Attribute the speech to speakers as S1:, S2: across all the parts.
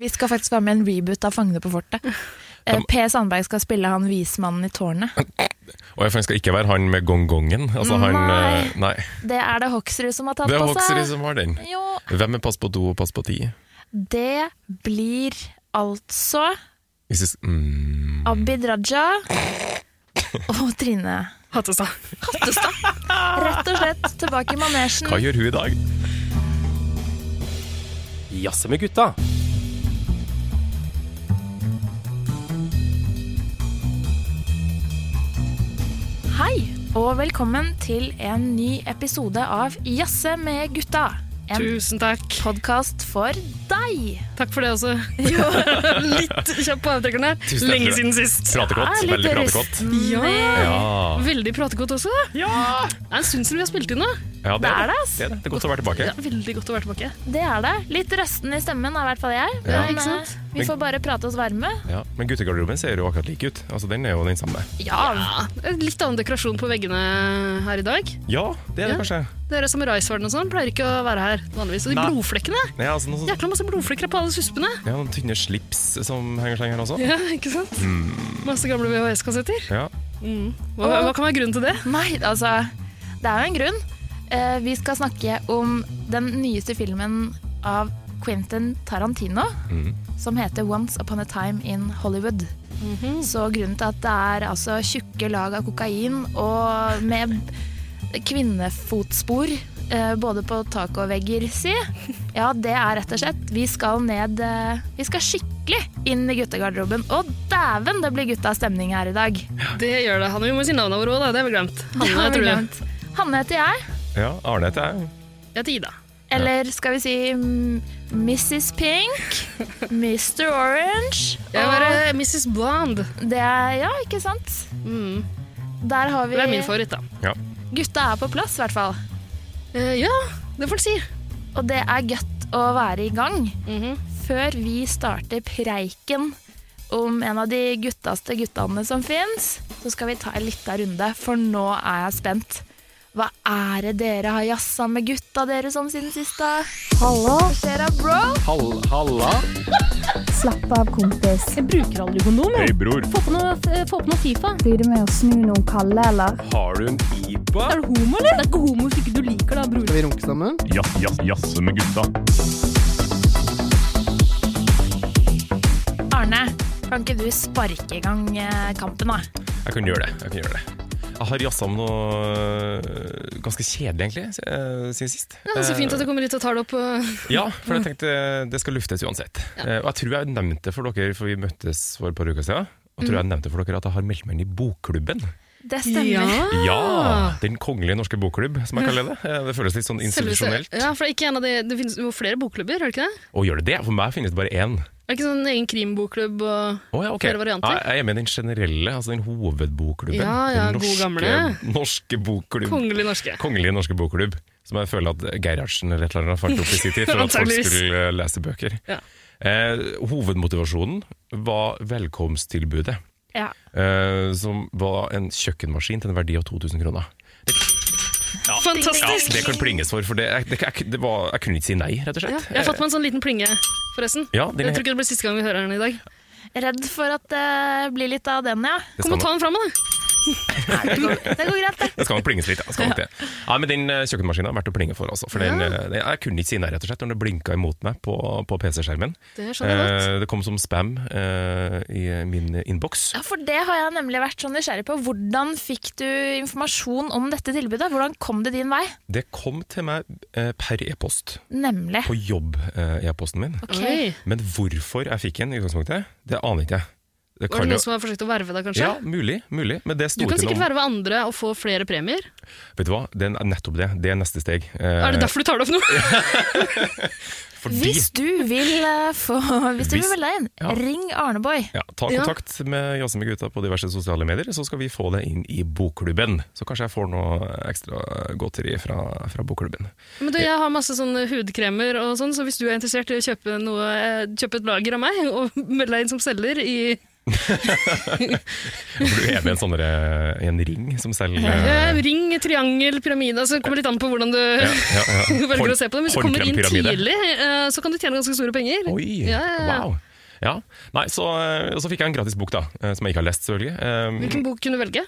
S1: Vi skal faktisk være med i en reboot av Fangene på fortet. Eh, P. Sandberg skal spille han vismannen i tårnet.
S2: Og jeg skal ikke være han med gongongen. Altså han
S1: Nei.
S2: eh, Nei.
S1: Det er det Hoksrud som har tatt
S2: Det er
S1: på seg.
S2: Hoksrud som har den.
S1: Jo,
S2: Hvem er pass på do og pass på ti?
S1: det blir altså
S2: Hvis jeg s- mm.
S1: Abid Raja og Trine
S3: Hattestad.
S1: Hattestad. Rett og slett tilbake i manesjen.
S2: Hva gjør hun i dag?
S4: Jazze med gutta.
S1: Hei, og velkommen til en ny episode av Jazze med gutta. En
S3: Tusen takk.
S1: podkast for deg.
S3: Takk for det også. Litt kjapp på avtrekkeren her.
S2: Tusen takk
S3: Lenge
S2: for
S3: siden sist.
S2: Pratekott.
S1: Er litt
S2: Veldig pratekott.
S1: rusten.
S3: Ja.
S2: Ja.
S3: Veldig prategodt også. Ja. Det er en stund siden vi har spilt inn nå.
S2: ja, det er det.
S1: ass.
S2: Det er, det. det er godt å være tilbake.
S3: Ja, veldig godt å være tilbake.
S1: Det er det. Litt røsten i stemmen er i hvert fall jeg.
S2: Ja.
S1: Men eh,
S3: Ikke sant?
S1: vi får bare prate oss varme.
S2: Ja. Men guttegarderoben ser jo akkurat lik ut. Altså, Den er jo den samme.
S3: Ja. Litt annen dekorasjon på veggene her i dag.
S2: Ja, det er det
S3: Ja.
S2: kanskje.
S3: Dere samuraisverdenen og sånn pleier ikke å være her vanligvis. Og de
S2: Nei.
S3: blodflekkene.
S2: Nei, altså, noe sånt.
S3: Jækla masse blodflekker på alle suspene.
S2: Ja, noen tynne slips som henger seg her også.
S3: Ja, ikke sant?
S2: Mm.
S3: Masse gamle VHS-kassetter.
S2: Ja.
S3: Hva, hva kan være grunnen til det?
S1: Nei, altså Det er jo en grunn. Eh, vi skal snakke om den nyeste filmen av Quentin Tarantino. Som heter 'Once Upon a Time in Hollywood'. Så grunnen til at det er altså tjukke lag av kokain og med kvinnefotspor eh, både på tak og vegger, si. Ja, det er rett og slett. Vi skal ned eh, Vi skal skikkelig inn i guttegarderoben. Og dæven, det blir gutta stemning her i dag.
S3: Det gjør det. Hanne, vi må si navnet vårt òg, da. Det har vi glemt.
S1: Det
S3: Hanne,
S1: har vi
S3: tror jeg.
S1: glemt. Hanne heter jeg.
S2: ja. Arne heter jeg.
S3: Jeg heter Ida.
S1: Eller skal vi si mm, Mrs. Pink, Mr. Orange
S3: Jeg er bare eh, Mrs. Blonde.
S1: og det er, Ja, ikke sant?
S3: Mm.
S1: Der har vi
S3: Det er min favoritt, da.
S2: Ja.
S1: Gutta er på plass, i hvert fall.
S3: Eh, ja, det får en si.
S1: Og det er godt å være i gang
S3: Mhm.
S1: før vi starter preiken om en av de guttaste guttene som fins. Så skal vi ta en liten runde, for nå er jeg spent. Hva er det dere har jazza med gutta deres om siden sist? da? Hallo? Hva skjer da, bro?
S4: Hall, halla.
S5: Slapp av, kompis.
S6: Jeg bruker aldri kondom. jeg.
S2: Hei, bror.
S6: Få på noe, eh, få på noe Fifa.
S5: Blir det med å snu noen kalde, eller?
S4: Har du en pipa?
S6: Er du homo, eller? Det er ikke homo hvis ikke du liker det, bror.
S7: Skal vi runke sammen?
S1: Arne, kan ikke du sparke i gang eh, kampen, da?
S2: Jeg kan gjøre det. Jeg kan gjøre det. Jeg har jazza om noe øh, ganske kjedelig, egentlig, s- øh, siden sist.
S3: Ja, det er så fint at du kommer hit og tar det opp. eh.
S2: Ja, for jeg tenkte øh, det skal luftes uansett. Eh, Og jeg tror jeg nevnte for dere, for vi møttes for et par uker siden, og
S3: Mm.
S2: tror jeg nevnte for dere at jeg har meldt meg inn i Bokklubben.
S1: Det stemmer.
S3: Ah!
S2: Ja! Den kongelige norske bokklubb, som jeg kaller det. Eh, Det føles litt sånn institusjonelt.
S3: Selveste- Ja, for det, er ikke en av de, det finnes jo flere bokklubber, er det ikke det?
S2: Å, gjør det det? For meg finnes det bare én.
S3: Er det ikke sånn en egen krimbokklubb og
S2: Å ja, ok.
S3: Flere varianter?
S2: Ja, jeg er med i den generelle, altså den hovedbokklubben.
S3: Ja, ja,
S2: den
S3: god
S2: norske,
S3: gamle.
S2: norske bokklubb.
S3: kongelig norske?
S2: Kongelige norske bokklubb, som jeg føler at Gerhardsen eller et eller annet fant opp i sin tid for at folk
S3: Antageligvis.
S2: skulle eh, lese bøker.
S3: Ja.
S2: Eh, hovedmotivasjonen var velkomsttilbudet,
S1: Ja.
S2: eh, som var en kjøkkenmaskin til en verdi av 2000 kroner. Ja,
S3: Fantastisk!
S2: det kan plinges for, for det, jeg, det, jeg, det var, jeg kunne ikke si nei, rett og
S3: Ja,
S2: slett.
S3: jeg har fått meg en sånn liten plinge, forresten.
S2: Eh, ja, den
S3: Jeg
S2: er-
S3: tror ikke det blir siste gang vi hører den i dag.
S1: Redd for at det blir litt av den, ja.
S2: det skal
S3: Kom og ta den fram, da.
S1: Det går, det går greit, det.
S2: Det skal nok plinges litt. Ja. Det Skal nok det. Ja, men den eh, kjøkkenmaskinen er verdt å plinge for. Også, for den, eh, den, jeg kunne ikke si nei, rett og slett, når det blinka imot meg på, på PC-skjermen.
S3: Det skjønner jeg godt.
S2: Eh, det kom som spam eh, i min innboks.
S1: Ja, For det har jeg nemlig vært sånn nysgjerrig på. Hvordan fikk du informasjon om dette tilbudet? Hvordan kom det din vei?
S2: Det kom til meg eh, per e-post,
S1: Nemlig.
S2: på jobb-e-posten min.
S1: Ok.
S3: Oi.
S2: Men hvorfor jeg fikk den, i utgangspunktet, det aner ikke jeg. Det
S3: Var det
S2: jo-
S3: noen som har forsøkt å verve deg, kanskje?
S2: ja, mulig, mulig. Men det sto
S3: Du kan
S2: til
S3: sikkert
S2: noen-
S3: verve andre og få flere premier.
S2: Vet du hva, det er nettopp det. Det er neste steg. Eh,
S3: Er det derfor du tar det opp nå?
S2: fordi-
S1: Hvis du vil eh, få Hvis du vil
S2: Hvis-
S1: melde deg inn,
S2: ja.
S1: ring Arneboy.
S2: Ja, ta
S3: Ja.
S2: kontakt med Jazze med gutta på diverse sosiale medier, så skal vi få det inn i bokklubben. Så kanskje jeg får noe ekstra godteri fra, fra bokklubben.
S3: Men du, Jeg har masse sånne hudkremer, og sånn, så hvis du er interessert i å kjøpe, noe, eh, kjøpe et lager av meg og melde deg inn som selger i
S2: For du er med i en, sånn der, i en ring som selger
S3: Eh,
S2: eh,
S3: Ring, triangel, pyramide. Altså, det kommer litt an på hvordan du
S2: ja, ja, ja.
S3: velger å se på det. Hvis du kommer inn
S2: Hornkrempyramide.
S3: tidlig, eh, så kan du tjene ganske store penger.
S2: Oi,
S3: Ja, ja, ja.
S2: wow. Ja. Nei, så, eh, og så fikk jeg en gratis bok, da, eh, som jeg ikke har lest, selvfølgelig. Eh,
S3: Hvilken bok kunne du velge?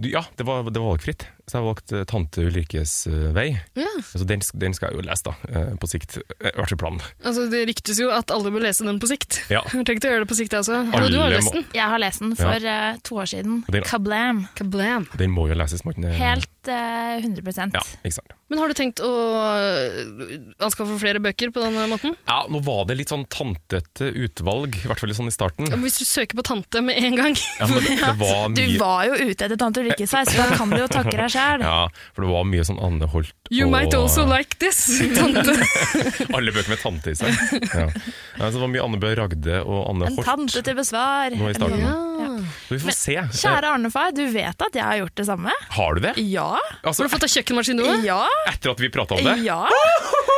S2: Du, ja, det var, det var valgfritt. Så jeg valgte eh, 'Tante Ulrikkes eh, vei'.
S3: Ja.
S2: Så den, sk- den skal jeg jo lese, da. eh, På sikt. Eh, I hvert fall planen.
S3: Altså, det ryktes jo at alle bør lese den på sikt.
S2: Ja.
S3: Jeg har tenkt å gjøre det på sikt, jeg også.
S2: Alle
S3: Og du har
S2: må-
S3: lest den.
S1: Jeg har lest den for eh, to år siden.
S2: Den-
S1: Kablam.
S3: Kablam.
S2: Den må jo leses, Morten. Eh,
S1: Helt eh, 100
S2: Ja, ikke sant.
S3: Men har du tenkt å øh, anskaffe flere bøker på den måten?
S2: Ja, nå var det litt sånn tantete utvalg, i hvert fall litt sånn i starten.
S3: Hvis du søker på tante med en gang
S2: Ja, men det, det var
S1: Du
S2: mye
S1: var jo ute etter tante Ulrikkes vei, så da kan du jo takke deg sjæl.
S2: ja, for det var mye sånn Anne Holt
S3: You might also
S2: og
S3: like this, tante.
S2: alle bøker med tante i seg. Ja. Ja, så det var mye Anne Bø Ragde og Anne
S1: En
S2: Holt.
S1: tante til besvar.
S2: Nå i starten.
S1: Ja.
S2: Så vi får se. Eh,
S1: Kjære Arnefar, du vet at jeg har gjort det samme?
S2: Har du det?
S1: Ja.
S2: Altså,
S3: Har du fått deg kjøkkenmaskin nå? Ja.
S1: Ja.
S2: etter at vi prata om det?
S1: Ja.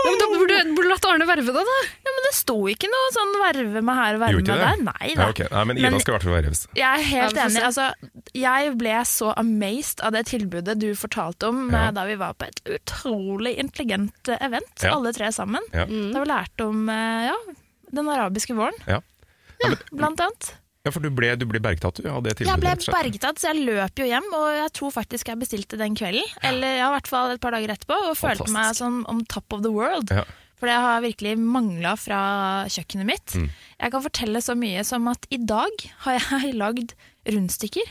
S3: men da burde du burde du latt Arne verve deg, da.
S1: ja, men det sto ikke noe sånn verve meg her og
S2: Gjorde
S1: verve meg
S2: ikke det?
S1: der. Nei da.
S2: Ja, ok. Nei, men
S1: Men-
S2: Ida skal i hvert fall verves.
S1: Jeg er helt
S3: Ja, vi får
S1: enig. Altså, jeg ble så amazed av det tilbudet du fortalte om
S2: Ja.
S1: eh, da vi var på et utrolig intelligent eh, event,
S2: Ja.
S1: alle tre sammen.
S2: Ja.
S1: Da vi lærte om eh, ja, den arabiske våren,
S2: Ja. Ja, men,
S1: blant annet.
S2: ja, for du ble, du ble bergtatt, du, av det tilbudet?
S1: Jeg ble
S2: rett og slett.
S1: bergtatt, så jeg løp jo hjem, og jeg tror faktisk jeg bestilte den kvelden. Eller ja, i hvert fall et par dager etterpå, og følte
S2: Fantastisk.
S1: meg som om top of the world.
S2: Ja.
S1: For det har virkelig mangla fra kjøkkenet mitt.
S2: Mm.
S1: Jeg kan fortelle så mye som at i dag har jeg lagd rundstykker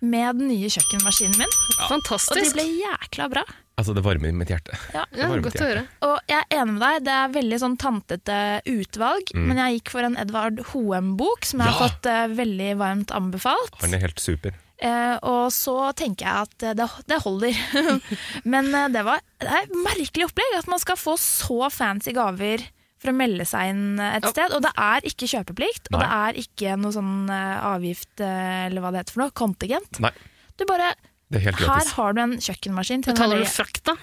S1: med den nye kjøkkenmaskinen min. Og de
S3: Fantastisk.
S1: ble jækla bra.
S2: Altså, det varmer mitt hjerte.
S1: Ja.
S3: Ja,
S2: varmt
S3: godt
S2: hjerte.
S3: å høre.
S1: Og jeg er enig med deg, det er veldig sånn tantete utvalg, men jeg gikk for en Edvard Hoem-bok, som jeg har
S2: Mm. Ja.
S1: fått eh, veldig varmt anbefalt.
S2: Han er helt super.
S1: Eh, og så tenker jeg at eh, det, det holder. Men eh, det var det er et merkelig opplegg at man skal få så fancy gaver for å melde seg inn eh, et
S3: Ja.
S1: sted. Og det er ikke kjøpeplikt, og
S2: Nei.
S1: det er ikke noe sånn eh, avgift eh, eller hva det heter for noe, kontingent.
S2: Nei,
S1: Du bare
S2: det er helt
S1: Her
S2: gratis.
S1: har du en kjøkkenmaskin til
S3: Betaler du
S1: veldig-
S3: frakt, da?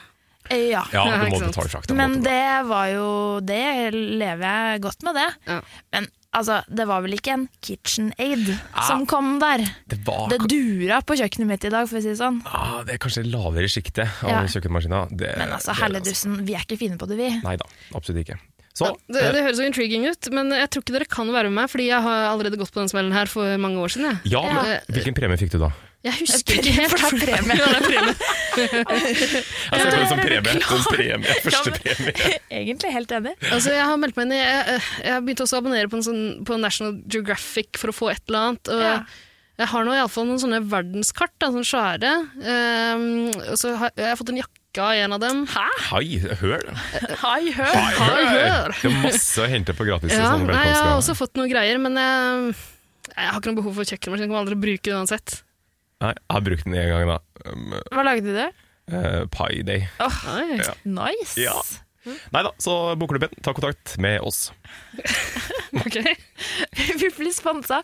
S1: Eh, Ja.
S2: Ja, du
S3: Ja,
S2: må
S3: ikke sant.
S2: betale frakt. da må
S1: Men
S2: du-
S1: det var jo Det lever jeg godt med, det.
S3: Ja.
S1: Men altså, det var vel ikke en KitchenAid som kom der.
S2: det var
S1: Det dura på kjøkkenet mitt i dag, for å si det sånn.
S2: ah, Det er kanskje lavere sjiktet av
S1: Ja.
S2: kjøkkenmaskina. Det-
S1: Men altså,
S2: Eh, det-
S1: helledussen, vi er ikke fine på det, vi.
S2: Nei da, absolutt ikke. Så eh,
S3: Det, det høres jo intriguing ut, men jeg tror ikke dere kan verve meg, fordi jeg har allerede gått på den smellen her for mange år siden. Jeg,
S2: Ja,
S1: Ja.
S2: men hvilken premie fikk du da?
S3: jeg husker ikke helt.
S1: For det er premie.
S3: Ja, det er premie.
S2: Jeg ser på det som premie. Som premie. Første premie.
S1: Egentlig helt enig.
S3: Altså, jeg har meldt meg inn i Jeg, eh, jeg begynte også å abonnere på, en sånn, på National Geographic for å få et eller annet. Og
S1: Ja.
S3: Jeg har nå iallfall noen sånne verdenskart, da, sånne svære. Ehm, og så har jeg har fått en jakke av en av dem. Hæ?
S2: Hei, hør!
S1: Hi, hør.
S2: Hei,
S3: Hei, hør.
S2: Det er masse å hente på gratis. i
S3: Ja,
S2: sånne
S3: nei, jeg har
S2: velkomstgaver.
S3: også fått noen greier, men jeg, jeg har ikke noe behov for kjøkkenmaskin. Jeg kommer aldri til å bruke det uansett.
S2: Nei, jeg har brukt den én gang, da. Um,
S1: Hva lagde du?
S2: eh, Pi Day.
S3: Nei.
S2: Ja.
S1: Nice.
S2: Ja. Nei da, så Bokklubben, ta kontakt med oss.
S3: Ok.
S1: Vi blir sponsa.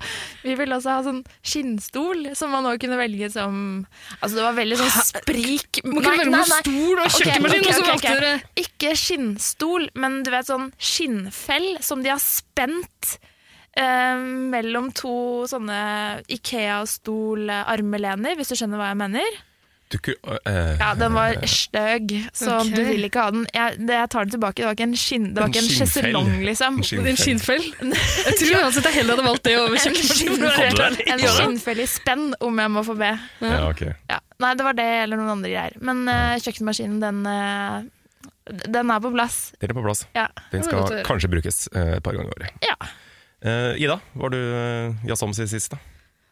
S1: Vi ville også ha sånn skinnstol som man òg kunne velge som Altså, det var veldig sånn sprik
S3: Man kan velge mellom stol og
S1: Ok,
S3: kjøkkenmaskin,
S1: ok,
S3: og så
S1: ok, ok.
S3: valgte dere
S1: Ikke skinnstol, men du vet sånn skinnfell som de har spent eh, mellom to sånne Ikea-stol-armelener, hvis du skjønner hva jeg mener.
S2: Du, ku- eh,
S1: Ja, den var støg, så
S3: Ok.
S1: du vil ikke ha den. Jeg, det, jeg tar den tilbake, det var ikke en, skinn, det var
S2: En
S1: ikke en
S2: skinnfell.
S1: sjeselong, liksom.
S2: en
S3: En
S2: skinnfell.
S3: skinnfell? Jeg tror uansett jeg heller hadde valgt det over
S1: En
S3: kjøkkenmaskin. for å være helt ærlig.
S1: En
S2: Ja.
S1: skinnfell i spenn, om jeg må få be.
S2: Ja, ok.
S1: Ja. Nei, det var det eller noen andre greier. Men eh, kjøkkenmaskinen, den, eh, den er på plass.
S2: Den er på plass.
S1: Ja.
S2: Den
S3: Det var
S2: skal
S3: godt å høre.
S2: kanskje brukes eh, et par ganger i året.
S1: ja.
S2: Eh, Ida, var du uh, jazzom siden sist? da?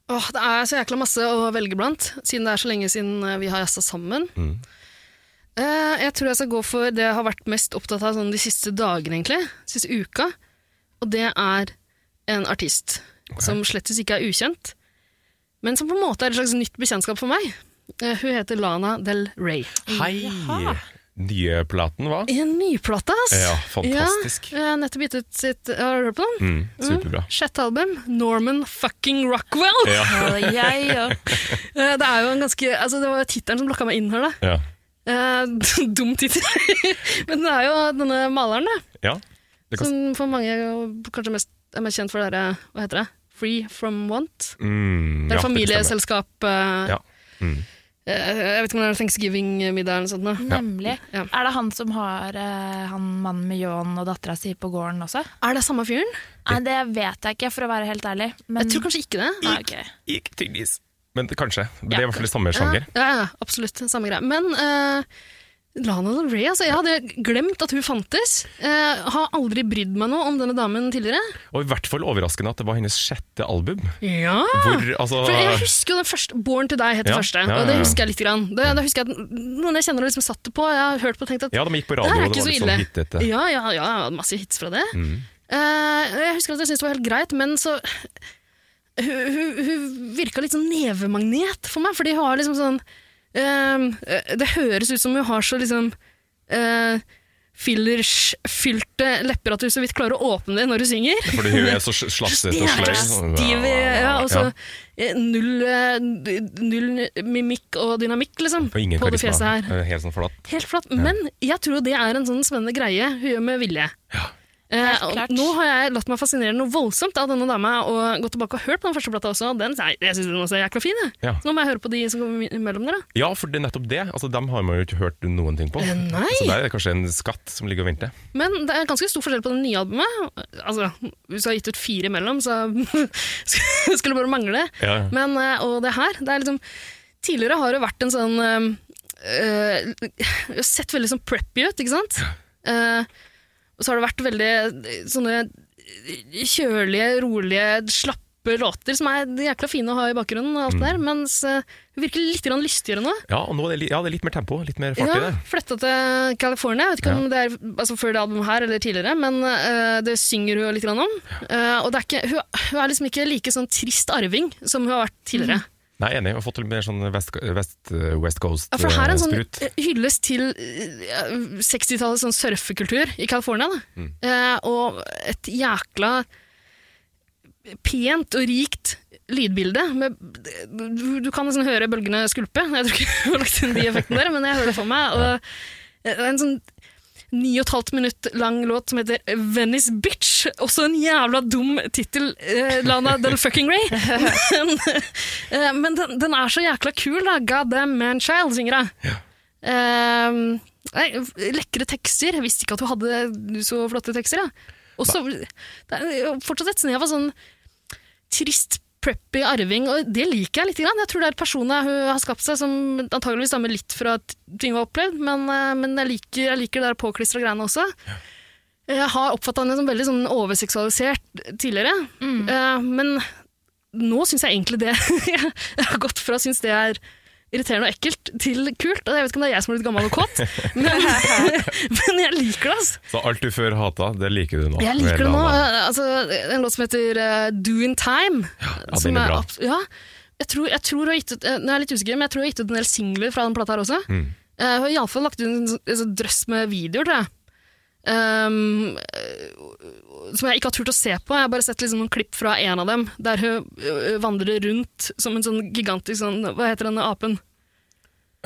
S3: Åh, det er så jækla masse å velge blant, siden det er så lenge siden eh, vi har jazza sammen.
S2: Mm.
S3: Eh, jeg tror jeg skal gå for det jeg har vært mest opptatt av sånn, de siste dagene, egentlig. Siste uka. Og det er en artist som slettes ikke er ukjent, men som på en måte er et slags nytt bekjentskap for meg. Eh, hun heter Lana Del Rey.
S2: Hei! Nye platen, hva?
S3: I en nyplate, ass!
S2: Ja, fantastisk.
S3: Ja, eh, nettopp gitt ut sitt eh, Har du hørt på den?
S2: Mm, superbra.
S3: Sjette album, Norman fucking Rockwell!
S2: Ja,
S1: Og jeg og
S3: Eh, Det er jo en ganske, altså det var jo tittelen som lokka meg inn her, da.
S2: ja.
S3: Eh, dum tittel. Men det er jo denne maleren, da.
S2: ja. Det kan-
S3: Som for mange er jo kanskje mest, er mest kjent for det her, hva heter det? Free From Want.
S2: Mm,
S3: Det er
S2: ja, stemmer.
S3: familieselskap. eh,
S2: Ja. Mm.
S3: eh, Jeg vet ikke om det er thanksgiving-middag eller noe sånt. nå.
S1: Nemlig.
S3: Ja.
S1: Er det han som har eh, han mannen med ljåen og dattera si på gården også?
S3: Er det samme fyren?
S1: Nei, det vet jeg ikke, for å være helt ærlig. Men
S3: Jeg tror kanskje ikke det.
S1: Nei, ok.
S2: Ikke tydeligvis. Men det- kanskje. Det
S1: Ja.
S2: er i hvert fall i samme sjanger.
S3: Ja, ja, ja, absolutt. Samme greie. Men eh, Lana Del Rey, altså. Jeg hadde glemt at hun fantes. Eh, har aldri brydd meg noe om denne damen tidligere.
S2: Og i hvert fall overraskende at det var hennes sjette album.
S3: Ja!
S2: Hvor, altså,
S3: For jeg husker jo den første Born to Die het det
S2: Ja,
S3: første.
S2: ja, ja,
S3: Og det
S2: ja.
S3: husker jeg litt. Grann. Det, det husker jeg at noen jeg kjenner har liksom satt det på. Jeg har hørt på og tenkt at
S2: ja, de gikk på
S3: det
S2: radio,
S3: her er
S2: og det var
S3: ikke så
S2: litt
S3: ille.
S2: sånn hit dette.
S3: ja, ja, ja, jeg hadde masse hits fra det.
S2: Mm.
S3: Eh, jeg husker at jeg syntes det var helt greit, men så Hun, hun, hun virka litt sånn nevemagnet for meg, fordi hun har liksom sånn eh, Det høres ut som hun har så liksom uh, fillersfylte lepper at hun så vidt klarer å åpne det når hun synger.
S2: Fordi hun er så sl- slafsete og sløy. sånn.
S3: Stiv, ja, og så eh, null, eh, d- null mimikk og dynamikk, liksom,
S2: Og ingen
S3: på det fjeset
S2: karisma.
S3: her.
S2: Eh, Helt sånn flatt.
S3: Helt flatt. Men jeg tror det er en sånn spennende greie hun gjør med vilje. Eh, og
S1: klart.
S3: nå har jeg latt meg fascinere noe voldsomt av denne dama, og gått tilbake og hørt på den første plata også. og Den, jeg jeg synes den også er jækla fin, jeg.
S2: Ja.
S3: Så nå må jeg høre på de som kommer imellom dere.
S2: Ja, for det er nettopp det. Altså, dem har man jo ikke hørt noen ting på.
S3: Eh, nei.
S2: Så der er det kanskje en skatt som ligger og venter.
S3: Men det er ganske stor forskjell på det nye albumet. Altså, hvis du har gitt ut fire imellom, så skulle det bare mangle.
S2: Ja.
S3: Men, eh, og det her, det er liksom Tidligere har det vært en sånn eh, eh, Jeg har sett veldig sånn preppy ut, ikke sant? Eh, og så har det vært veldig eh, sånne eh, kjølige, rolige, slappe låter som er jækla fine å ha i bakgrunnen, og
S2: Mm.
S3: alt det der, mens eh, hun virker litt grann lystigere nå.
S2: Ja, og nå er det, li- ja, det er litt mer tempo, litt mer fart i
S3: Ja,
S2: det.
S3: flytta til California. Jeg vet ikke om det er altså, før det albumet her eller tidligere, men eh, det synger hun litt grann om. Eh, og det er ikke, hun, hun er liksom ikke like sånn trist arving som hun har vært tidligere.
S2: Nei, enig. Jeg har fått litt mer sånn West, West, West
S3: Ja, for det her er en sånn
S2: Coast-sprut.
S3: eh, hyllest til eh, 60-tallets sånn surfekultur i California. Da. Eh, og et jækla pent og rikt lydbilde. Med, du, du kan nesten høre bølgene skulpe. Jeg tror ikke jeg har lagt inn de effektene der, men jeg hører det for meg. Og, eh, det er en sånn ni og et halvt minutt lang låt som heter Venice Bitch. Også en jævla dum tittel, eh, Lana Del Fucking Ray. Men, eh, men den, den er så jækla kul, da. God damn man child, synger hun. Eh, nei, lekre tekster. Jeg visste ikke at hun hadde så flotte tekster. Ja. Og så det er jo fortsatt et snev av sånn trist, preppy arving, og det liker jeg litt. Grann. Jeg tror det er personer hun har skapt seg, som antageligvis stammer litt fra t- ting hun har opplevd, men, eh, men jeg, liker, jeg liker det der påklistra greiene også. Jeg har oppfatta henne som veldig sånn overseksualisert tidligere, eh, men nå syns jeg egentlig det Jeg har gått fra å synes det er irriterende og ekkelt til kult. Og jeg vet ikke om det er jeg som er litt gammel og kåt, men, men jeg liker det. altså.
S2: Så alt du før hata, det liker du nå.
S3: Jeg liker det nå.
S2: Lana.
S3: eh, Altså, en låt som heter eh, Do In Time.
S2: ja,
S3: eh, som
S2: den er bra.
S3: abs- ja, jeg tror, jeg tror hun har gitt ut, eh, nå er jeg litt usikker, men jeg tror hun har gitt ut en del singler fra den plata her også.
S2: Mm.
S3: Eh, hun har iallfall lagt ut en, sånn- en sånn drøss med videoer, tror jeg. Um, eh, som jeg ikke har turt å se på. Jeg har bare sett liksom noen klipp fra en av dem, der hun eh, vandrer rundt som en sånn gigantisk sånn Hva heter denne apen?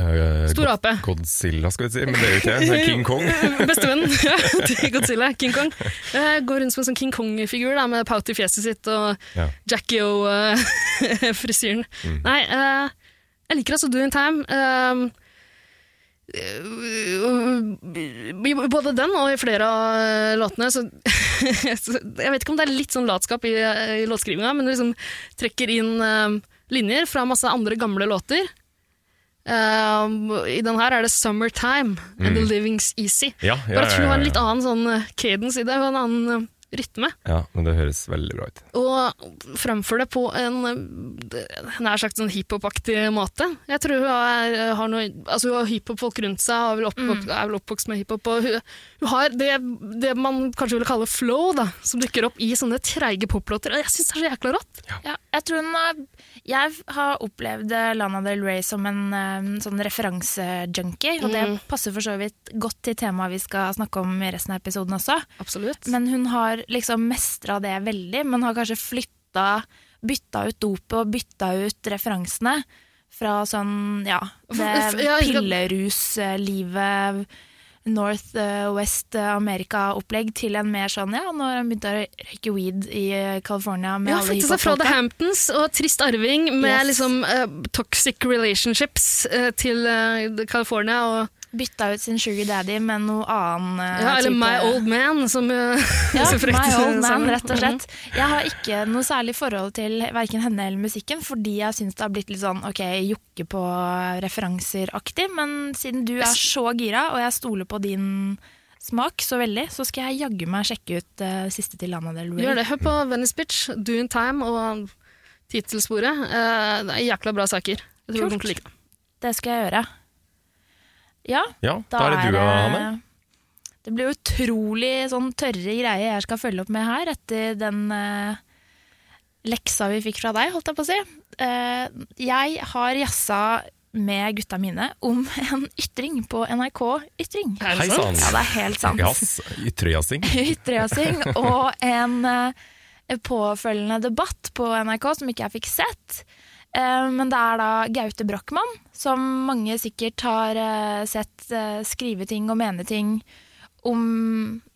S2: Eh,
S3: Stor ape.
S2: Godzilla, skal vi si. Men det er jo ikke det. det. er King Kong.
S3: Bestevennen ja, til Godzilla, King Kong. Eh, går rundt som en sånn King Kong-figur da, med pout i fjeset sitt og
S2: Ja.
S3: Jackie O-frisyren. Nei, eh, jeg liker altså Do In Time. ehm, eh, i både den og i flere av eh, låtene. Så, så jeg vet ikke om det er litt sånn latskap i, i låtskrivinga, men du liksom trekker inn ehm, linjer fra masse andre gamle låter. Ehm, I den her er det 'Summertime' and 'The Living's Easy'.
S2: Ja, ja,
S3: Bare at hun
S2: ja,
S3: har
S2: ja,
S3: en litt annen sånn eh, cadence i det, og en annen eh, rytme.
S2: ja. ja, men det høres veldig bra ut.
S3: Og fremføre det på en eh, nær sagt sånn hiphop-aktig måte. Jeg tror hun er, har noe Altså hun har hiphop-folk rundt seg, og er vel
S1: Mm.
S3: oppvok- er vel oppvokst med hiphop. Og hun, hun har det, det man kanskje ville kalle flow, da, som dukker opp i sånne treige poplåter. Og jeg syns det er så jækla rått!
S1: Ja, jeg tror hun har Jeg har opplevd eh, Lana Del Rey som en eh, sånn referansejunkie, og
S3: Mm.
S1: det passer for så vidt godt til temaet vi skal snakke om i resten av episoden også.
S3: Absolutt.
S1: Men hun har liksom mestra det veldig, men har kanskje flytta Bytta ut dopet og bytta ut referansene fra sånn, ja,
S3: F- f-
S1: det
S3: ja, ikke-
S1: pilleruslivet North eh, West America-opplegg til en mer sånn ja, når han begynte å røyke weed i eh, California med
S3: Ja,
S1: alle
S3: flytte seg fra The
S1: hiphop-folka.
S3: Hamptons og Trist arving med
S1: Yes.
S3: liksom eh, toxic relationships eh, til eh, California og
S1: Bytta ut sin sugar daddy med noe annen eh,
S3: ja, eller
S1: type-
S3: My Old Man, som uh,
S1: Ja,
S3: så frekt
S1: my old man,
S3: sammen.
S1: rett og slett.
S3: Mhm.
S1: Jeg har ikke noe særlig forhold til verken henne eller musikken, fordi jeg syns det har blitt litt sånn ok, jokke på referanser-aktig. Men siden du er så gira, og jeg stoler på din smak så veldig, så skal jeg jaggu meg sjekke ut eh, siste til Lana Del Rey.
S3: Mm. Gjør det. Hør på Venice Bitch, Do in Time og tittelsporet. Eh, det er jækla bra saker. Jeg tror du
S1: Kult.
S3: kommer til å like det.
S1: Det skal jeg gjøre. Ja,
S2: Ja, da er det du, Hanne.
S1: eh, Det blir utrolig sånn tørre greier jeg skal følge opp med her, etter den eh, leksa vi fikk fra deg, holdt jeg på å si. Eh, jeg har jazza med gutta mine om en ytring på NRK Ytring.
S3: Er
S2: Hei
S3: det
S2: sann.
S3: sant?
S1: Ja, det er helt sant.
S2: Jass, ytterjassing.
S1: Ytterjassing og en eh, påfølgende debatt på NRK som ikke jeg fikk sett. Eh, Men det er da Gaute Brochmann, som mange sikkert har eh, sett eh, skrive ting og mene ting om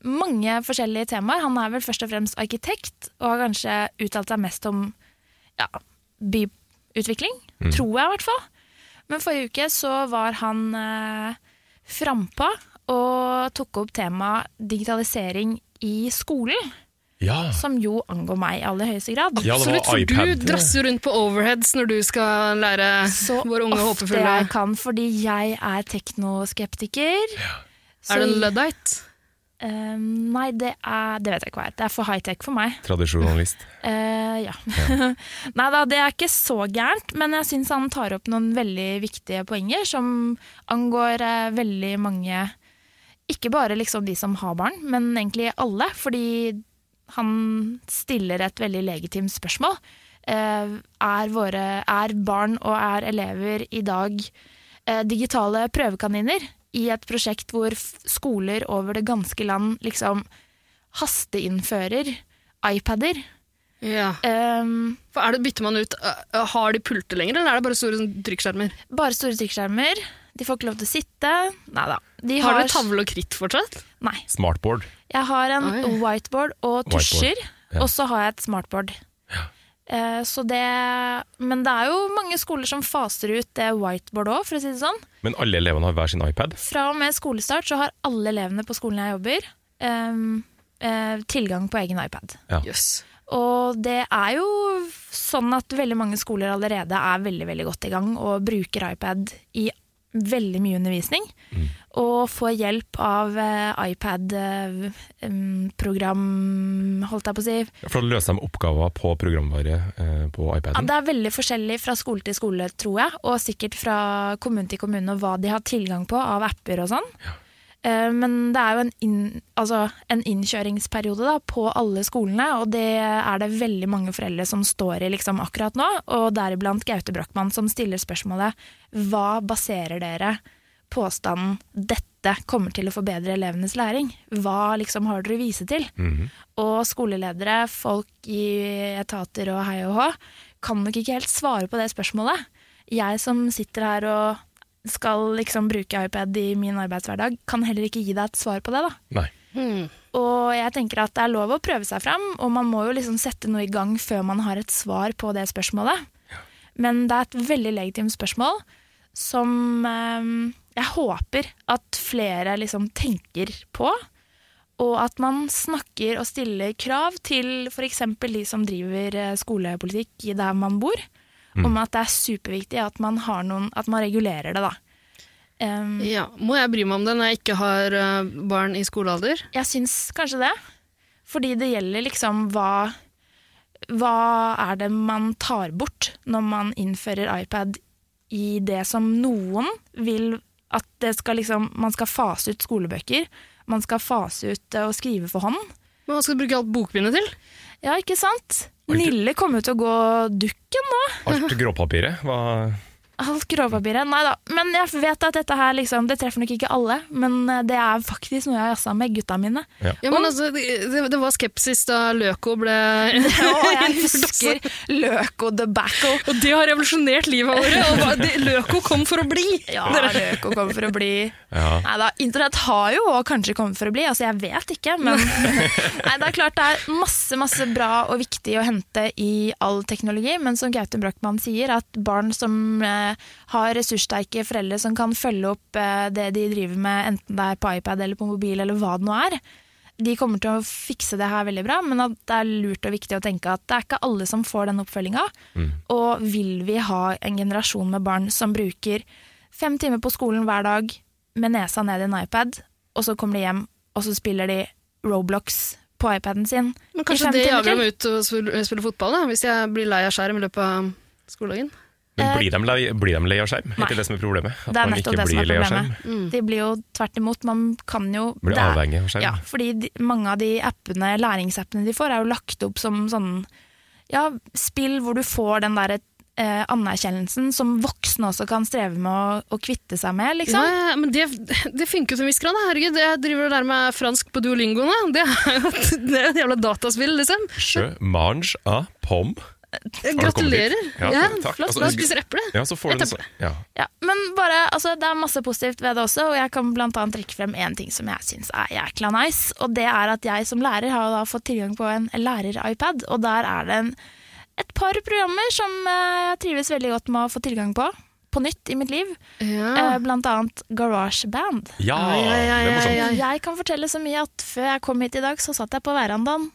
S1: mange forskjellige temaer. Han er vel først og fremst arkitekt, og har kanskje uttalt seg mest om ja, byutvikling. Tror jeg, i hvert fall. Men forrige uke så var han eh, frampå og tok opp temaet digitalisering i skolen,
S2: Ja.
S1: som jo angår meg i aller høyeste grad.
S2: Ja, det var
S3: Absolutt, for
S2: iPad.
S3: du drasser rundt på overheads når du skal lære
S1: Så
S3: våre unge
S1: ofte
S3: håpefulle
S1: jeg kan, fordi jeg er teknoskeptiker. Så-
S3: Er du en luddite?
S1: Eh, nei, det, er, det vet jeg ikke hva er. Det er for high-tech for meg.
S2: Tradisjonalist.
S1: Eh, ja. Nei da, det er ikke så gærent, men jeg syns han tar opp noen veldig viktige poenger som angår eh, veldig mange Ikke bare liksom de som har barn, men egentlig alle, fordi han stiller et veldig legitimt spørsmål. Eh, er, våre, er barn og er elever i dag eh, digitale prøvekaniner i et prosjekt hvor f- skoler over det ganske land liksom hasteinnfører iPader?
S3: Ja.
S1: Ehm,
S3: For er det, bytter man ut eh, Har de pulte lenger, eller er det bare store sånn, trykkskjermer?
S1: bare store trykkskjermer. De får ikke lov til å sitte. Nei da. De
S3: Har du tavle og kritt fortsatt?
S1: Nei.
S2: Smartboard.
S1: Jeg har en
S3: Oi.
S1: whiteboard og tusjer,
S2: ja.
S1: og så har jeg et smartboard. Eh, så det, men det er jo mange skoler som faser ut det whiteboard òg, for å si det sånn.
S2: Men alle elevene har hver sin iPad.
S1: Fra og med skolestart så har alle elevene på skolen jeg jobber, ehm, eh, tilgang på egen iPad.
S3: Jøss.
S1: Og det er jo sånn at veldig mange skoler allerede er veldig, veldig godt i gang og bruker iPad i veldig mye undervisning. Og får hjelp av eh, iPad-program, holdt jeg på å si.
S2: Ja, For da løser de oppgaver på programvare eh, på
S1: Ja,
S2: iPaden.
S1: det er veldig forskjellig fra skole til skole, tror jeg. Og sikkert fra kommune til kommune og hva de har tilgang på av apper og sånn. Eh, Men det er jo en, inn, altså en innkjøringsperiode da, på alle skolene, og det er det veldig mange foreldre som står i liksom akkurat nå. Og deriblant Gaute Brochmann som stiller spørsmålet hva baserer dere påstanden 'dette kommer til å forbedre elevenes læring'? Hva liksom har dere å vise til?
S2: Mhm.
S1: Og skoleledere, folk i etater og hei og hå, kan nok ikke helt svare på det spørsmålet. Jeg som sitter her og skal liksom bruke iPad i min arbeidshverdag, kan heller ikke gi deg et svar på det. da.
S2: Nei.
S3: Hmm.
S1: Og jeg tenker at det er lov å prøve seg fram, og man må jo liksom sette noe i gang før man har et svar på det spørsmålet. Men det er et veldig legitimt spørsmål som eh, jeg håper at flere liksom tenker på. Og at man snakker og stiller krav til f.eks. de som driver eh, skolepolitikk i der man bor, om at det er superviktig at man, har noen, at man regulerer det. da. Um,
S3: Ja. Må jeg bry meg om det når jeg ikke har eh, barn i skolealder?
S1: Jeg syns kanskje det. Fordi det gjelder liksom hva Hva er det man tar bort når man innfører iPad i det som noen vil at det skal liksom Man skal fase ut skolebøker. Man skal fase ut eh, å skrive for hånd.
S3: Men Hva skal du bruke alt bokbindet til?
S1: Ja, ikke sant?
S2: Oi, det-
S1: Nille kommer jo til å gå dukken nå.
S2: Alt gråpapiret var
S1: Alt grovpapiret. Nei da. Men jeg vet at dette her liksom, det treffer nok ikke alle, men eh, det er faktisk noe jeg har jassa med gutta mine.
S3: Ja, men altså, det, det- det var skepsis da Løko ble
S1: Og jeg husker Løko Tobacco.
S3: Og det har revolusjonert livet vårt! Og hva- det, Løko kom for å bli!
S1: Ja, Løko kommer for å bli.
S2: Ja.
S1: Nei da, internett har jo også kanskje kommet for å bli, altså jeg vet ikke, men Nei, det er klart det er masse, masse bra og viktig å hente i all teknologi, men som Gaute Brochmann sier, at barn som eh, har ressurssterke foreldre som kan følge opp eh, det de driver med, enten det er på iPad eller på mobil eller hva det nå er, de kommer til å fikse det her veldig bra, men at det er lurt og viktig å tenke at det er ikke alle som får den oppfølginga. Og vil vi ha en generasjon med barn som bruker fem timer på skolen hver dag med nesa ned i en iPad, og så kommer de hjem, og så spiller de Roblox på iPaden sin
S3: Men
S1: i
S3: kanskje
S1: fem
S3: det
S1: timer
S3: jager
S1: til?
S3: dem ut og spille, spille fotball, da, hvis jeg blir lei av skjerm i løpet av skoledagen.
S2: Men blir de, lei, blir de lei av skjerm? Er
S1: Eh, Nei.
S2: ikke det som er problemet? At
S1: Det er
S2: man
S1: nettopp
S2: ikke
S1: det som er
S2: blir lei av skjerm?
S1: problemet.
S3: Mm.
S1: De blir jo tvert imot. Man kan jo
S2: Blir
S1: det er-
S2: avhengig av skjerm.
S1: Ja, fordi de, mange av de appene, læringsappene de får, er jo lagt opp som sånn ja, spill hvor du får den derre eh, anerkjennelsen som voksne også kan streve med å, å kvitte seg med,
S3: Ja,
S1: liksom.
S3: ja, men det, det funker jo til en viss grad. da. Herregud, jeg driver og lærer meg fransk på Duolingo nå. Det er jo det er et jævla dataspill, liksom.
S2: Sjø, mange av pom.
S3: Gratulerer.
S2: dit? Ja, takk.
S3: flott.
S2: Altså,
S3: da
S2: du-
S3: spiser eple.
S2: Ja, så får
S3: Jeg
S2: du en sånn. Ja.
S1: Ja, men bare, altså, det er masse positivt ved det også, og jeg kan blant annet trekke frem én ting som jeg syns er jækla nice, og det er at jeg som lærer har jo da fått tilgang på en lærer-iPad, og der er det en, et par programmer som eh, jeg trives veldig godt med å få tilgang på, på nytt i mitt liv,
S3: Ja.
S1: eh, blant annet GarageBand.
S2: Ja,
S3: Ja, ja,
S2: det er
S3: ja,
S2: morsomt.
S3: ja, ja.
S1: Jeg kan fortelle så mye at før jeg kom hit i dag, så satt jeg på verandaen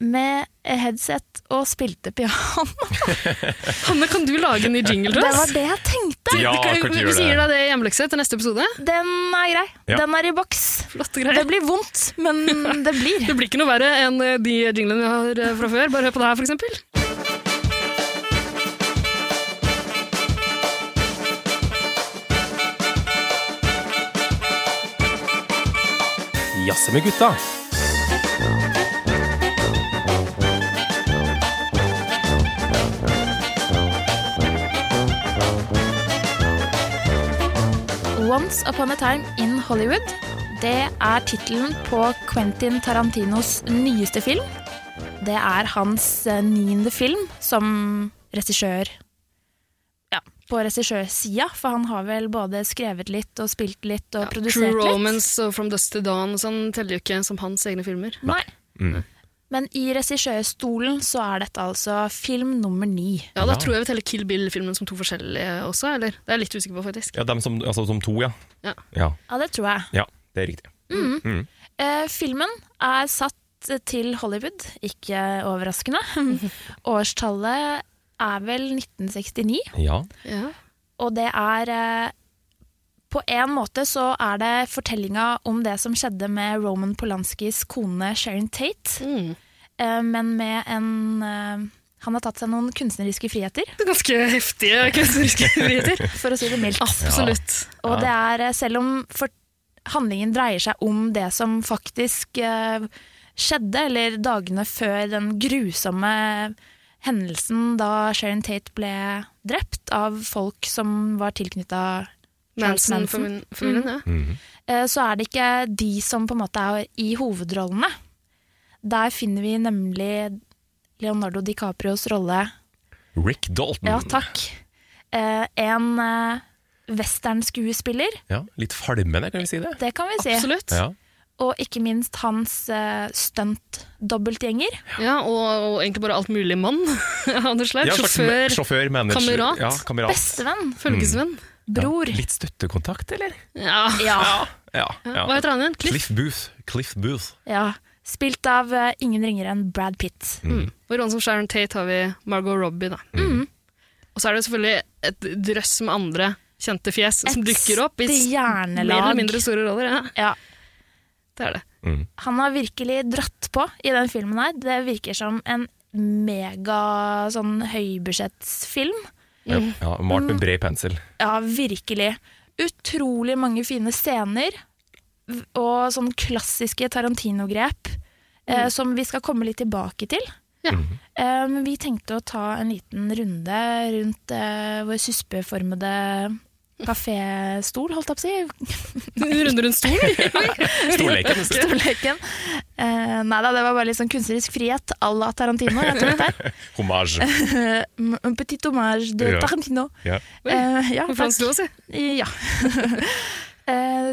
S1: med headset og spilte piano.
S3: Hanne, kan du lage en ny jingle
S1: Det
S3: til
S1: var
S3: oss?
S1: det jeg tenkte!
S2: Ja,
S3: Du kan-
S2: kan du
S3: vi
S2: gjøre
S3: sier
S2: det?
S3: deg det i hjemmelekse til neste episode.
S1: Den er grei.
S2: Ja.
S1: Den er i boks.
S3: Flotte
S1: Det
S3: greier.
S1: blir vondt, men det blir.
S3: Det blir ikke noe verre enn eh, de jinglene vi har eh, fra før. Bare hør på det her, for eksempel.
S4: Jazze med gutta.
S1: Once Upon a Time in Hollywood. Det er tittelen på Quentin Tarantinos nyeste film. Det er hans eh, niende film som regissør. Ja, på regissørsida, for han har vel både skrevet litt og spilt litt og
S3: True
S1: produsert litt.
S3: Romance og From Dust to Dawn og sånn teller jo ikke som hans egne filmer.
S1: Nei. Men i regissørstolen så er dette altså film nummer ni.
S3: Ja, Da tror jeg vi teller Kill Bill-filmen som to forskjellige også, eller? Det er jeg litt usikker på, faktisk.
S2: Ja, dem som, altså, som to, ja.
S3: Ja.
S2: ja.
S1: Ja, det tror jeg.
S2: Ja, det er riktig.
S1: Eh, filmen er satt til Hollywood, ikke overraskende. Årstallet er vel 1969,
S2: Ja.
S3: Ja.
S1: og det er eh, På en måte så er det fortellinga om det som skjedde med Roman Polanskis kone Sharon Tate,
S3: Mm.
S1: eh, men med en eh, Han har tatt seg noen kunstneriske friheter,
S3: Det er ganske heftige kunstneriske friheter.
S1: for å si det mildt.
S3: Absolutt.
S1: Og det er, eh, selv om for handlingen dreier seg om det som faktisk eh, skjedde, eller dagene før den grusomme hendelsen da Sharon Tate ble drept av folk som var tilknytta Charles Manson,
S3: Manson-familien, ja.
S1: eh, så er det ikke de som på en måte er i hovedrollene. Der finner vi nemlig Leonardo DiCaprios rolle
S2: Rick Dalton.
S1: Ja, takk. Eh, en eh, westernskuespiller,
S2: Ja, litt falmende, kan vi si det?
S1: det kan vi si.
S3: Absolutt.
S2: Ja.
S1: og ikke minst hans uh, stunt-dobbeltgjenger.
S3: Ja, og, og egentlig bare alt mulig mann av noe slag.
S2: Ja, slags me-
S3: Sjåfør,
S2: sjåfør, manager.
S3: kamerat.
S2: Ja, kamerat.
S1: Bestevenn,
S3: følgesvenn.
S2: Mm.
S1: bror.
S2: Litt støttekontakt, eller?
S3: Ja.
S1: Ja.
S2: Ja. ja.
S3: Hva heter han igjen? Cliff?
S2: Cliff Booth. Cliff Booth.
S1: ja. Spilt av eh, ingen ringere enn Brad Pitt.
S3: Mm. Og i rollen som Sharon Tate har vi Margot Robbie, da. Mm. Og så er det selvfølgelig et drøss med andre kjente fjes som dukker opp i s- mer
S1: stjernelag.
S3: eller mindre store roller. Ja,
S1: Ja.
S3: det er det.
S1: Han har virkelig dratt på i den filmen her. Det virker som en mega sånn høybudsjettsfilm.
S2: Ja. ja, Malt med bred pensel.
S1: Ja, virkelig. Utrolig mange fine scener v- og sånn klassiske Tarantino-grep eh, som vi skal komme litt tilbake til.
S3: Mm. Ja.
S1: Eh, men vi tenkte å ta en liten runde rundt eh, vår suspeformede kaféstol, holdt jeg på å si.
S3: Runde rundt stolen.
S2: Storleken.
S1: Storleken. Eh, nei da, det var bare litt sånn kunstnerisk frihet à la Tarantino. Jeg tror det er.
S2: Hommage.
S1: Eh, Un petit hommage de
S2: Ja.
S1: Tarantino.
S2: Ja.
S1: Eh, ja,
S3: På
S1: takk.
S3: fransk lås, jeg.
S1: Ja. Eh,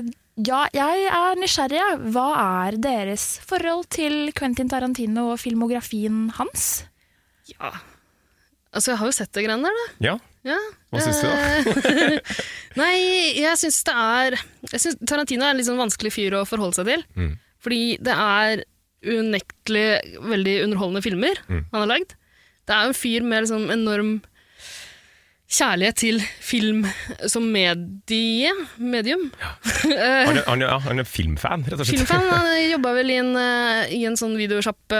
S1: ja, jeg er nysgjerrig. ja. Hva er deres forhold til Quentin Tarantino og filmografien hans?
S3: Ja. Altså, jeg har jo sett det greiene der, da.
S2: ja.
S3: Ja. eh,
S2: Hva syns du, da?
S3: Nei, jeg syns det er jeg synes Tarantino er en litt sånn vanskelig fyr å forholde seg til.
S2: Mm.
S3: Fordi det er unektelig veldig underholdende filmer
S2: Mm.
S3: han har lagd. Det er jo en fyr med liksom enorm kjærlighet til film som medie, medium. Eh,
S2: Han er, han, er, ja, han er filmfan, rett og slett.
S3: Filmfan han jobba vel i en, eh, i en sånn videosjappe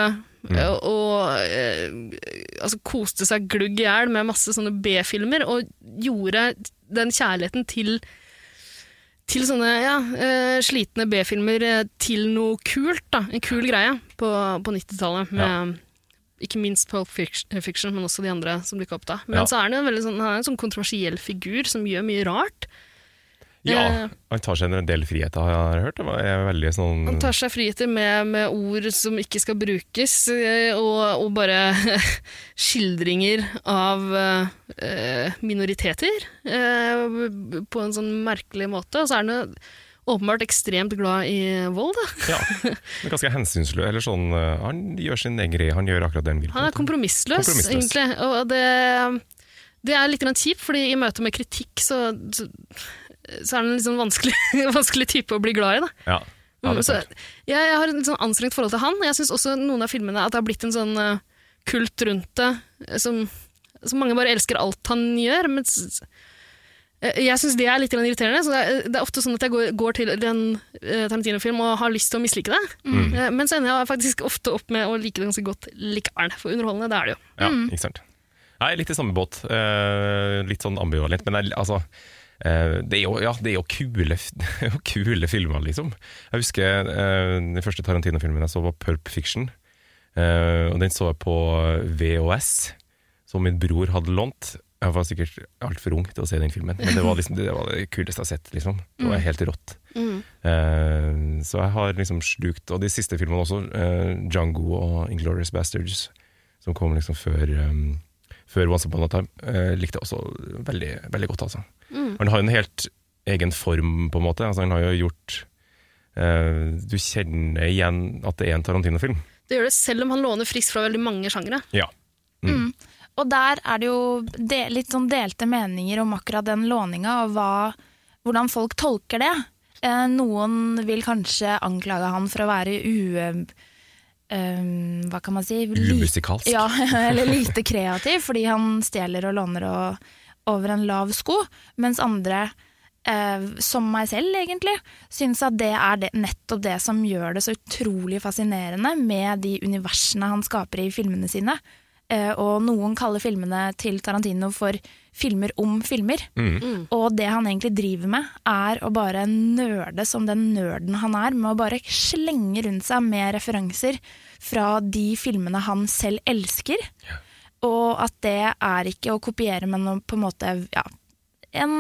S3: eh, og eh, altså, koste seg glugg i hjel med masse sånne B-filmer, og gjorde den kjærligheten til til sånne ja, eh, slitne B-filmer eh, til noe kult. da, En kul greie på, på 90-tallet. med Ikke minst Pulp Fic- Fiction, men også de andre som dukka opp da. Men
S2: Ja.
S3: så er han jo en veldig sånn, han er en sånn kontroversiell figur som gjør mye rart.
S2: Ja,
S3: Eh,
S2: han tar seg en del friheter, har jeg hørt. Det er veldig sånn
S3: Han tar seg friheter med, med ord som ikke skal brukes, eh, og, og bare skildringer av eh, minoriteter eh, på en sånn merkelig måte. Og så er han jo åpenbart ekstremt glad i vold, da.
S2: Ja, men ganske hensynsløs. Eller sånn, eh, han gjør sin egen greie, han gjør akkurat det han vil.
S3: Han er kompromissløs,
S2: Kompromissløs.
S3: egentlig. Og det, det er litt grann kjipt, fordi i møte med kritikk så, så, så er han en litt sånn vanskelig, vanskelig type å bli glad i, da.
S2: Ja. ja, det er
S3: Mm, så,
S2: sant.
S3: jeg, jeg har et sånn anstrengt forhold til han. Jeg syns også noen av filmene at det har blitt en sånn eh, kult rundt det, eh, som, som mange bare elsker alt han gjør. Men s- eh, jeg syns det er litt grann irriterende. Så det, er, det er ofte sånn at jeg går, går til en eh, Tarantino-film og har lyst til å mislike det.
S2: Mm.
S3: Eh, Men så ender jeg faktisk ofte opp med å like det ganske godt likevel, for underholdende det er det jo.
S2: Ja, ikke sant. Nei, litt i samme båt. Eh, litt sånn ambivalent. Men jeg, altså eh, det, er jo, ja, det er jo kule, det er jo kule filmer, liksom. Jeg husker eh, den første Tarantino-filmen jeg så, var Pulp Fiction. Eh, og den så jeg på VHS, som min bror hadde lånt. Jeg var sikkert altfor ung til å se den filmen, men det var, liksom, det, var det kuleste jeg har sett. Liksom. Det var helt rått.
S3: Mm.
S2: Eh, så jeg har liksom slukt Og de siste filmene også, eh, Django og Inglorious Bastards, som kom liksom før, um, før Once Upon a Time, eh, likte jeg også veldig, veldig godt. Altså.
S3: Mm.
S2: Han har jo en helt egen form, på en måte. Altså, han har jo gjort eh, Du kjenner igjen at det er en Tarantino-film.
S3: Det gjør det selv om han låner friskt fra veldig mange sjangere.
S2: Ja.
S1: Og der er det jo de, litt sånn delte meninger om akkurat den låninga, og hva, hvordan folk tolker det. Eh, noen vil kanskje anklage han for å være u... eh, hva kan man si? Lite-
S2: Umusikalsk.
S1: Ja, eller lite kreativ, fordi han stjeler og låner og, over en lav sko. Mens andre, eh, som meg selv egentlig, syns at det er det, nettopp det som gjør det så utrolig fascinerende med de universene han skaper i filmene sine. Eh, og noen kaller filmene til Tarantino for filmer om filmer. Og det han egentlig driver med, er å bare nerde som den nerden han er, med å bare slenge rundt seg med referanser fra de filmene han selv elsker. Og at det er ikke å kopiere, men å på en måte ja, en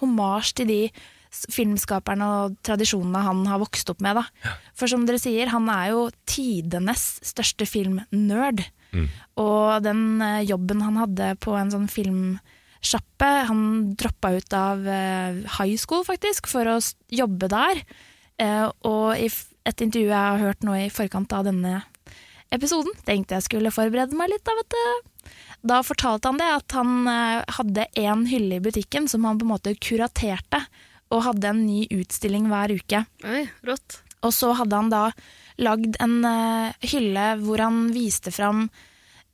S1: hommage til de s- filmskaperne og tradisjonene han har vokst opp med. Da. For som dere sier, han er jo tidenes største filmnerd. Og den eh, jobben han hadde på en sånn filmsjappe Han droppa ut av eh, high school, faktisk, for å s- jobbe der. Eh, og i f- et intervju jeg har hørt nå i forkant av denne episoden, tenkte jeg skulle forberede meg litt, da, vet du. Da fortalte han det, at han eh, hadde én hylle i butikken som han på en måte kuraterte, og hadde en ny utstilling hver uke.
S3: Oi, rått.
S1: Og så hadde han da lagd en eh, hylle hvor han viste fram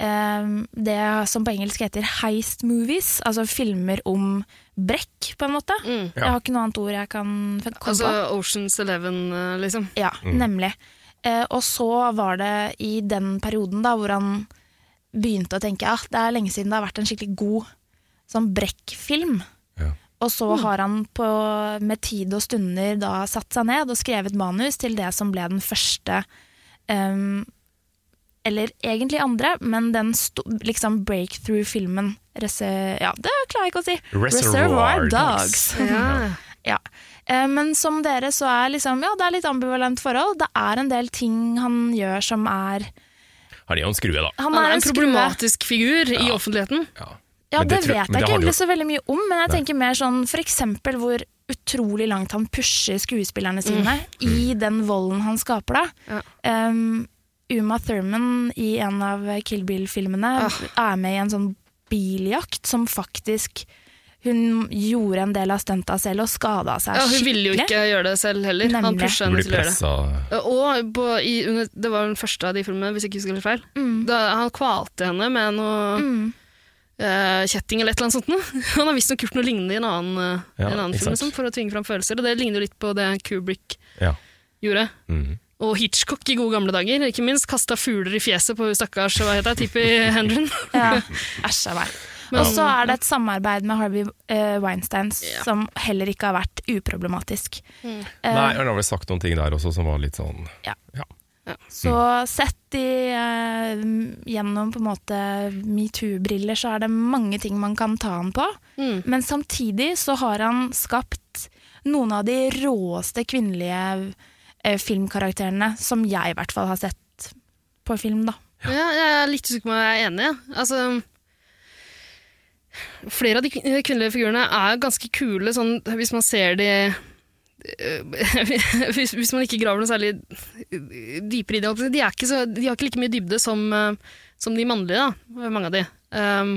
S1: eh, det som på engelsk heter heist movies, altså filmer om brekk, på en måte.
S3: Mm.
S1: Jeg har ikke noe annet ord jeg kan komme
S3: Altså
S1: på.
S3: Oceans Eleven, eh, liksom.
S1: Ja,
S2: Mm.
S1: nemlig. Eh, og så var det i den perioden da hvor han begynte å tenke at det er lenge siden det har vært en skikkelig god sånn brekkfilm.
S2: Ja.
S1: Og så har han på, med tid og stunder da satt seg ned og skrevet manus til det som ble den første em, ehm, eller egentlig andre, men den sto, liksom breakthrough-filmen Rese... Ja, det klarer jeg ikke å si.
S2: Reservoir Dogs.
S3: Ja.
S1: Ja. Eh, Men som dere så er liksom, ja, det er litt ambivalent forhold. Det er en del ting han gjør som er
S2: Han er jo en skrue, da.
S1: Han,
S3: Han er en
S1: skrue.
S3: problematisk figur i offentligheten.
S2: Ja,
S1: Ja,
S2: Men
S1: det,
S2: tror-
S1: vet
S2: men
S1: jeg ikke
S2: det har du
S1: egentlig så veldig mye om, men jeg tenker mer sånn for eksempel hvor utrolig langt han pusher skuespillerne sine
S2: Mm.
S1: i den volden han skaper da.
S3: Mm. Ja.
S1: Um, Uma Thurman i en av Kill Bill-filmene
S3: Ah.
S1: er med i en sånn biljakt som faktisk hun gjorde en del av stunta selv og skada seg
S3: Ja, hun
S1: skikkelig.
S3: ville jo ikke gjøre det selv heller. Han
S1: Nemlig.
S2: Du
S3: pusha henne
S2: blir
S3: til å gjøre det.
S2: pressa
S3: Og på, i, under, det var den første av de filmene, hvis jeg ikke husker helt feil.
S1: Mm.
S3: Da, han kvalte henne med noe eh, kjetting eller et eller annet sånt. noe. Han har visstnok gjort noe lignende i en annen, eh,
S2: Ja,
S3: en annen
S2: ikke
S3: film
S2: sant.
S3: liksom, for å tvinge fram følelser. Og det ligner jo litt på det Kubrick
S2: Ja.
S3: gjorde.
S2: Mm.
S3: Og Hitchcock i gode gamle dager, ikke minst. Kasta fugler i fjeset på hun stakkars hva heter det, Tippi Hendren.
S1: Ja, æsj av meg.
S3: Men- Mm.
S1: Og så er det et samarbeid med Harvey eh, Weinstein
S3: Ja.
S1: som heller ikke har vært uproblematisk. Eh,
S2: Nei, han har vel sagt noen ting der også som var litt sånn
S1: Så
S3: Mm.
S1: sett i, eh, gjennom på en måte metoo-briller, så er det mange ting man kan ta han på.
S3: Mm.
S1: Men samtidig så har han skapt noen av de råeste kvinnelige eh, filmkarakterene som jeg i hvert fall har sett på film, da.
S3: Ja. jeg er litt usikker på om jeg er enig. ja. Altså, flere av de kvin- kvinnelige figurene er ganske kule, sånn, hvis man ser de øh, hvis, hvis man ikke graver noe særlig øh, dypere i det. holdt jeg på å si. De, er ikke så, de har ikke like mye dybde som, øh, som de mannlige, da. mange av de. Um,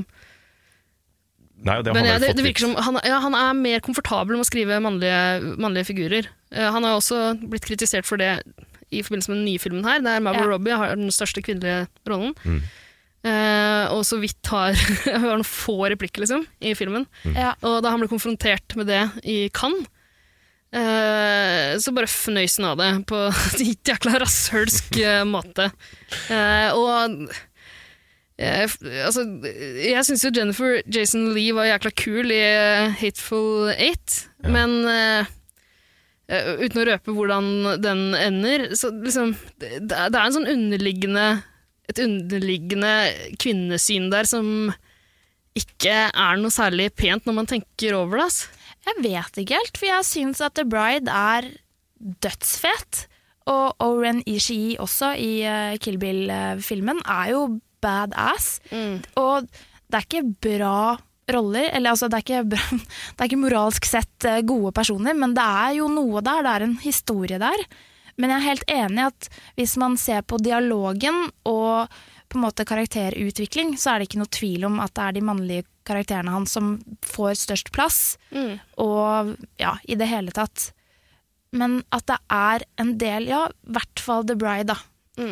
S2: Nei, og det har
S3: men
S2: han
S3: ja,
S2: vel fått
S3: det, det
S2: litt-
S3: virker som han, ja, han er mer komfortabel med å skrive mannlige, mannlige figurer. Eh, han har også blitt kritisert for det i forbindelse med den nye filmen her, der Margot
S1: Ja.
S3: Robbie har den største kvinnelige rollen.
S2: Mm.
S3: Eh, og så vidt har har noen få replikker liksom, i filmen.
S1: Ja.
S3: Og da han ble konfrontert med det i Cannes, eh, så bare fnøys han av det på en jækla rasshølsk eh, måte. Eh, og eh, f- altså, jeg syns jo Jennifer Jason Lee var jækla kul i eh, Hateful Eight,
S2: Ja.
S3: men eh, eh, uten å røpe hvordan den ender, så liksom Det, det er en sånn underliggende et underliggende kvinnesyn der som ikke er noe særlig pent når man tenker over det. ass.
S1: Jeg vet ikke helt, for jeg syns at The Bride er dødsfet. Og Oren Ishii også i eh, Kill Bill-filmen er jo badass. Og det er ikke bra roller, eller altså det er ikke, bra, det er ikke moralsk sett eh, gode personer, men det er jo noe der, det er en historie der. Men jeg er helt enig i at hvis man ser på dialogen og på en måte karakterutvikling, så er det ikke noe tvil om at det er de mannlige karakterene hans som får størst plass. Og ja, i det hele tatt. Men at det er en del, ja, i hvert fall The Bride, da.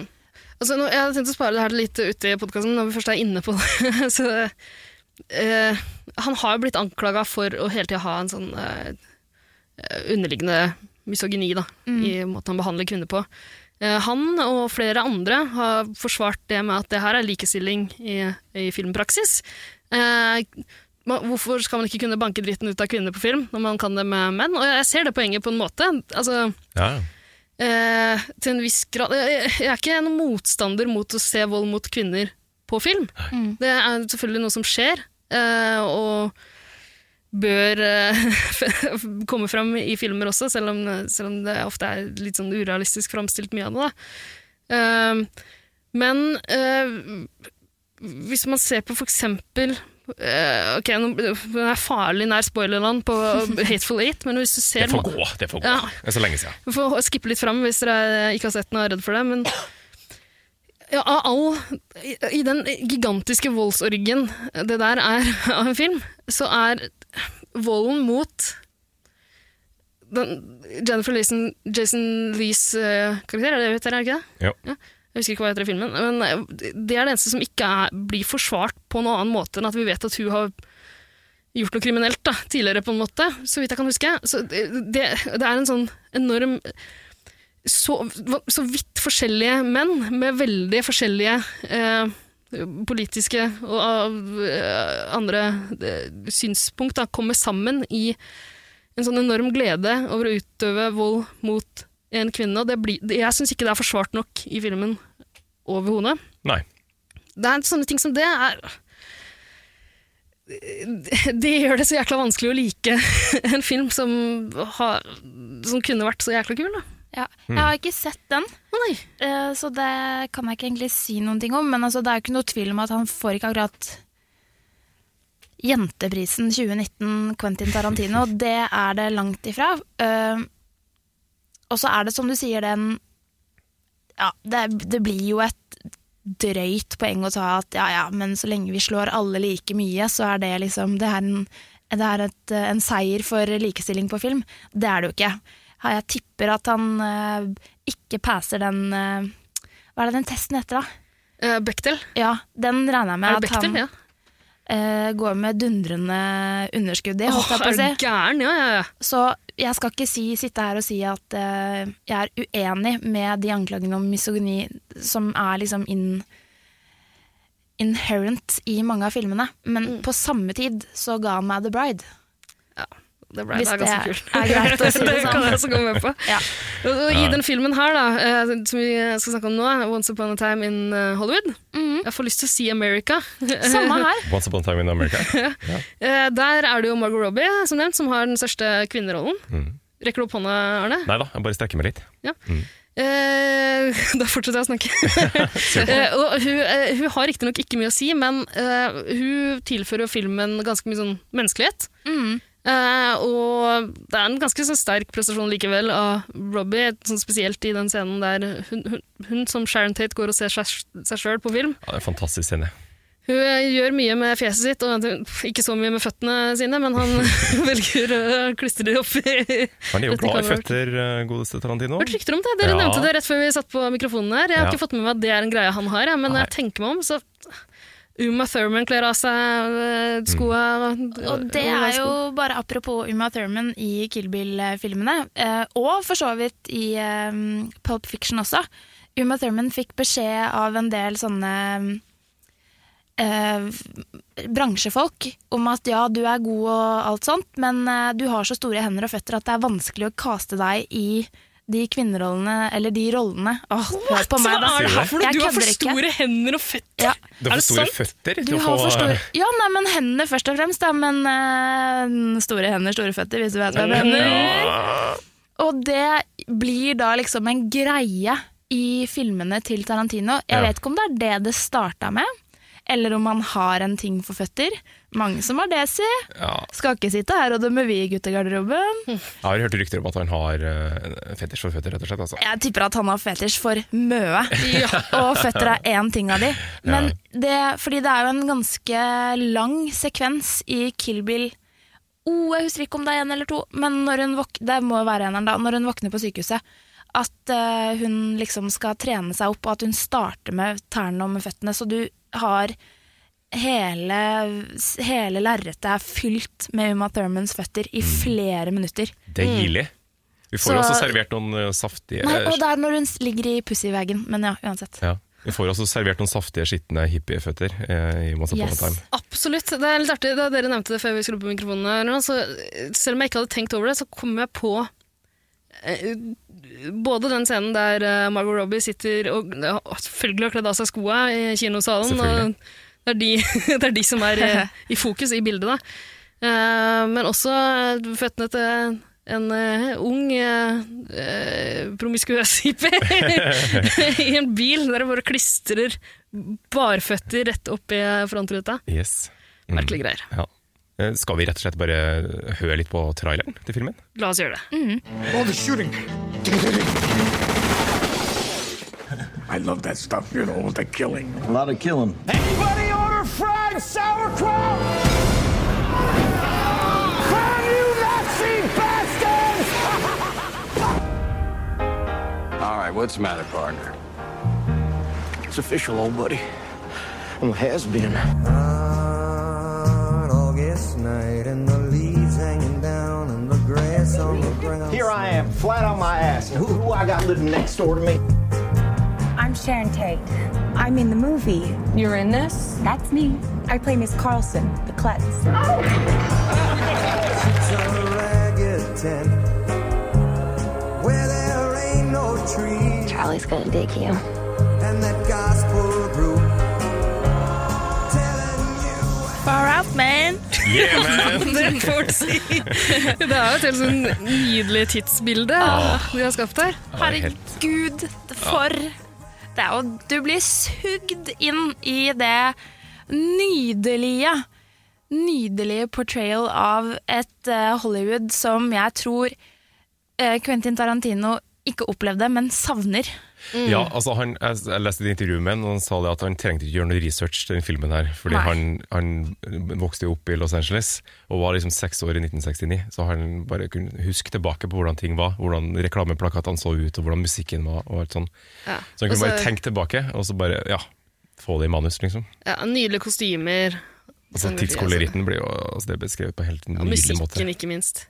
S3: Altså, nå, jeg hadde tenkt å spare det her litt ute i podkasten når vi først er inne på det. Så, eh, han har jo blitt anklaga for å hele tida ha en sånn eh, underliggende misogyni da, i måten han behandler kvinner på. Eh, han og flere andre har forsvart det med at det her er likestilling i, i filmpraksis. Eh, ma- hvorfor skal man ikke kunne banke dritten ut av kvinner på film når man kan det med menn? Og jeg ser det poenget på en måte. Altså,
S2: ja, ja.
S3: Eh, til en viss grad jeg, jeg er ikke noen motstander mot å se vold mot kvinner på film. Det er selvfølgelig noe som skjer, eh, og bør eh, komme fram i filmer også, selv om, selv om det ofte er litt sånn urealistisk framstilt mye av det. Da. Eh, men eh, hvis man ser på for eksempel eh, Ok, nå nå er jeg farlig nær spoilerland på Hateful Eight, men hvis du ser
S2: Det får gå, det får gå.
S3: Ja.
S2: Det er så lenge siden.
S3: vi får skippe litt fram hvis dere ikke har sett den og er redd for det, men ja, av all, i, I den gigantiske voldsorgen det der er av en film, så er volden mot den, Jennifer Leeson, Jason Lees eh, karakter, er det det heter, er det ikke det?
S2: Jo.
S3: Jeg husker ikke hva heter i filmen, men eh, det er det eneste som ikke er, blir forsvart på noen annen måte enn at vi vet at hun har gjort noe kriminelt da, tidligere, på en måte, så vidt jeg kan huske. Så det, det det er en sånn enorm så, så vidt forskjellige menn med veldig forskjellige eh, politiske og eh, andre eh, synspunkt da, kommer sammen i en sånn enorm glede over å utøve vold mot en kvinne. Og det blir, det- jeg syns ikke det er forsvart nok i filmen overhodet.
S2: Nei.
S3: Det er sånne ting som det er Det gjør det så jækla vanskelig å like en film som, har, som kunne vært så jækla kul, da.
S1: Ja. Jeg har ikke sett den,
S3: Å nei.
S1: eh, så det kan jeg ikke egentlig si noen ting om. Men altså, det er jo ikke noe tvil om at han får ikke akkurat Jenteprisen 2019, Quentin Tarantino. Det er det langt ifra. Eh, Og så er det, som du sier, den Ja, det, det blir jo et drøyt poeng å ta at ja, ja, men så lenge vi slår alle like mye, så er det liksom Det er en, det er et, eh, en seier for likestilling på film. Det er det jo ikke. Ja, Jeg tipper at han eh, ikke passer den eh, Hva er det den testen heter, da?
S3: Eh, Bechdel.
S1: Ja, den regner jeg med
S3: Er det
S1: at han
S3: Bechdel? Ja.
S1: eh, går med dundrende underskudd i, holdt
S3: Åh,
S1: jeg på
S3: er
S1: å
S3: du
S1: si.
S3: gæren? Ja, ja, ja.
S1: Så jeg skal ikke si, sitte her og si at eh, jeg er uenig med de anklagene om misogyni som er liksom inn, inherent i mange av filmene. Men på samme tid så ga han meg The Bride.
S3: Det ble
S1: Hvis
S3: det er
S1: det
S3: ganske kult.
S1: er greit å si det sånn.
S3: kan jeg også gå med på.
S1: Ja.
S3: Og- og I den filmen her, da, eh, som vi skal snakke om nå, 'Once Upon a Time in eh, Hollywood',
S1: Mhm.
S3: jeg får lyst til å si 'America'.
S1: Samme her.
S2: Once upon a time in America.
S3: Eh, Der er det jo Margot Robbie, som nevnt, som har den største kvinnerollen. Rekker du opp hånda, Arne?
S2: Mm. Nei da, jeg bare strekker meg litt.
S3: Eh, da fortsetter jeg å snakke. Eh, og hun, eh, hun har riktignok ikke mye å si, men eh, hun tilfører jo filmen ganske mye sånn menneskelighet.
S1: Mm.
S3: Eh, og det er en ganske sånn sterk prestasjon likevel av Robbie, sånn spesielt i den scenen der hun, hun, hun som Sharon Tate går og ser seg- seg sjøl på film.
S2: Ja, det er en fantastisk scene.
S3: Hun eh, gjør mye med fjeset sitt, og pff, ikke så mye med føttene sine, men han velger å klistre det opp i
S2: Han er jo glad i
S3: Dette kan være-
S2: føtter, eh, godeste Tarantino.
S3: Hørt rykter om det. Dere
S2: Ja.
S3: nevnte det rett før vi satt på mikrofonen her. Jeg har
S2: Ja.
S3: ikke fått med meg at det er en greie han har, jeg, men når jeg tenker meg om, så Uma Thurman kler av seg eh, skoa
S1: Og det er jo bare apropos Uma Thurman i Kill Bill-filmene, eh, og for så vidt i eh, Pulp Fiction også. Uma Thurman fikk beskjed av en del sånne eh, bransjefolk om at ja, du er god og alt sånt, men eh, du har så store hender og føtter at det er vanskelig å kaste deg i de kvinnerollene, eller de rollene Åh, hør på meg, da.
S3: Hva er det her for noe?
S1: Jeg
S3: Du har for
S1: kødder ikke.
S3: store hender og føtter.
S1: Ja.
S2: Du har
S3: Er det
S2: for store
S3: sant?
S1: Du
S2: føtter. til å
S1: har
S2: få-
S1: for store Ja, nei, men hendene først og fremst, da. Men eh, store hender, store føtter, hvis du vet hva jeg mener. Og det blir da liksom en greie i filmene til Tarantino. Jeg
S2: Ja.
S1: vet ikke om det er det det starta med, eller om han har en ting for føtter. Mange som har det, si.
S2: Ja,
S1: Skal ikke sitte her og dømme vi i guttegarderoben.
S2: jeg har hørt rykter om at han har eh, en fetisj for føtter, rett og slett. Altså.
S1: Jeg tipper at han har fetisj for møe, og føtter er én ting av de. Men det, fordi det er jo en ganske lang sekvens i Kill Bill oh, Jeg husker ikke om det er én eller to, men når hun, våk det må jo være eneren da, når hun våkner på sykehuset, at eh, hun liksom skal trene seg opp, og at hun starter med tærne og med føttene. Så du har hele, hele lerretet er fylt med Uma Thurmans føtter i flere minutter.
S2: Deilig. Vi får jo
S1: Mm. Så-
S2: også servert noen eh, saftige
S1: Nei, og det er når hun ligger i pussyveggen, men ja, uansett.
S2: ja. Vi får også servert noen saftige, skitne hippieføtter eh, i Once Upon
S1: Yes.
S2: a Time.
S3: Absolutt. Det er litt artig. Da dere nevnte det før vi skulle på mikrofonen, her nå, så eh, selv om jeg ikke hadde tenkt over det, så kom jeg på eh, både den scenen der eh, Margot Robbie sitter og ja, selvfølgelig har kledd av seg skoa i kinosalen.
S2: Selvfølgelig.
S3: Og det, er de, det er de som er eh, i fokus i bildet, da. Eh, men også eh, føttene til en eh, ung eh, eh, promiskuøs hippie i en bil der det bare klistrer barføtter rett opp i frontruta.
S2: Yes. Mm.
S3: Merkelige greier.
S2: Ja. Eh, Skal vi rett og slett bare høre litt på traileren til filmen?
S3: La oss gjøre det.
S7: All the shooting. I love that stuff, you know, the killing.
S8: A lot of killing.
S4: Anybody order fried sauerkraut? Can you Nazi bastards?
S9: All right, what's the matter, partner? It's official, old buddy. Well, it has been.
S10: on August night and the leaves hanging down and the grass on the ground.
S9: Here I am, flat on my ass. Who, who I got living next door to me?
S11: I'm Sharon Tate. I'm in the movie.
S6: You're in this?
S11: That's me. I play Miss Carlson, the klutz.
S10: It's on a ragged tent where there ain't no trees.
S11: Charlie's gonna dig you.
S10: and that gospel group.
S1: Far out, man!
S2: Yeah, man!
S3: Det får du si. Det er jo et helt sånn nydelig tidsbilde vi har skapt her.
S1: Herregud, for Det er jo Du blir sugd inn i det nydelige Nydelige portrayal av et eh, Hollywood som jeg tror eh, Quentin Tarantino ikke opplevde, men savner.
S2: Ja, altså han, jeg, jeg leste et intervju med ham, og han sa det at han trengte ikke gjøre noe research til den filmen her, fordi
S1: Nei.
S2: han, han vokste jo opp i Los Angeles, og var liksom seks år i 1969, så han bare kunne huske tilbake på hvordan ting var, hvordan reklameplakatene så ut, og hvordan musikken var, og alt sånn.
S3: Ja.
S2: Så han kunne
S3: Og
S2: bare tenke tilbake, og så bare, ja, få det i manus, liksom.
S3: ja, Nydelige kostymer.
S2: Altså,
S3: Sånn-
S2: Tidskoloritten blir jo altså, det er beskrevet på en helt
S3: Ja,
S2: nydelig måte.
S3: musikken, ikke minst.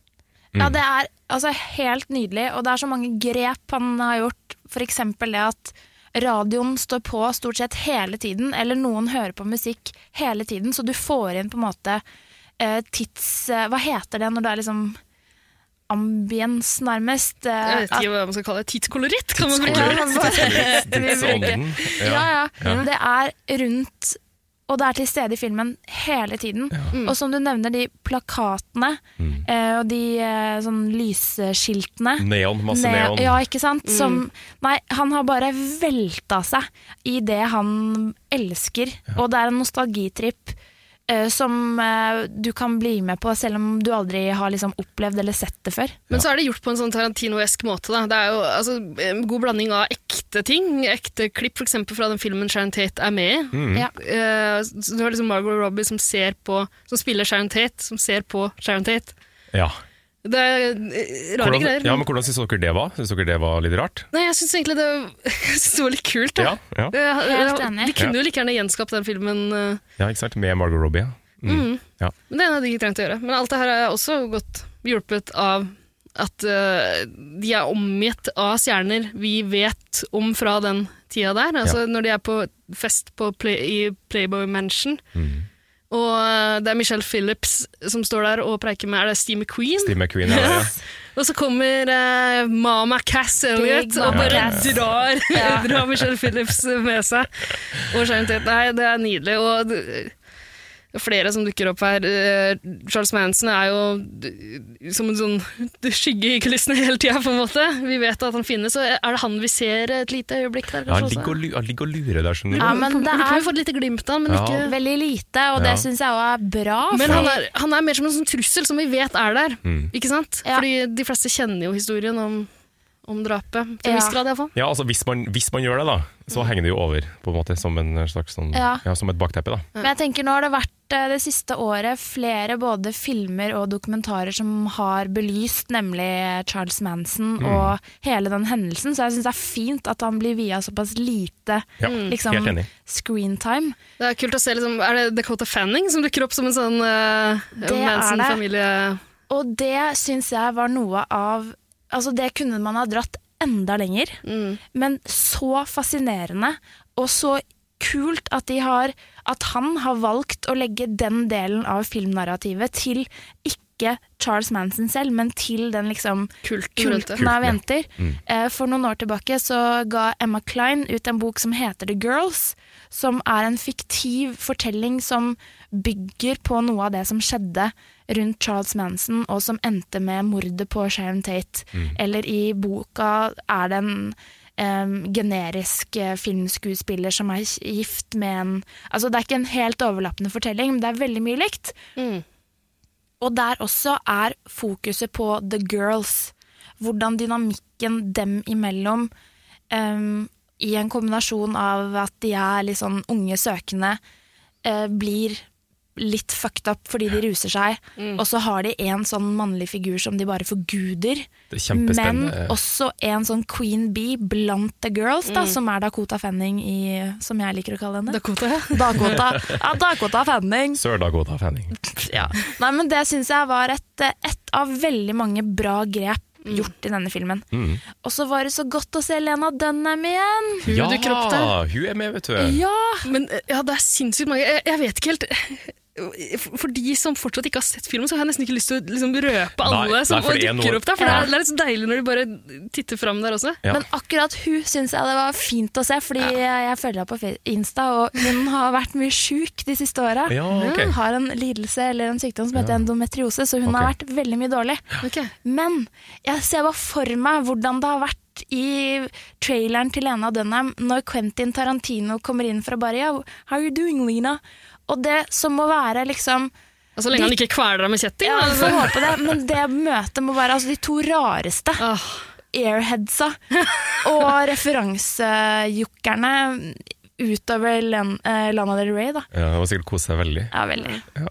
S1: Ja, det er altså helt nydelig, og det er så mange grep han har gjort. For eksempel det at radioen står på stort sett hele tiden, eller noen hører på musikk hele tiden, så du får inn på en måte eh, tids... Eh, hva heter det når det er liksom ambience, nærmest? Eh,
S3: Jeg vet ikke hva man skal kalle det. Tidskoloritt, kan man bruke.
S1: Tidskoloritt.
S2: Det er ånden.
S1: ja,
S2: Ja.
S1: ja. Det er rundt, og det er til stede i filmen hele tiden.
S3: Mm.
S1: Og som du nevner, de plakatene
S2: Mm.
S1: eh, og de eh, sånn lysskiltene.
S2: Neon, masse
S1: Ne-
S2: neon.
S1: Ja, ikke sant?
S3: Mm.
S1: Som, nei, han har bare velta seg i det han elsker. Og det er en nostalgitripp eh, som eh, du kan bli med på, selv om du aldri har liksom, opplevd eller sett det før.
S3: Men så er det gjort på en sånn Tarantino-esk måte. Da. Det er jo altså, en god blanding av ekte ting, ekte klipp f.eks. fra den filmen Sharon Tate er med i.
S2: Mm.
S1: Ja.
S3: Eh, så du har liksom Margot Robbie som, ser på, som spiller Sharon Tate, som ser på Sharon Tate.
S2: Ja.
S3: Det er eh, rare
S2: Hvordan,
S3: greier.
S2: ja, men hvordan syns dere det var? Syns dere det var litt rart?
S3: Nei, jeg syns egentlig det, jeg synes det var litt kult. Da.
S2: Ja, ja.
S3: Eh,
S1: Helt
S3: eh,
S1: enig.
S3: De kunne jo like gjerne gjenskapt den filmen, eh,
S2: ja ikke sant? Med Margot Robbie. ja. Mm. Ja.
S3: men det hadde de ikke trengt å gjøre. Men alt det her er også godt hjulpet av at eh, de er omgitt av stjerner vi vet om fra den tida der. Altså Når de er på fest på play, i Playboy Mansion,
S2: Mm.
S3: og eh, det er Michelle Phillips som står der og preiker med Er det Steve McQueen?
S2: Steve McQueen. Ja, ja.
S3: Og så kommer eh, Mama Cass Elliot
S1: Big
S3: og
S1: Mama
S3: bare
S1: Cass.
S3: drar, drar Michelle Phillips med seg. Og Sharon Tate. Nei, det er nydelig. Og det- flere som dukker opp her. Eh, Charles Manson er jo d- som en sånn skygge i kulissene hele tida, på en måte. Vi vet at han finnes, og er det han vi ser et lite øyeblikk der,
S2: Ja, han,
S3: kanskje?
S2: ligger og,
S3: også?
S2: lu- han ligger og lurer der, skjønner du.
S1: Ja, men det
S3: Vi har
S1: er
S3: jo fått litt glimt av han, men
S2: Ja.
S3: ikke
S1: veldig lite, og
S2: Ja.
S1: det syns jeg òg er bra.
S3: Men
S1: fordi-
S3: han er, han er mer som en sånn trussel som vi vet er der,
S2: Mm.
S3: ikke sant?
S1: Ja.
S3: Fordi de fleste kjenner jo historien om, om drapet, til
S1: Ja.
S3: en viss grad iallfall.
S2: Ja, altså hvis man, hvis man gjør det, da, så henger det jo over, på en måte, som en slags sånn, ja.
S1: Mm. Ja.
S2: som et bakteppe, da.
S1: Men jeg tenker nå har det vært eh, det siste året flere både filmer og dokumentarer som har belyst nemlig eh, Charles Manson
S2: Mm.
S1: og hele den hendelsen, så jeg syns det er fint at han blir via såpass lite
S2: Ja,
S1: liksom,
S2: helt enig.
S1: screentime.
S3: Det er kult å se, liksom, er det Dakota Fanning som dukker opp som en sånn uh,
S1: er det.
S3: Manson-familie?
S1: Og det syns jeg var noe av Altså, det kunne man ha dratt enda lenger,
S3: Mm.
S1: men så fascinerende og så kult at de har At han har valgt å legge den delen av filmnarrativet til ikke Charles Manson selv, men til den liksom
S3: Kulten rundt det.
S1: kulten av jenter. Eh, For noen år tilbake så ga Emma Klein ut en bok som heter The Girls, som er en fiktiv fortelling som bygger på noe av det som skjedde rundt Charles Manson, og som endte med mordet på Sharon Tate. Eller i boka er det en em, generisk eh, filmskuespiller som er gift med en Altså, det er ikke en helt overlappende fortelling, men det er veldig mye likt. Og der også er fokuset på the girls. Hvordan dynamikken dem imellom em, i en kombinasjon av at de er litt sånn unge søkende, eh, blir litt fucked up fordi de ruser seg,
S2: Mm.
S1: og så har de en sånn mannlig figur som de bare forguder.
S2: Det er
S1: Men
S2: kjempespennende.
S1: også en sånn queen bee blant the girls,
S2: Mm.
S1: da, som er Dakota Fanning, i, som jeg liker å kalle henne.
S3: Dakota, ja.
S1: Dakota, ja, Dakota Fanning.
S2: Sør-Dakota Fanning.
S1: Ja. Nei, men det syns jeg var et, et av veldig mange bra grep
S3: Mm.
S1: gjort i denne filmen. Og så var det så godt å se Lena Dunham igjen!
S2: ja,
S3: dukker opp der.
S2: hun er med, vet du.
S1: Ja!
S3: Men eh, ja, det er sinnssykt mange. Jeg, jeg vet ikke helt for de som fortsatt ikke har sett filmen, så har jeg nesten ikke lyst til å liksom røpe
S2: Nei,
S3: alle som
S2: nei, for det er
S3: dukker
S2: noe-
S3: opp der. For
S2: Ja.
S3: det, er, det er så deilig når de bare titter fram der også.
S2: Ja.
S1: Men akkurat hun syns jeg det var fint å se, fordi jeg følger henne på Fe- Insta, og hun har vært mye sjuk de siste åra.
S2: Ja, ok.
S1: Hun har en lidelse eller en sykdom som heter endometriose, så hun har vært
S2: Ok.
S1: veldig mye dårlig.
S3: Ok.
S1: Men jeg ser bare for meg hvordan det har vært i traileren til Lena Dunham når Quentin Tarantino kommer inn fra bare ja, how are you doing, Lena? Og det som må være liksom
S3: Og så lenge han ikke kveler deg med kjetting.
S1: Ja,
S3: da. altså.
S1: vi får håpe det, men det møtet må være altså, de to rareste
S3: Åh,
S1: airheadsa og referansejukkerne utover Len, eh, Lana Del Rey, da.
S2: Ja, det var sikkert kose seg veldig.
S1: Ja, veldig.
S2: Ja.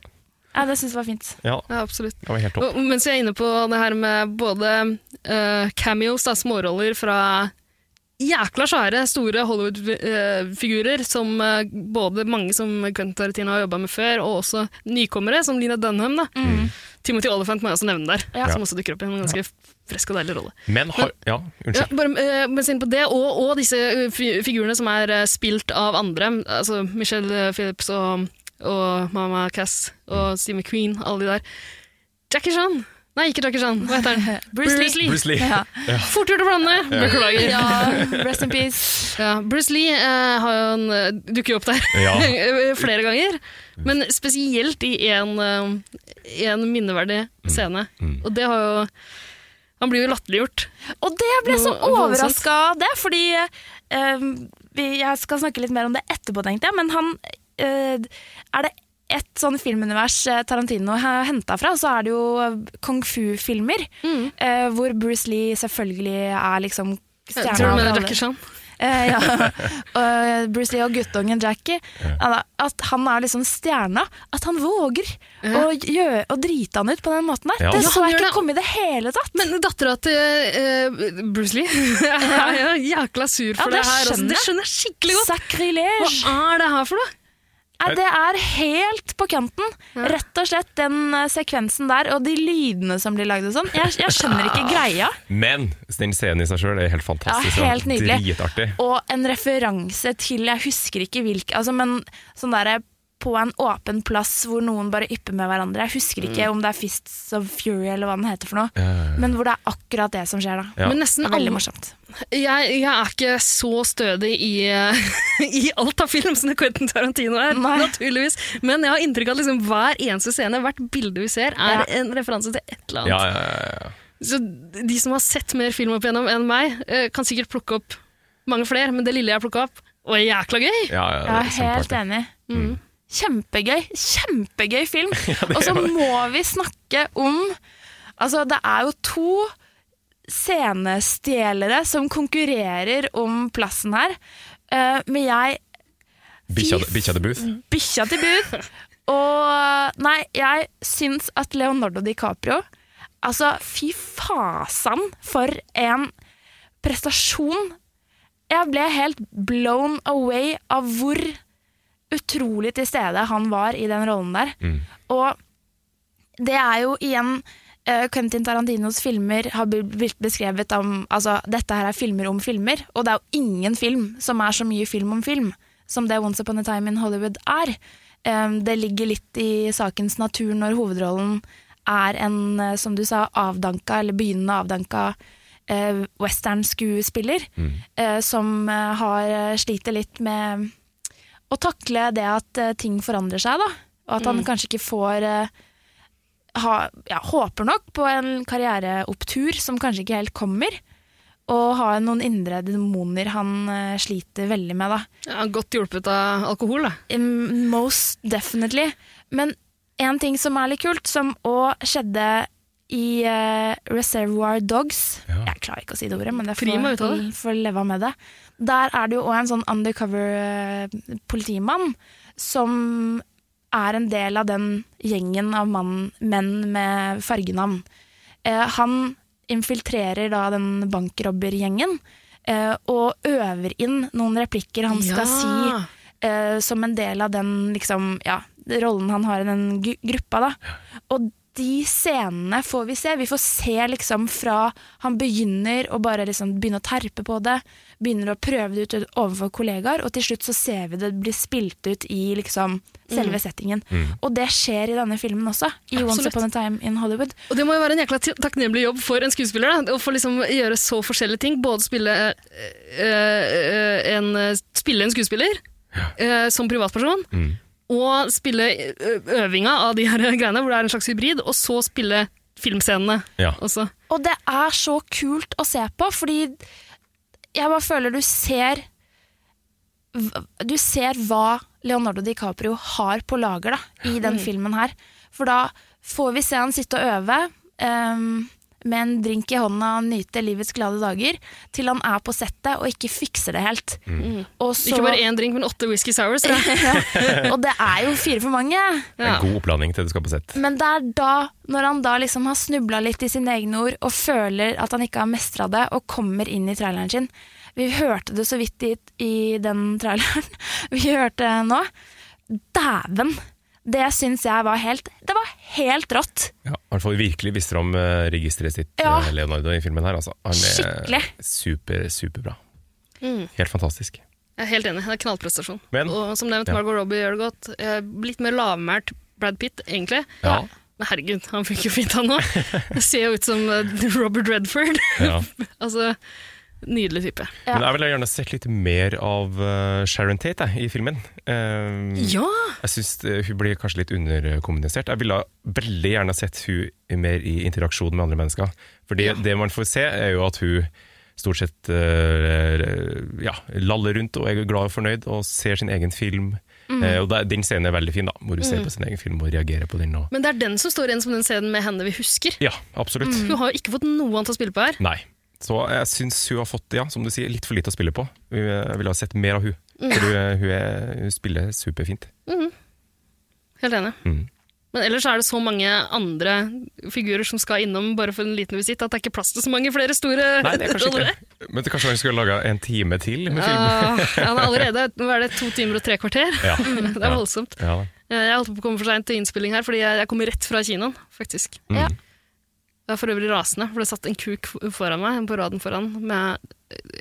S1: Ja, det syns jeg var fint.
S2: Ja,
S3: ja, absolutt.
S2: det var helt
S1: Oh.
S2: topp.
S3: Og mens jeg er inne på det her med både eh, cameos, da, småroller fra jækla svære, store Hollywood-figurer, som eh, både mange som Quentin Tarantino har jobba med før, og også nykommere, som Lina Dunham. Da. Timothy Oliphant må jeg også nevne der,
S1: Ja.
S3: som også dukker opp i en ganske frisk og deilig rolle.
S2: Men har Ja,
S3: Ja,
S2: unnskyld.
S3: bare, eh, mens inne på det, og, og disse eh, fi- figurene som er eh, spilt av andre, altså Michelle eh, Phillips og, og Mama Cass og Steve McQueen, alle de der. Jackie Chan! Nei, ikke Jackie Chan. Hva heter han?
S1: Bruce Lee.
S2: Bruce Lee.
S1: Ja.
S3: Fort gjort å blande! Beklager. Ja.
S1: Um, Rest in peace.
S3: Bruce Lee eh, har jo en, eh, dukker jo opp der
S2: Ja.
S3: flere ganger, men spesielt i en, eh, en minneverdig scene. Og det har jo Han blir jo latterliggjort.
S1: Og det jeg ble så
S3: Noe voldsomt.
S1: overraska av det, fordi eh, vi- Jeg skal snakke litt mer om det etterpå, tenkte jeg, men han eh, Er det ett sånn filmunivers eh, Tarantino har henta fra, så er det jo eh, kung fu-filmer. eh, hvor Bruce Lee selvfølgelig er liksom stjerna.
S3: Tror du
S1: over
S3: mener
S1: alle.
S3: Jackie Chan?
S1: Eh, ja. og Bruce Lee og guttungen Jackie. At- At han er liksom stjerna. At han våger å, gjøre, å drite han ut på den måten der.
S2: Ja.
S1: Det
S2: Ja,
S1: så
S3: han
S1: jeg
S3: gjør
S1: ikke
S3: det.
S1: komme i det hele tatt.
S3: Men dattera til eh, Bruce Lee er jo jækla sur for
S1: Ja, det
S3: det, her. Altså,
S1: skjønner
S3: det
S1: jeg.
S3: skjønner jeg skikkelig godt.
S1: Sacrilege!
S3: Hva er det her for noe?
S1: Nei, det er helt på kanten. Rett og slett den eh, sekvensen der, og de lydene som blir lagd og sånn. Jeg, jeg skjønner ikke greia.
S2: Men den scenen i seg sjøl er helt fantastisk.
S1: Ja, helt
S2: og
S1: nydelig.
S2: Dritartig.
S1: Og en referanse til Jeg husker ikke hvilke altså, Men sånn der på en åpen plass hvor noen bare ypper med hverandre. Jeg husker
S2: Mm.
S1: ikke om det er Fists of Fury eller hva den heter for noe. Men hvor det er akkurat det som skjer da.
S2: Ja.
S3: Men
S1: Det
S3: nesten
S1: er veldig
S3: alle,
S1: morsomt.
S3: jeg, jeg er ikke så stødig i, eh, i alt av film som det Quentin Tarantino er,
S1: Nei.
S3: naturligvis. Men jeg har inntrykk av at liksom hver eneste scene, hvert bilde vi ser, er en referanse til et eller annet.
S2: Ja, ja, ja, ja.
S3: Så de som har sett mer film opp igjennom enn meg, eh, kan sikkert plukke opp mange flere, men det lille jeg plukka opp, var jækla gøy.
S2: ja, ja, det
S1: Jeg
S2: er Mm.
S1: er helt
S2: kjempeartig.
S1: enig.
S3: Mm.
S1: Kjempegøy. Kjempegøy film. Og så må vi snakke om Altså, det er jo to scenestjelere som konkurrerer om plassen her. Eh, men jeg
S2: Bikkja
S1: Fy
S2: bikkja the Booth.
S1: bikkja til bud. Og eh, nei, jeg syns at Leonardo DiCaprio Altså, fy fasan for en prestasjon. Jeg ble helt blown away av hvor utrolig til stede han var i den rollen der. Og det er jo igjen eh, Quentin Tarantinos filmer har bl- blitt beskrevet om Altså, dette her er filmer om filmer, og det er jo ingen film som er så mye film om film som det Once Upon a Time in Hollywood er. Eh, det ligger litt i sakens natur når hovedrollen er en, eh, som du sa, avdanka eller begynnende avdanka eh, western-skuespiller eh, som eh, har eh, sliter litt med å takle det at eh, ting forandrer seg, da. Og at han kanskje ikke får eh, ha, ja, Håper nok på en karriereopptur som kanskje ikke helt kommer. Og har noen indre demoner han eh, sliter veldig med, da.
S3: Ja, godt hjulpet av alkohol, da.
S1: Um, Most definitely. Men en ting som er litt kult, som òg skjedde i eh, Reservoir Dogs Jeg klarer ikke å si det ordet, men det
S3: Fri
S1: får,
S3: meg ut av det.
S1: får leve med det. Der er det jo òg en sånn undercover eh, politimann som er en del av den gjengen av mann, menn med fargenavn. Eh, han infiltrerer da den bankrobbergjengen eh, og øver inn noen replikker han
S3: Ja.
S1: skal si eh, som en del av den liksom, ja, rollen han har i den gu- gruppa. Da. Og de scenene får vi se. Vi får se liksom fra han begynner å bare liksom begynne å terpe på det, begynner å prøve det ut overfor kollegaer, og til slutt så ser vi det bli spilt ut i liksom selve settingen.
S2: Mm.
S1: Og det skjer i denne filmen også, i Once
S3: Absolutt.
S1: Upon a Time in Hollywood.
S3: Og det må jo være en jækla til- takknemlig jobb for en skuespiller, da, å få liksom gjøre så forskjellige ting. Både spille, eh, eh, en, eh, spille en skuespiller eh, som privatperson,
S2: Mm.
S3: og spille eh, øvinga av de her greiene, hvor det er en slags hybrid, og så spille filmscenene
S2: Ja.
S3: også.
S1: Og det er så kult å se på, fordi jeg bare føler du ser Du ser hva Leonardo DiCaprio har på lager da, i den filmen her. For da får vi se han sitte og øve ehm, med en drink i hånda og nyte livets glade dager, til han er på settet og ikke fikser det helt. Og så,
S3: Ikke bare én drink, men åtte whisky sours. da.
S1: ja, og det er jo fire for mange.
S3: Ja.
S2: En god oppladning til du skal på sett.
S1: Men det er da, når han da liksom har snubla litt i sine egne ord og føler at han ikke har mestra det, og kommer inn i traileren sin Vi hørte det så vidt i, i den traileren vi hørte nå. Dæven! Det syns jeg var helt Det var helt rått.
S2: Ja, I hvert fall virkelig visste om eh, registeret sitt,
S1: Ja.
S2: eh, Leonardo, i filmen her. Altså. Han er
S1: Skikkelig.
S2: super, superbra. Helt fantastisk.
S3: Jeg er helt enig. Det er knallprestasjon.
S2: Men-
S3: og som nevnt,
S2: Ja.
S3: Margot Robbie gjør det godt. Eh, Litt mer lavmælt Brad Pitt, egentlig.
S2: Ja.
S3: Men herregud, han funker jo fint, han òg. Ser jo ut som eh, Robert Redford.
S2: Ja.
S3: altså, nydelig type.
S1: Ja.
S2: Men jeg ville gjerne sett litt mer av eh, Sharon Tate jeg, i filmen. Eh,
S3: Ja!
S2: Jeg syns hun blir kanskje litt underkommunisert. Jeg ville veldig gjerne sett hun mer i interaksjon med andre mennesker. For det, det man får se, er jo at hun stort sett eh, ja, laller rundt og er glad og fornøyd og ser sin egen film.
S3: Mm.
S2: Eh, og det- Den scenen er veldig fin, da, hvor hun ser på sin egen film og reagerer på den. Og,
S3: Men det er den som står igjen som den scenen med henne vi husker.
S2: ja, absolutt.
S3: Hun har jo ikke fått noe annet å spille på her.
S2: Nei. Så jeg syns hun har fått ja, som du sier, litt for lite å spille på. Hun, eh, Jeg ville ha sett mer av hun.
S3: Mm.
S2: For hun, er- hun, er, hun spiller superfint.
S3: Helt enig.
S2: Mm.
S3: Men ellers er det så mange andre figurer som skal innom bare for en liten visitt, at det er ikke plass til så mange flere store
S2: Nei, det er kanskje ikke Men kanskje han skulle laga en time til med film?
S3: Ah, Ja, han er allerede nå er det to timer og tre kvarter.
S2: Ja.
S3: Det er voldsomt.
S2: Ja, da.
S3: Eh, Jeg holdt på å komme for seint til innspilling her, fordi jeg jeg kom rett fra kinoen, faktisk.
S2: Mm.
S1: Ja.
S3: Jeg er for øvrig rasende, for det satt en kuk f- foran meg, på raden foran, med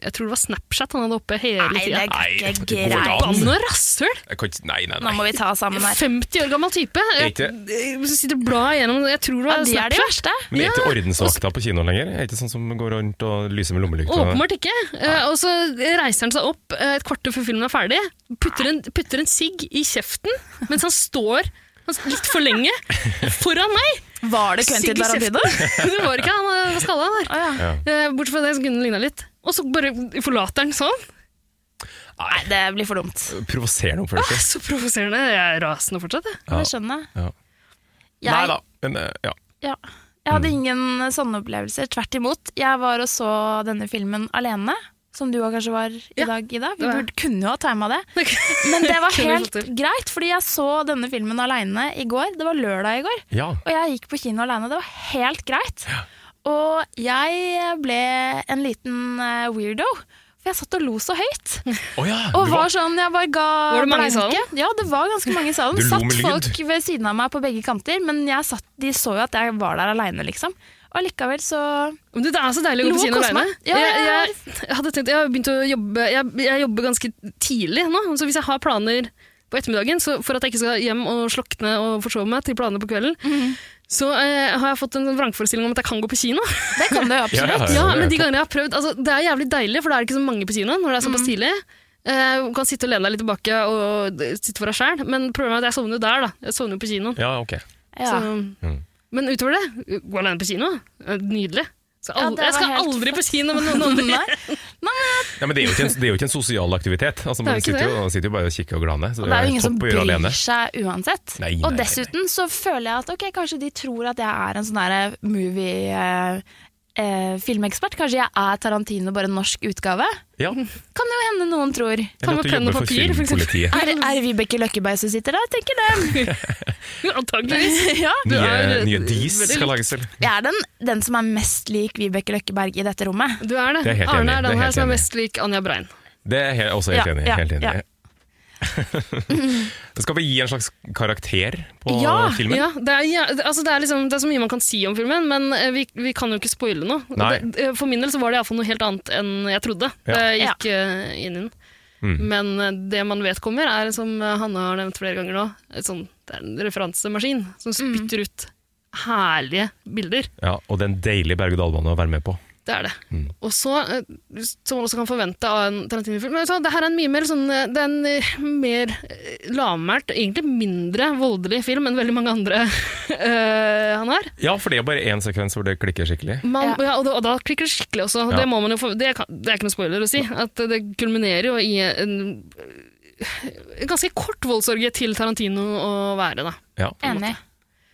S3: Jeg tror det var Snapchat han hadde oppe hele tida.
S2: Nei, det går ikke an.
S3: Bann og rasshøl!
S2: Jeg kan ikke, nei, nei,
S1: Nå må
S2: nei.
S1: vi ta oss sammen her.
S3: 50 år gammel type. Jeg,
S2: Ikke-
S3: jeg sitter og blar igjennom Jeg tror det
S1: Ja,
S3: var
S1: de er de
S3: Snapchat.
S1: verste.
S2: Men det er ikke ordensvakta på kinoen lenger? Det er ikke sånn som går rundt og lyser med lommelykta?
S3: Åpenbart ikke. Eh, Og så reiser han seg opp eh, et kvarter før filmen er ferdig, putter en, putter en sigg i kjeften mens han står han s- litt for lenge foran meg.
S1: Var det Quentin
S3: Sigg i
S1: Tarantino?
S3: kjeften. Det var ikke han, eh, han var skalla der.
S1: Å, ja.
S3: Eh, Bortsett fra det, så kunne den ligna litt. Og så bare forlater han sånn.
S1: Nei, det blir for dumt.
S2: Provoserende
S3: Det
S2: oppførsel.
S3: er Så provoserende. Jeg er rasende fortsatt, jeg.
S2: Ja.
S1: Det skjønner
S2: Ja.
S1: jeg.
S2: Nei
S1: Jeg
S2: da, men eh, ja.
S1: Ja. Jeg hadde ingen sånne opplevelser. Tvert imot. Jeg var og så denne filmen alene, som du også kanskje var i
S3: Ja,
S1: dag, Ida. Vi
S3: det var jeg.
S1: burde, kunne jo ha tima det. Men det var
S3: Kunne vi
S1: helt
S3: fått til.
S1: greit, fordi jeg så denne filmen alene i går. Det var lørdag i går.
S2: ja.
S1: Og jeg gikk på kino alene. Det var helt greit. Og jeg ble en liten eh, weirdo. For jeg satt og lo så høyt.
S2: Å ja,
S1: Og
S2: du
S1: var sånn, jeg bare ga
S3: Var det mange i
S1: blanke. Ja, det var ganske mange i salen.
S2: Du lo
S1: Satt
S2: med lyd.
S1: folk ved siden av meg på begge kanter, men jeg satt, de så jo at jeg var der aleine, liksom. Og likevel så
S3: Men du, det er så deilig å gå
S1: Lo
S3: på
S1: og
S3: kino
S1: kose
S3: alene.
S1: meg. Ja, ja,
S3: jeg,
S1: ja.
S3: jeg, jeg hadde tenkt, jeg har begynt å jobbe jeg, jeg jobber ganske tidlig nå, så hvis jeg har planer på ettermiddagen, så for at jeg ikke skal hjem og slokne og forsove meg til planene på kvelden,
S1: Mhm.
S3: så eh, har jeg fått en sånn vrangforestilling om at jeg kan gå på kino.
S1: Det kan du jo
S2: Ja, ja,
S1: absolutt.
S2: ja,
S3: Ja,
S2: det
S3: men de
S2: vet jeg.
S3: gangene jeg har prøvd altså, Det er jævlig deilig, for da er det ikke så mange på kinoen når det er
S1: Mhm.
S3: såpass tidlig. Eh, Du kan sitte og lene deg litt tilbake og d- sitte for deg sjæl, men problemet er at jeg sovner jo der, da. Jeg sovner jo på kinoen.
S2: ja, ok.
S1: Ja.
S3: Så,
S2: Mm.
S3: men utover det, gå alene på kino. Eh, Nydelig. Så
S1: Ja,
S3: al-
S1: det
S3: jeg skal
S1: var helt
S3: aldri på kino med noen andre.
S1: Nei.
S2: Ja, men det er, jo ikke en, det er jo ikke en sosial aktivitet. Altså,
S3: er
S2: man
S3: jo ikke
S2: sitter
S3: det.
S2: jo, man sitter jo bare og kikker og glaner. Så
S1: Det er jo ingen
S2: topp
S1: som
S2: å gjøre
S1: bryr
S2: alene.
S1: seg uansett.
S2: Nei, nei,
S1: og
S2: nei, nei.
S1: dessuten så føler jeg at ok, kanskje de tror at jeg er en sånn derre movie eh, eh, filmekspert. Kanskje jeg er Tarantino, bare en norsk utgave.
S2: Ja.
S1: Kan jo hende noen tror.
S2: Eller
S3: med
S2: at du
S3: penn
S2: jobber
S3: og
S2: for
S3: papir, for eksempel.
S2: filmpolitiet.
S1: Er, er Vibeke Løkkeberg som sitter der, tenker de.
S3: Antakeligvis.
S1: ja.
S3: Du
S2: Nye,
S3: er-
S2: nye dis
S3: veldig
S2: skal lages selv.
S1: Jeg er den, den som er mest lik Vibeke Løkkeberg i dette rommet.
S3: Du er det.
S2: Det er helt enig,
S3: Arne er
S2: det er
S3: den her
S2: helt
S3: som er
S2: enig.
S3: mest lik Anja Brein.
S2: Det er jeg også helt
S1: Ja,
S2: enig i.
S1: ja,
S2: helt enig i.
S1: ja.
S2: Skal vi gi en slags karakter på
S3: ja,
S2: filmen?
S3: Ja, det er, jæ- altså det, er liksom, det er så mye man kan si om filmen, men eh, vi, vi kan jo ikke spoile noe.
S2: Nei.
S3: Det, eh, for min del så var det iallfall noe helt annet enn jeg trodde.
S2: Ja. Mm.
S3: Jeg gikk eh, inn i den. Men eh, det man vet kommer, er som eh, Hanne har nevnt flere ganger nå, et sånn, det er en referansemaskin som spytter ut herlige bilder.
S2: Ja, og det er en deilig berg-og-dal-bane å være med på.
S3: Det er det. Og så, eh, som man også kan forvente av en Tarantino-film men vet du hva, Det her er en mye mer sånn eh, Det er en eh, mer eh, lavmælt, egentlig mindre voldelig film enn veldig mange andre eh, han har.
S2: Ja, for det er bare én sekvens hvor det klikker skikkelig.
S3: Man,
S1: Ja.
S3: ja. og, da, og da klikker det skikkelig også.
S2: Ja.
S3: Det, må man jo få, det, kan, det er ikke noe spoiler å si. At det kulminerer jo i en, en ganske kort voldsorgie til Tarantino å være, da.
S2: Ja,
S1: Enig.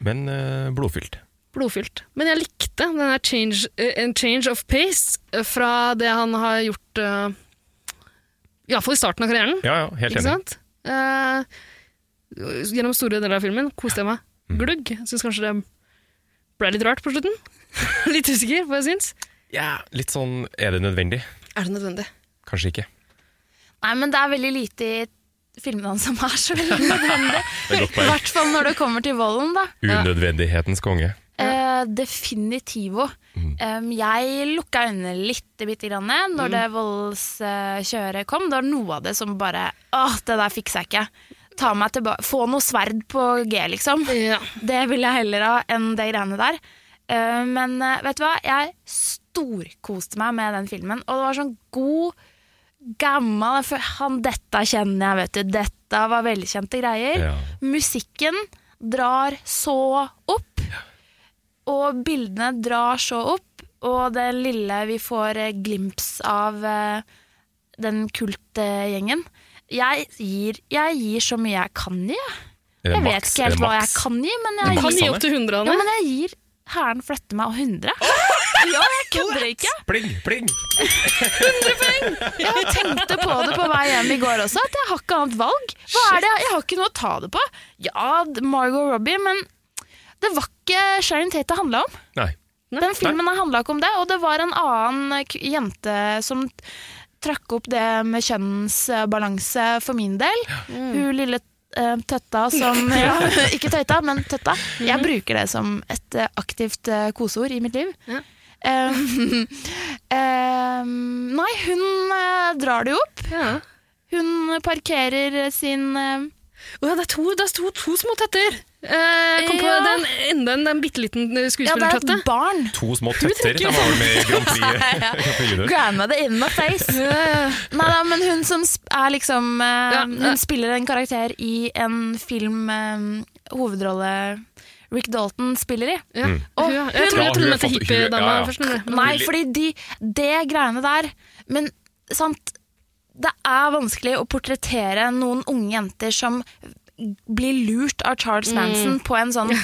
S2: Men eh, blodfylt.
S3: blodfylt. Men jeg likte den her change, eh, en change of pace eh, fra det han har gjort eh, i hvert fall i starten av karrieren.
S2: Ja, ja, helt
S3: ikke
S2: enig.
S3: sant? Eh, gjennom store deler av filmen koste jeg meg.
S2: Mm.
S3: Glugg. Syns kanskje det ble litt rart på slutten. litt usikker på hva jeg syns.
S2: Ja, litt sånn er det nødvendig?
S3: Er det nødvendig?
S2: Kanskje ikke.
S1: Nei, men det er veldig lite i filmene hans som er så veldig nødvendig.
S2: Det er godt
S1: I
S2: poeng.
S1: hvert fall når det kommer til volden, da.
S2: Unødvendighetens konge.
S1: Eh, definitivo. Em, jeg lukka øynene litt bitte grann når det voldskjøret kom. Det var noe av det som bare Åh, det der fikser jeg ikke. Ta meg tilbake. Få noe sverd på G, liksom.
S3: Ja.
S1: Det vil jeg heller ha enn det greiene der. Eh, men eh, vet du hva? Jeg storkoste meg med den filmen. Og det var sånn god, gammel for Han dette kjenner jeg, vet du. Dette var velkjente greier.
S2: Ja.
S1: Musikken drar så opp. Og bildene drar så opp. Og det lille vi får eh, glimps av eh, den kultgjengen. Jeg gir, jeg gir så mye jeg kan i. jeg.
S2: Er det
S1: Jeg vet
S2: maks?
S1: ikke
S2: Er det
S1: helt hva jeg
S2: maks?
S1: kan gi, men
S2: Det
S1: jeg
S2: er
S3: Kan
S1: gir,
S3: gi opp til 100,
S1: ja,
S3: Anne.
S1: men jeg gir Hæren flytter meg og 100. Ja, jeg kødder ikke.
S2: Pling, pling!
S1: Jeg tenkte på det på vei hjem i går også, at jeg har ikke annet valg. Hva er det? Jeg har ikke noe å ta det på. Ja, Margot Robbie, men det var ikke Sharon Tate det handla om.
S2: Nei.
S1: Den filmen handla ikke om det, og det var en annen k- jente som t- trakk opp det med kjønnsbalanse for min del. Hun lille eh, tøtta som ja, Ikke tøyta, men tøtta. Jeg bruker det som et eh, aktivt eh, koseord i mitt liv.
S3: Ja.
S1: Um, um, nei, hun eh, drar det jo opp.
S3: Ja.
S1: Hun parkerer sin eh,
S3: Å ja, det er to, det er to, to små tøtter! Eh, jeg kom på
S1: Ja.
S3: den, enda en, den bitte liten
S1: Ja,
S3: eh,
S1: det er
S3: skuespillertøtte.
S1: et barn.
S2: To små tøtter. De var vel med i Grand Prix.
S1: Ja.
S2: Grand Prix Lyder.
S1: Grandmother in my face. Nei da, men hun som sp- er liksom eh,
S3: Ja, ja.
S1: Hun spiller en karakter i en film eh, hovedrolle Rick Dalton spiller i.
S3: ja.
S1: Og
S3: Hun, ja. Jeg
S1: hun-
S3: trodde
S2: Mm. Ja, hun
S3: jeg trodde hun
S2: har
S3: het
S2: fått-
S3: hippiedama
S2: hun- ja, ja.
S3: først. men-
S1: Nei, fordi de, det greiene der Men sant Det er vanskelig å portrettere noen unge jenter som blir lurt av
S3: Mm.
S1: Charles Manson på en sånn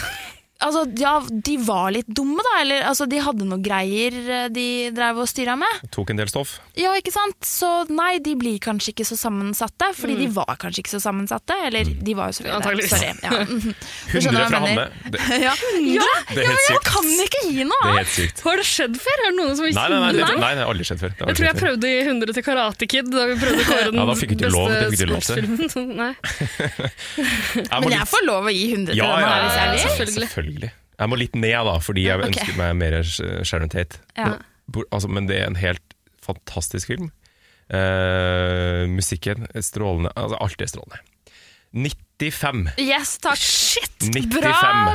S1: Altså, ja, de var litt dumme, da. Eller altså, de hadde noe greier eh, de drev og styra med.
S2: Tok en del stoff.
S1: Ja, ikke sant? Så nei, de blir kanskje ikke så sammensatte, fordi
S2: Mm.
S1: de var kanskje ikke så sammensatte. Eller de var jo selvfølgelig det.
S3: Antageligvis.
S1: Sorry. Ja. Mhm. Du
S2: 100
S1: skjønner hva jeg
S2: fra
S1: mener.
S2: Hanne. Det,
S1: Ja, ja,
S2: det er
S1: ja,
S2: helt
S1: men jeg
S2: sykt.
S1: kan ikke gi noe
S2: det er
S1: annet!
S2: helt sykt.
S3: Har det skjedd før? Er det noen som
S2: Nei, nei, nei, det, nei, det har aldri skjedd før. Det har aldri
S3: Jeg tror jeg
S2: skjedd før.
S3: prøvde i 100 til Karate Kid, da vi prøvde å kåre den
S2: Ja, da fikk du ikke lov, det fikk du
S3: beste
S2: ikke lov til.
S3: sportsfilmen. Sånn, Nei.
S2: Jeg må
S1: Men jeg
S2: litt-
S1: får lov å gi 100 til
S2: ja,
S1: denne
S2: ja,
S1: her hvis jeg
S2: ja,
S1: vil.
S2: selvfølgelig. selvfølgelig. Jeg må litt ned, da, fordi jeg
S1: Ok.
S2: ønsker meg mer Sh- Sharon Tate.
S1: Ja.
S2: Men, bor- altså, men det er en helt fantastisk film. Eh, musikken er strålende. Altså, alt er strålende. 95.
S1: Yes, takk. Shit!
S2: 95.
S1: Bra,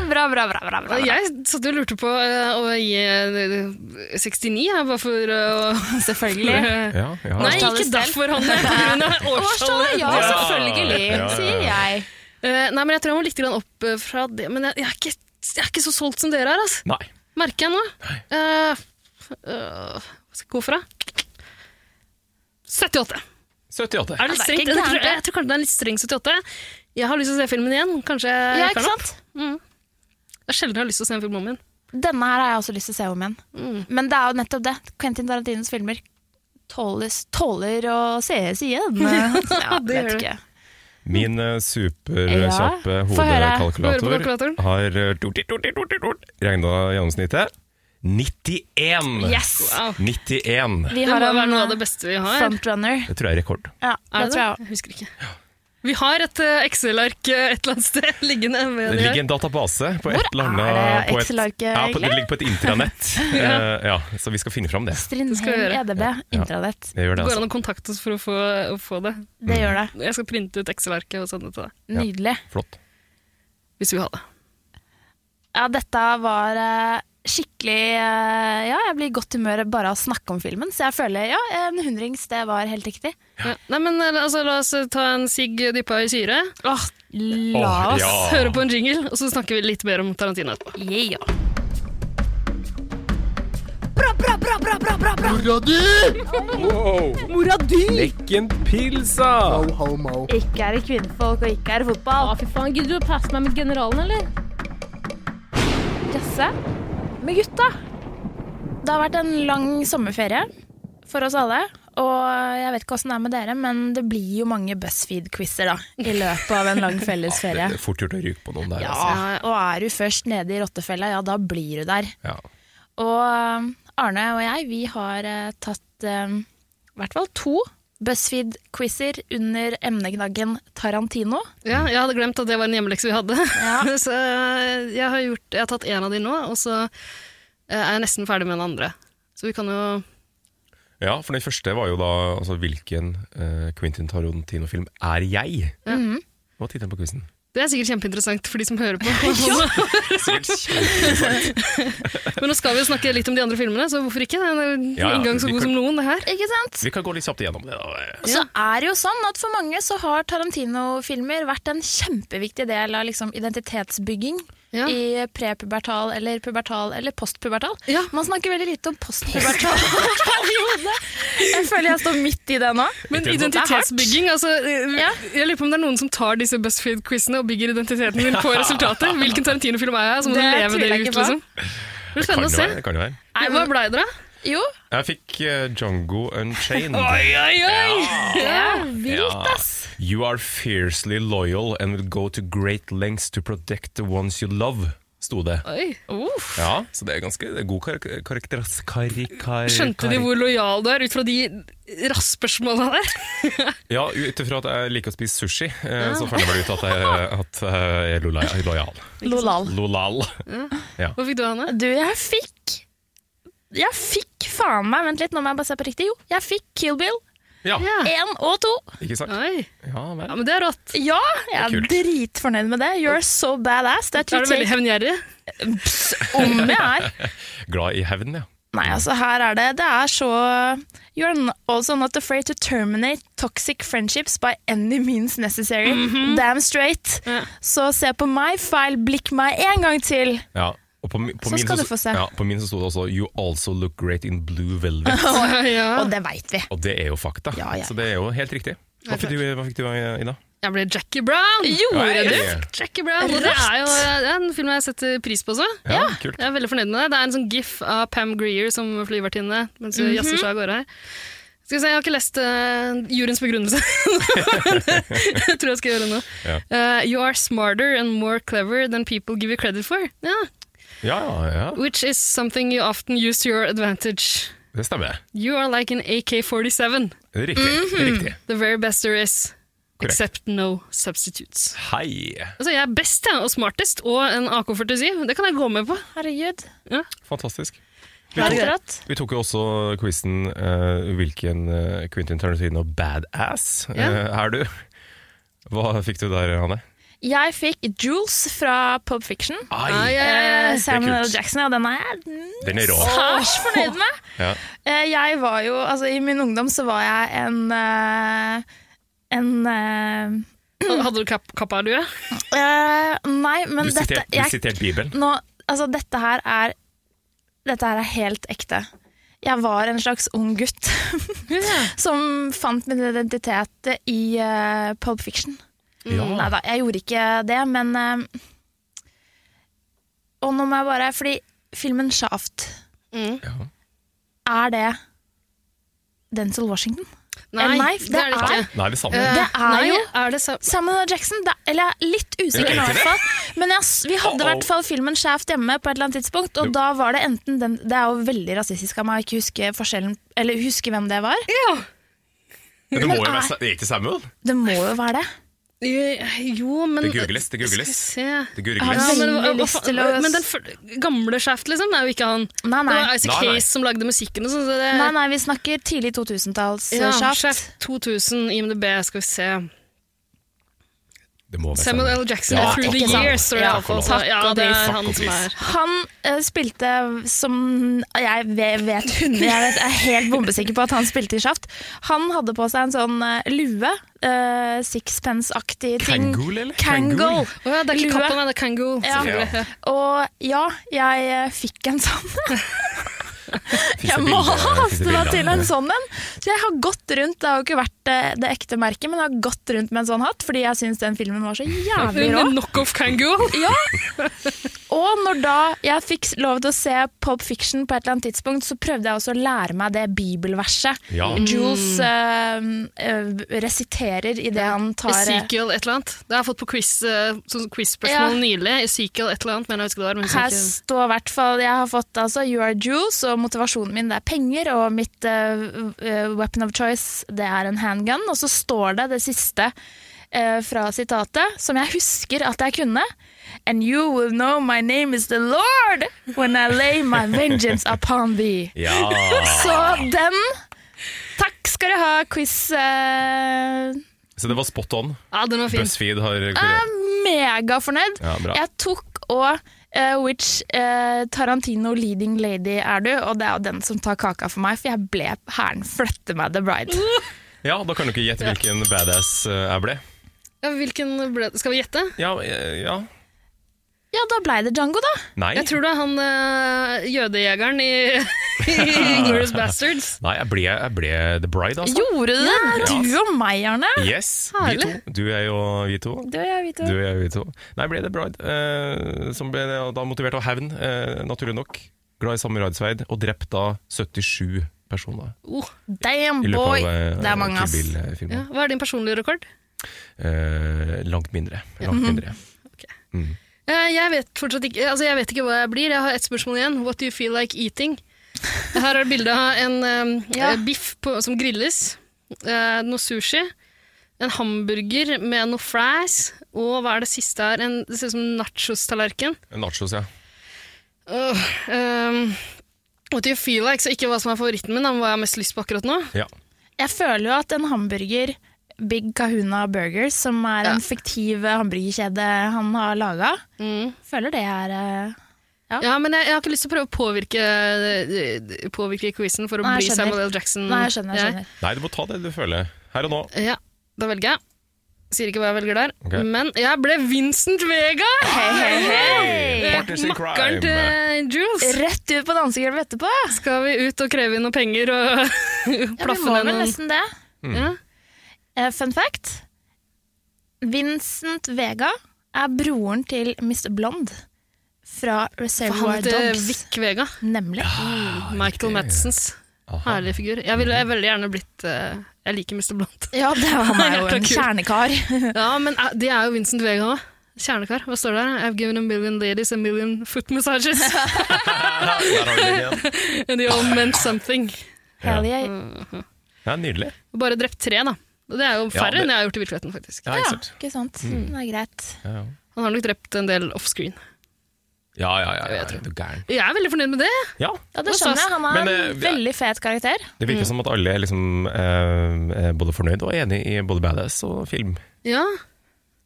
S1: bra, bra. bra, bra, bra.
S3: Jeg satt og lurte på eh, å gi eh, 69, her, bare for eh, å
S1: Selvfølgelig.
S2: Ja, ja.
S3: Nei, ikke
S1: Årstallet
S3: derfor, Hanne, på grunn av årstallet.
S1: Årstallet, ja,
S2: Ja.
S1: selvfølgelig,
S2: Ja, ja, ja.
S1: sier jeg.
S3: Eh, Nei, men jeg tror jeg må litt grann opp eh, fra det, men jeg, jeg, er, ikke, jeg er ikke så solgt som dere er, altså.
S2: Nei.
S3: Merker jeg nå. Eh, eh, Hva skal jeg gå fra? 78.
S2: 78.
S3: Er det litt
S1: Ja, det er
S3: strengt?
S1: ikke
S3: Jeg tror,
S1: gærent, det.
S3: jeg tror kanskje det er litt streng 78. Jeg har lyst til å se filmen igjen. Kanskje
S2: Eh,
S3: jeg
S1: Ja,
S3: rekker
S1: ikke
S3: den opp.
S1: sant?
S3: Det er sjelden jeg har lyst til å se en film om igjen.
S1: Denne her har jeg også lyst til å se om igjen.
S2: Mm.
S1: Men det er jo nettopp det. Quentin Tarantinos filmer tåles, tåler å sees igjen. Ja,
S3: det
S1: vet
S3: gjør
S1: ikke.
S2: Min eh, superkjappe
S1: Ja. Få høre.
S3: Få høre på
S2: hodekalkulator
S3: kalkulatoren.
S2: har eh, regna gjennomsnittet. 91!
S1: Yes!
S3: Wow.
S2: 91.
S1: Vi
S3: Det må
S1: har
S3: være
S1: en
S3: noe av
S1: eh,
S3: det beste vi har.
S1: frontrunner.
S2: Det tror jeg er rekord.
S1: Ja, det tror jeg
S3: Jeg husker ikke. Vi har et eh, Excel-ark eh, et eller annet sted liggende.
S2: Det
S3: Med
S2: ligger
S3: det.
S2: en database på et eller annet
S1: er det
S2: på et-
S1: Excel-arket
S2: Ja, på- det
S1: egentlig?
S2: ligger på et intranett.
S3: Ja.
S2: Eh, ja, så vi skal finne fram det.
S3: skal
S1: Strindheim E
S3: jeg gjøre.
S1: EDB, intranett.
S2: Det gjør det,
S3: Går
S2: altså.
S3: an å kontakte oss for å få, å få det.
S1: Det gjør det.
S3: Jeg skal printe ut Excel-arket og sende det til deg.
S1: Nydelig.
S2: Flott.
S3: Hvis vi har det.
S1: Ja, dette var eh, skikkelig eh, Ja, jeg blir i godt humør bare av å snakke om filmen, så jeg føler ja, en hundrings, det var helt riktig.
S3: Ja. Nei, men eh, altså, La oss eh, ta en sigg dyppa i syre,
S1: Åh, la
S2: Åh,
S1: oss
S2: ja.
S3: høre på en jingle, og så snakker vi litt mer om Tarantino etterpå.
S1: Yeah.
S6: Mora di!
S2: Lekken pilsa!
S1: Ikke er det kvinnfolk, og ikke er det
S6: Å,
S1: fotball.
S6: fy faen. Gidder du å passe meg med generalen, eller?
S1: Jazze med gutta. Det har vært en lang sommerferie for oss alle. Og jeg vet ikke åssen det er med dere, men det blir jo mange BuzzFeed-quizer da, i løpet av en lang fellesferie.
S2: Det er fort gjort å ryke på noen der.
S1: Ja,
S2: Altså.
S1: og er du først nede i rottefella, ja, da blir du der.
S2: Ja.
S1: Og um, Arne og jeg, vi har eh, tatt um, i hvert fall to BuzzFeed-quizer under emneknaggen Tarantino.
S3: Ja, jeg hadde glemt at det var en hjemmelekse vi hadde.
S1: Ja.
S3: så jeg har, gjort, jeg har tatt en av de nå, og så eh, er jeg nesten ferdig med den andre. Så vi kan jo
S2: ja, for den første var jo da altså, Hvilken eh, Quentin Tarantino-film er jeg? Mm-hmm. Hva var tittelen på quizen?
S3: Det er sikkert kjempeinteressant for de som hører på. Men nå skal vi jo snakke litt om de andre filmene, så hvorfor ikke? Det er en
S2: Ja, ja,
S3: inngang så
S2: vi
S3: god
S2: kan-
S3: som noen, det her.
S1: Ikke sant?
S2: Vi kan gå litt kjapt igjennom det, da.
S1: Og så er det jo sånn at for mange så har Tarantino-filmer vært en kjempeviktig del av liksom identitetsbygging
S3: Ja.
S1: i prepubertal eller pubertal eller postpubertal.
S3: Ja.
S1: Man snakker veldig lite om postpubertal periode. Jeg føler jeg står midt i det nå.
S3: Men
S2: Ikke sant?
S3: identitetsbygging, altså eh,
S1: Ja.
S3: Jeg lurer på om det er noen som tar disse BuzzFeed-quizene og bygger identiteten din på resultatet. Hvilken Tarantino-film er jeg? Så må du
S1: Det
S3: leve
S1: tviler
S3: det
S1: jeg
S3: ut,
S1: ikke på.
S3: liksom. Det blir
S2: Kan jo
S3: spennende å se.
S2: være, det kan jo være.
S3: Nei, Hva blei dere?
S1: Jo,
S2: Jeg fikk eh, Django Unchained.
S3: oi,
S2: Ja.
S1: det er vilt,
S2: Ja.
S1: ass.
S2: You are fiercely loyal and will go to great lengths to protect the ones you love, sto det.
S3: oi. Uff.
S2: Ja, så det er ganske det er god kar karakteras... Kari, kar
S3: Skjønte de
S2: kar-
S3: hvor lojal du er ut fra de rassspørsmåla der?
S2: Ja, ut ifra at jeg liker å spise sushi, eh, så fant jeg vel ut at jeg, at jeg er lola- lojal.
S1: Lolal.
S2: Lolal.
S3: Hva fikk du, Hanne?
S1: Du, jeg fikk Jeg fikk faen meg Vent litt, nå må jeg bare se på riktig. Jo, jeg fikk Kill Bill
S2: Ja,
S3: Ja.
S1: 1 og 2.
S2: ikke sant?
S3: Oi.
S2: Ja,
S3: ja,
S2: vel.
S3: men det er rått.
S1: Ja, jeg er
S2: Kult.
S1: dritfornøyd med det. You're so badass. Det
S3: Er
S1: er
S3: du veldig
S1: take
S3: hevngjerrig?
S1: om jeg er.
S2: Glad i hevn, ja.
S1: Nei, altså her er det Det er så You're n- also not afraid to terminate toxic friendships by any means necessary. Damn straight.
S3: Ja.
S1: Så se på meg, feil blikk meg en gang til.
S2: ja. Og på, mi- på
S1: Så
S2: min
S1: skal du få se.
S2: Ja, på min så sto det også 'You also look great in blue velvet'.
S3: ja.
S1: Og det veit vi.
S2: Og det er jo fakta.
S1: Ja, ja.
S2: Så det er jo helt riktig. Hva fikk du, hva fikk du eh, Ida?
S3: Jeg ble Jackie Brown!
S2: Hei!
S3: Gjorde du? Jackie Brown. Og det er jo eh, det er en film jeg setter pris på også.
S2: Ja, kult.
S3: Jeg er veldig fornøyd med det. Det er en sånn gif av Pam Greer som flyvertinne mens
S2: Mhm.
S3: hun jazzer seg av gårde her. Skal vi se, Jeg har ikke lest eh, juryens begrunnelse. jeg tror jeg skal gjøre det nå.
S2: Ja.
S3: Eh, you are smarter and more clever than people give you credit for. Ja,
S2: Ja, ja, ja.
S3: Which is something you often use to your advantage.
S2: Det stemmer.
S3: You are like an AK-47,
S2: Det er Riktig. det
S1: Mhm.
S2: er riktig.
S3: the very best there is,
S2: Korrekt.
S3: except no substitutes.
S2: Hei!
S3: Altså, jeg er best jeg, og smartest, og en AK-47, det kan jeg gå med på.
S1: Herregud.
S2: Fantastisk. Vi
S1: Helt
S2: tok,
S1: rått.
S2: vi tok jo også quizen hvilken eh, Quentin Tarantino badass eh,
S3: Ja.
S2: er du? Hva fikk du der, Hanne?
S1: Jeg fikk Jules fra Pop Fiction.
S3: Ah, ja, ja,
S1: Eh,
S3: ja.
S1: Samuel L.
S2: kult.
S1: Jackson, ja, den er jeg
S2: Den er rå.
S1: særs fornøyd med.
S2: Ja.
S1: Eh, Jeg var jo, altså I min ungdom så var jeg en eh, En eh,
S3: Hadde du kap kappa, du? Ja?
S1: eh, Nei, men
S2: Du
S1: dette
S2: siterte du siterte Bibelen.
S1: nå, altså dette her er Dette her er helt ekte. Jeg var en slags ung gutt som fant min identitet i eh, Pulp Fiction. Mm, Nei da, jeg gjorde ikke det, men eh, Og nå må jeg bare Fordi filmen Shaft,
S2: Ja.
S1: er det Denzil Washington?
S3: Nei,
S1: Eh, nei,
S3: det er det ikke.
S2: Nei, vi sammen.
S3: Eh,
S1: Det er
S3: nei,
S1: jo-
S3: er det sa
S1: Samuel L. Jackson, da, eller jeg er litt usikker nå i hvert fall. Men jeg, s- vi hadde i hvert fall filmen Shaft hjemme på et eller annet tidspunkt, og da var det enten den Det er jo veldig rasistisk av meg å ikke huske forskjellen Eller huske hvem det var.
S3: ja.
S2: Men det må jo
S1: men
S2: være
S1: er-
S2: Sa- det er ikke Samuel?
S1: Det må jo være det.
S3: Jo, men
S2: Det googles, det
S3: Skal vi
S2: googles.
S3: se.
S2: Det
S1: Jeg
S2: googles.
S1: har
S3: men,
S1: veldig
S3: hva- hva
S1: lyst
S3: faen-
S1: til å-
S3: men den f- gamle Shaft, liksom, er jo ikke han.
S1: Nei, nei.
S3: Det var Isaac
S2: Nei, nei.
S3: Hayes som lagde musikken og sånn. Så det,
S1: Nei, nei, vi snakker tidlig 2000-talls
S3: Ja,
S1: eh, Shaft.
S3: Shaft 2000, IMDb, skal vi se.
S2: Det må være
S3: Samuel
S2: Samuel.
S3: L. Jackson,
S2: Ja,
S3: Through
S1: ikke
S3: the
S1: sant.
S3: Years, står det
S1: Ja,
S3: iallfall.
S1: takk
S3: Ja,
S1: og
S3: det
S1: pris,
S3: er
S2: takk
S3: han
S2: og
S3: som
S2: pris.
S3: er
S1: Han eh, spilte som Jeg vet, vet hun, jeg vet, er helt bombesikker på at han spilte i Shaft. Han hadde på seg en sånn eh, lue. eh, Sixpence-aktig ting.
S2: Kangol, eller?
S1: Kangol.
S2: Kangol.
S3: Å ja, det er ikke
S1: Lue.
S3: Kappa, nei, det er Kangoo.
S1: Ja.
S3: selvfølgelig.
S1: Og ja, jeg eh, fikk en sånn.
S2: Fins det
S1: Jeg
S2: bilder- fins
S1: maste
S2: det
S1: meg
S2: bilder
S1: til
S2: av
S1: en
S2: det?
S1: sånn en. Så jeg har gått rundt, det har jo ikke vært eh, det ekte merket, men jeg har gått rundt med en sånn hatt fordi jeg syns den filmen var så jævlig rå.
S3: Med knockoff Kangoo.
S1: Ja. Og når da jeg fikk lov til å se Pop Fiction på et eller annet tidspunkt, så prøvde jeg også å lære meg det bibelverset
S2: Ja.
S1: Jules eh, eh, resiterer idet han tar eh,
S3: Ezekiel et eller annet. Det har jeg fått på quiz, eh, sånn quiz-spørsmål
S1: Ja.
S3: nylig. Ezekiel et eller annet, men jeg husker det var. Men jeg
S1: Her
S3: husker ikke.
S1: står i hvert fall Jeg har fått altså You are Jules, og motivasjonen min det er penger, og mitt eh, eh, weapon of choice det er en handgun. Og så står det det siste eh, fra sitatet, som jeg husker at jeg kunne. And you will know my name is the Lord when I lay my vengeance upon thee.
S3: Ah.
S2: Ja.
S1: Så den Takk skal du ha, quiz. eh,
S2: Så det var spot on.
S3: Ja, den var fin.
S2: BuzzFeed har
S1: Jeg er megafornøyd.
S2: Ja, bra.
S1: jeg tok og eh, Which eh, Tarantino leading lady er du? Og det er jo den som tar kaka for meg, for jeg ble hæren flytte meg the bride.
S2: Ja, da kan du ikke gjette hvilken badass eh, jeg ble.
S3: Ja, hvilken ble det? Skal vi gjette?
S2: Ja, eh, ja.
S1: Ja, da blei det Django, da.
S2: Nei.
S3: Jeg tror det er han eh, jødejegeren i, i Inglourious Bastards.
S2: Nei, jeg ble, jeg ble The Bride, altså.
S1: Gjorde du det? Du og meg, Arne.
S2: Yes, vi to.
S3: Herlig.
S2: Du er jo vi to.
S1: Du og jeg, vi to.
S2: Du er jo vi to. Nei, ble The Bride, eh, som ble da motivert av hevn, eh, naturlig nok. Glad i samuraisverd, og drept da 77 personer
S3: Oh,
S1: Damn,
S2: i løpet
S1: boy.
S2: av eh,
S1: Det er mange, ass.
S2: Kill
S3: ja.
S2: Bill-filmen.
S3: Hva er din personlige rekord?
S2: Eh, langt mindre. Langt mindre.
S3: Eh, Jeg vet fortsatt ikke Altså jeg vet ikke hva jeg blir. Jeg har ett spørsmål igjen. What do you feel like eating? Her er bilde av en eh,
S1: Ja.
S3: eh, biff på, som grilles. eh, noe sushi. En hamburger med noe fries. Og hva er det siste her? En, det ser ut som en nachos-tallerken.
S2: Nachos, ja.
S3: Åh, ehm, what do you feel like? Så ikke hva som er favoritten min, men hva jeg har mest lyst på akkurat nå.
S2: ja.
S1: Jeg føler jo at en hamburger Big Kahuna Burgers, som er
S3: Ja.
S1: en fiktiv eh, hamburgerkjede han har laga,
S3: Mm.
S1: føler det er eh,
S3: Ja, men jeg, jeg har ikke lyst til å prøve å påvirke, eh, påvirke quizen for å
S1: Nei, jeg
S3: bli
S1: skjønner.
S3: Samuel L. Jackson.
S1: Nei, jeg skjønner. jeg skjønner.
S2: Nei, du må ta det du føler. Her og nå.
S3: Ja, da velger jeg. Sier ikke hva jeg velger der.
S2: Ok.
S3: Men jeg ble Vincent Vega! Eh,
S2: Hey, partners in
S3: Makkeren
S2: crime.
S3: til eh, Jules.
S1: Rett ut på dansegulvet etterpå!
S3: Skal vi ut og kreve inn noen penger og
S1: Ja, vi
S3: plaffe
S1: må
S3: ned
S1: vel
S3: noen
S1: nesten det.
S2: Mm.
S3: ja.
S1: Eh, fun fact. Vincent Vega er broren til Mr. Blonde fra
S3: For han
S1: Reservoir
S3: heter
S1: Dogs.
S3: Vic Vega.
S1: Nemlig.
S3: Michael Madsens.
S2: Ah, Aha.
S3: Herlig figur. Jeg ville jeg veldig gjerne blitt eh, Jeg liker Mr. Blunt.
S1: Ja, det var han er jo en
S3: Jækla kult.
S1: kjernekar.
S3: Ja, men eh, det er jo Vincent Vega òg. Kjernekar. Hva står det der? I've given a million ladies a million foot massages.
S2: Ja, der har du den igjen.
S3: And they all meant something.
S1: Hell
S3: Mm.
S1: yeah.
S2: Ja, nydelig.
S3: Bare drept tre, da. Og det er jo
S2: Ja,
S3: færre
S2: det-
S3: enn jeg har gjort i virkeligheten, faktisk.
S2: Ja,
S1: Ja,
S2: ikke sant.
S1: ikke sant.
S3: Mm.
S1: Mm, Det er greit.
S2: Ja, ja.
S3: Han har nok drept en del offscreen.
S2: Ja, ja, ja, ja, du er gæren.
S3: Jeg er veldig fornøyd med det.
S2: Ja,
S1: Ja, det
S3: Hva
S1: skjønner
S3: sa-
S1: jeg. Han er
S2: Men, eh,
S1: en
S2: vi er-
S1: veldig fet karakter.
S2: det
S3: Mm.
S2: virker som at alle er liksom, eh, eh, både fornøyd og enig i både badass og film.
S3: Ja.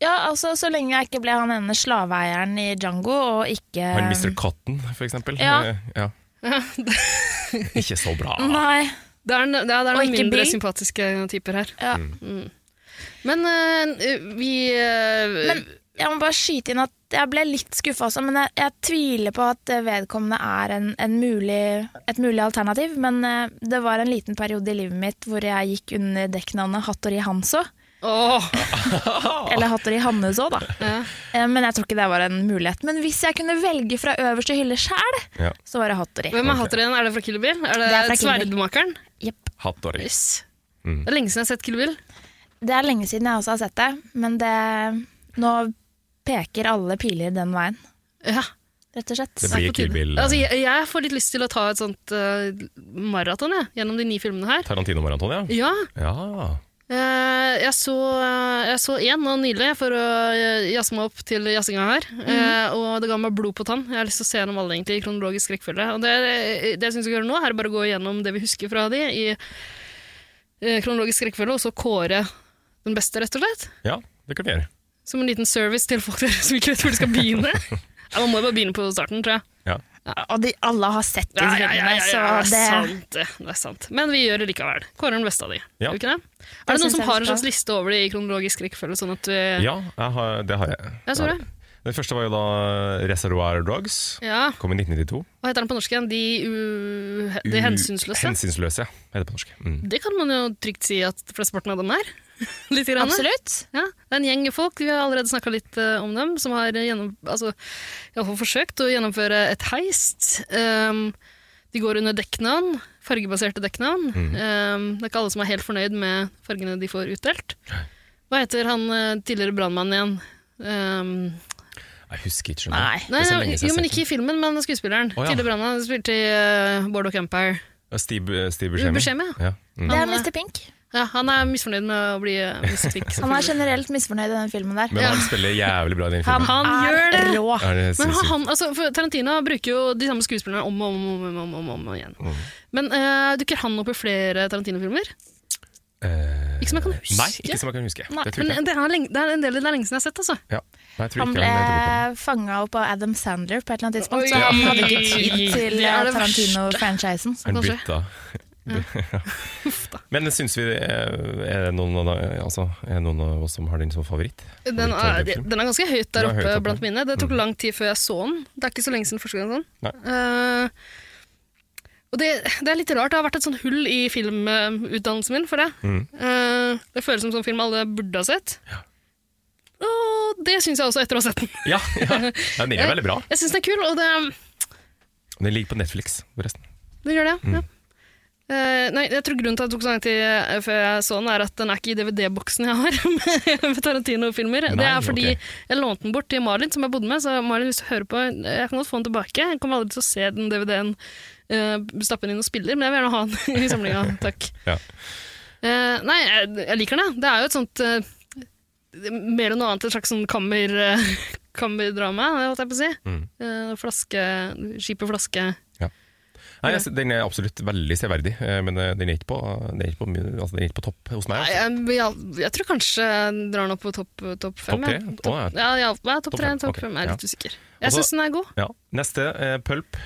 S1: Ja, altså, Så lenge jeg ikke ble han ene slaveeieren i Django og ikke
S3: Eh.
S2: Han Mr. Cotton, for eksempel.
S1: Ja.
S2: Eh, ja. Ikke så bra.
S1: Nei.
S3: Det er, no- det er, det er
S1: Og
S3: noen
S1: ikke
S3: mindre
S1: Bill.
S3: sympatiske typer her.
S1: Ja.
S3: Mm. Men eh, vi eh,
S1: Men jeg må bare skyte inn at jeg ble litt skuffa også, men jeg, jeg tviler på at eh, vedkommende er en, en mulig, et mulig alternativ. Men eh, det var en liten periode i livet mitt hvor jeg gikk under dekknavnet Hattori Hanså.
S3: Åh!
S1: Eller Hattori Hanneså, da. Eh, Men jeg tror ikke det var en mulighet. Men hvis jeg kunne velge fra øverste hylle sjæl,
S2: Ja.
S1: så var det Hattori.
S3: Hvem er hatteren? Er det fra Kill Bill? Er det,
S1: Det er fra Kill Bill.
S3: Sverdmakeren?
S1: Jepp.
S2: Hattori.
S3: Yes.
S2: Mm.
S3: Det er lenge siden jeg har sett Kill Bill.
S1: Det er lenge siden jeg også har sett det, men det Nå peker alle piler den veien,
S3: Ja,
S1: rett og slett.
S2: Det blir
S3: på tide.
S2: Kill Bill, eh,
S3: Altså, jeg, jeg får litt lyst til å ta et sånt eh, maraton jeg, gjennom de ni filmene her.
S2: Tarantino-maraton, ja.
S3: Ja,
S2: Ja,
S3: Eh, Jeg så, eh, jeg så én nå nylig for å eh, jazze meg opp til jazzinga her. Eh, Og det ga meg blod på tann. Jeg har lyst til å se gjennom alle egentlig i kronologisk rekkefølge. Og det, det jeg syns vi skal gjøre nå, er bare å gå gjennom det vi husker fra de i eh, kronologisk rekkefølge, og så kåre den beste, rett og slett.
S2: Ja, det kan vi gjøre.
S3: Som en liten service til folk der som ikke vet hvor de skal begynne. ja, man må jo bare begynne på starten, tror jeg.
S2: Ja.
S1: Og de, alle har sett disse
S3: Ja, ja, ja,
S1: filmene,
S3: ja,
S1: så
S3: ja, sånn. det
S1: det
S3: er sant. Det Det er sant. Men vi gjør det likevel. Kårer den beste av de.
S2: Ja.
S3: Gjør vi ikke det? Er det
S1: synes
S3: noen som
S1: jeg
S3: har
S1: vi
S3: en
S1: skal.
S3: slags liste over det i kronologisk rekkefølge, sånn at vi
S2: Ja, jeg har, det har jeg.
S3: Jeg så det.
S2: Den første var jo da eh, Reservoir Dogs.
S3: Ja,
S2: Kom i 1992.
S3: Hva heter den på norsk igjen? De, u... de hensynsløse?
S2: Hensynsløse, ja. Heter det på norsk. Mm.
S3: Det kan man jo trygt si at flesteparten av dem er. Litt
S1: er
S3: grann.
S1: Absolutt.
S3: Ja, det er en gjeng folk, vi har allerede snakka litt eh, om dem, som har gjennom, altså, i alle fall forsøkt å gjennomføre et heist. Um, de går under dekknavn, fargebaserte dekknavn.
S2: Mhm.
S3: Um, det er ikke alle som er helt fornøyd med fargene de får utdelt. Hva heter han eh, tidligere brannmannen igjen? Um,
S2: Jeg husker ikke. skjønner
S1: Nei.
S2: jeg.
S3: nei,
S2: Det er så
S3: nei,
S2: lenge siden jeg
S3: jo,
S2: har sett
S3: men
S2: den.
S3: ikke i filmen, men skuespilleren.
S2: Å, ja.
S3: Tidligere brannmann spilte i uh, Boardwalk Empire.
S2: Steve, eh, Steve Buscemi.
S3: Buscemi,
S2: ja. Mm.
S1: Det er
S3: Han, eh,
S1: Mr. Pink.
S3: Ja, han er misfornøyd med å bli eh, Mr. Pink.
S1: Han er generelt misfornøyd i den filmen der.
S2: Men han spiller jævlig bra i den
S1: Han,
S2: filmen.
S3: Han
S1: er
S3: gjør det.
S1: rå.
S2: Er det
S3: Men har
S2: sinnssykt?
S3: han, altså, for Tarantino bruker jo de samme skuespillerne om og om, og om, og om, og om, og om igjen.
S2: Mm.
S3: Men eh, dukker han opp i flere Tarantino-filmer?
S2: Eh,
S3: Ikke som jeg kan huske.
S2: Nei, ikke som jeg kan huske. Det tror jeg
S3: Men
S2: ikke.
S3: det er, lenge, det er en del det er lenge siden jeg har sett, altså.
S2: Ja. Nei, jeg tror
S1: Han
S2: ikke
S1: ble
S2: han-
S1: fanga opp av Adam Sandler på et eller annet tidspunkt, så
S3: Oi.
S1: han hadde ikke tid til eh,
S3: Det er det
S1: Tarantino-franchisen.
S2: Han
S3: kanskje.
S2: bytta. Men syns vi eh, Er det noen av, altså, er det noen av oss som har den som favoritt?
S3: Den er,
S2: Favoritt Tarantino-film?
S3: den er ganske høyt
S2: Den
S3: der
S2: er høyt
S3: oppe
S2: oppe. Mm.
S3: blant mine. Det tok lang tid før jeg så den. Det er ikke så lenge siden første gang jeg så den. Eh, og det, det er litt rart. Det har vært et sånn hull i filmutdannelsen min for det.
S2: Mm.
S3: Eh, det føles som sånn film alle burde ha sett. Og det syns jeg også etter å ha sett den.
S2: Ja, ja. Den er veldig bra.
S3: Jeg syns den er kul, og det er
S2: Den ligger på Netflix, forresten.
S3: Den gjør det,
S2: Mm.
S3: ja. Eh, nei, jeg tror grunnen til at det tok så lang tid eh, før jeg så den, er at den er ikke i DVD-boksen jeg har med- med Tarantino-filmer. Det
S2: Nei,
S3: er fordi
S2: ok.
S3: jeg lånte den bort til Malin, som jeg bodde med. Så Malin, hvis du hører på, jeg kan godt få den tilbake. Jeg kommer aldri til å se den DVD-en, eh, stappe den inn og spille, men jeg vil gjerne ha den i samlinga. Takk.
S2: Ja.
S3: Eh, nei, jeg, jeg liker den, jeg. Det er jo et sånt eh, Mer enn noe annet, et slags sånn kammer, eh, kammerdrama, holdt jeg på å si.
S2: Mm.
S3: Eh, flaske, skip og flaske.
S2: Nei, jeg, den er absolutt veldig severdig, eh, men eh, den er ikke på, den er ikke på, min- altså, den er ikke på topp hos meg.
S3: Nei,
S2: Altså.
S3: jeg, jeg, jeg tror kanskje jeg drar den opp på topp, topp fem.
S2: Topp tre?
S3: jeg.
S2: Å, ja.
S3: Topp, ja, ja, ja, topp
S2: Topp
S3: tre,
S2: fem,
S3: topp
S2: ok,
S3: fem. Jeg er
S2: ja.
S3: litt usikker.
S2: Og
S3: Jeg
S2: så-
S3: syns den er god.
S2: Ja. Neste, eh, Pulp.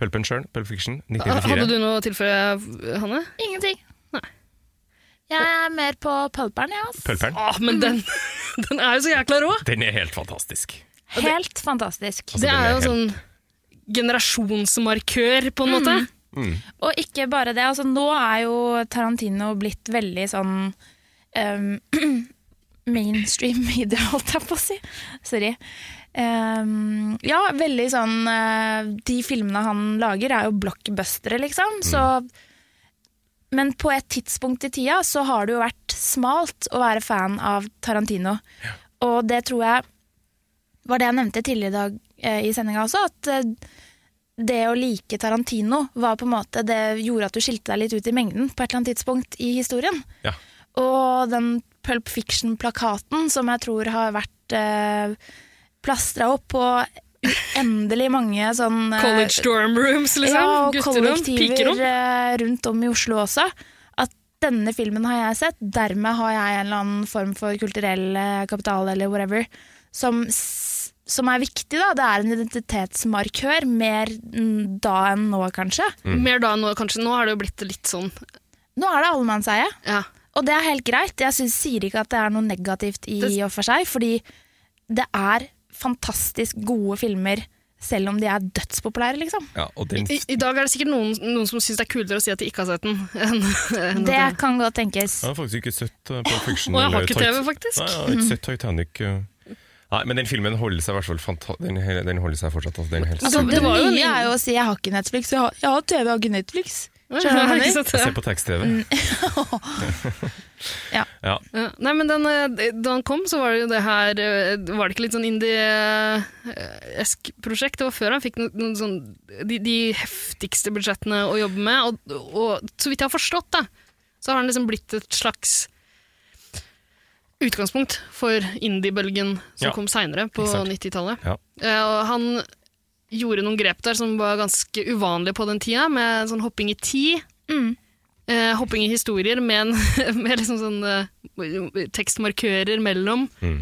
S2: Pulp and Churn, Pulp Fiction,
S3: Ah, Hadde
S2: 1994.
S3: du noe å tilføye, Hanne?
S1: Ingenting.
S3: Nei.
S1: Jeg er mer på pulperen, jeg. ass.
S2: Pulperen.
S3: Å, Ah, men den, den er jo så jækla rå!
S2: Den er helt fantastisk.
S1: Helt fantastisk.
S2: Altså,
S3: Det
S2: den
S3: er
S2: er
S3: jo sånn generasjonsmarkør, på en
S1: Mm.
S3: måte.
S1: Og ikke bare det. Altså, nå er jo Tarantino blitt veldig sånn ehm, mainstream media, holdt jeg på å si. Sorry. Ehm, ja, veldig sånn eh, De filmene han lager, er jo blockbustere, liksom. Så Men på et tidspunkt i tida så har det jo vært smalt å være fan av Tarantino. Og det tror jeg var det jeg nevnte tidligere i dag eh, i sendinga også, at eh, det å like Tarantino var på en måte det gjorde at du skilte deg litt ut i mengden på et eller annet tidspunkt i historien.
S2: Ja.
S1: Og den Pulp Fiction-plakaten som jeg tror har vært eh, plastra opp på uendelig mange sånn eh,
S3: College dorm rooms, liksom.
S1: ja, og
S3: Gutterom,
S1: kollektiver
S3: pikerom.
S1: eh, rundt om i Oslo også. At denne filmen har jeg sett, dermed har jeg en eller annen form for kulturell eh, kapital eller whatever, som, s- som er viktig. da. Det er en identitetsmarkør, mer mm, da enn nå, kanskje.
S2: Mm.
S3: Mer da nå, kanskje. Nå har det jo blitt litt sånn.
S1: Nå er det allemannseie,
S3: Ja.
S1: og det er helt greit. Jeg synes, sier ikke at det er noe negativt i
S3: Det-
S1: og for seg, fordi det er fantastisk gode filmer, selv om de er dødspopulære, liksom.
S2: Ja, og den,
S3: I, I dag er det sikkert noen, noen som syns det er kulere å si at de ikke har sett den. enn- enn at
S1: Det kan godt tenkes.
S2: jeg har faktisk ikke sett eh, Pulp Fiction.
S3: Og jeg har
S2: eller
S3: ikke
S2: Titan-
S3: TV, faktisk.
S2: Nei, jeg har ikke sett Titanic. eh. Nei, men den filmen holder seg i hvert fall fanta den, he- den holder seg fortsatt. Altså, den er helt
S3: Altså,
S2: super.
S1: det
S3: det var jo en
S1: nye
S3: liten-
S1: er jo å si 'jeg har ikke Netflix', jeg har, jeg har TV, jeg har ikke Netflix. Skjønner du hva jeg
S3: Ikke
S1: mener?
S3: sant?
S2: Se på tekst-TV.
S1: Ja.
S2: ja.
S3: Mm. Ja, nei, men den, eh, da han kom, så var det jo det her eh, Var det ikke litt sånn indie-esk prosjekt? Det var før han fikk no- noen sånn, de, de heftigste budsjettene å jobbe med. Og, og så vidt jeg har forstått, da, så har han liksom blitt et slags utgangspunkt for indie-bølgen som
S2: Ja,
S3: kom seinere, på
S2: ikke sant.
S3: 90-tallet.
S2: Ja.
S3: Eh, og han gjorde noen grep der som var ganske uvanlige på den tida, med sånn hopping i tid. Eh, hopping i historier med, en, med liksom sånn eh, tekstmarkører mellom.
S2: Mm.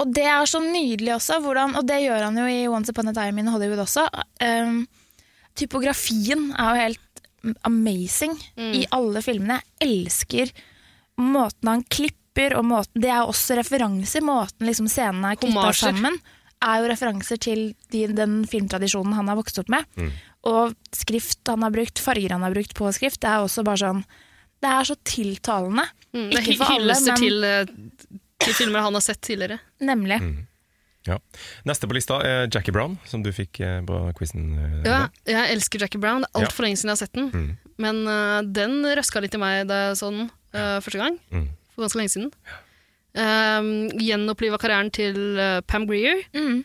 S1: Og det er så nydelig også, hvordan, og det gjør han jo i Once Upon a Time in Hollywood også. Ehm, typografien er jo helt amazing
S3: Mm.
S1: i alle filmene. Jeg elsker måten han klipper, og måten, det er jo også referanser. Måten liksom scenene er knytta
S3: Hommasjer.
S1: sammen, er jo referanser til de, den filmtradisjonen han har vokst opp med. Og skrift han har brukt, farger han har brukt på skrift, det er også bare sånn Det er så tiltalende.
S3: Mm, det er hy- hyllester til, eh, til filmer han har sett tidligere.
S1: Nemlig.
S2: Ja. Neste på lista er Jackie Brown, som du fikk eh, på quizen.
S3: Ja, jeg elsker Jackie Brown. Det
S2: Ja.
S3: er
S2: Mm.
S3: altfor lenge siden jeg har sett den. Men eh, den røska litt i meg da jeg så den eh, første gang.
S2: Mm.
S3: For ganske lenge siden. Um, Gjenoppliva karrieren til eh, Pam Greer.
S2: Mm.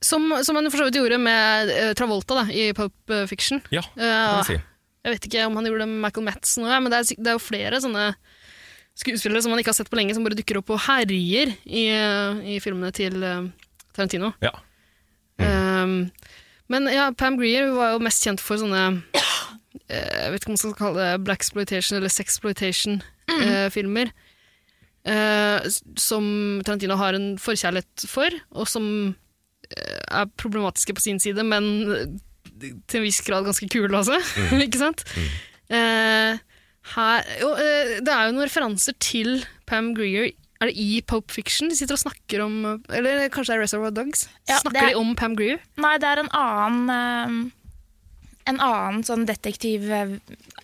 S3: Som, som han for så vidt gjorde med eh, Travolta da, i Pulp eh, Fiction.
S2: Ja, det kan
S3: Eh,
S2: vi si.
S3: Jeg vet ikke om han gjorde det med Michael Madsen òg, men det er, sik- det er jo flere sånne skuespillere som man ikke har sett på lenge, som bare dukker opp og herjer i, eh, i filmene til eh, Tarantino.
S2: Ja.
S3: Um, men ja, Pam Greer hun var jo mest kjent for sånne eh, Jeg vet ikke om man skal kalle det blaxploitation eller
S1: Mm.
S3: eh, sexploitation-filmer. eh, som Tarantino har en forkjærlighet for, og som eh, er problematiske på sin side, men eh, til en viss grad ganske kule, altså. ikke sant? Eh, her, jo, eh, det er jo noen referanser til Pam Greer. Er det i Pope Fiction? De sitter og snakker om Eller kanskje det er Reservoir Dogs?
S1: Ja,
S3: snakker
S1: det er-
S3: de om Pam Greer?
S1: Nei, det er en annen eh, En annen sånn detektiv eh,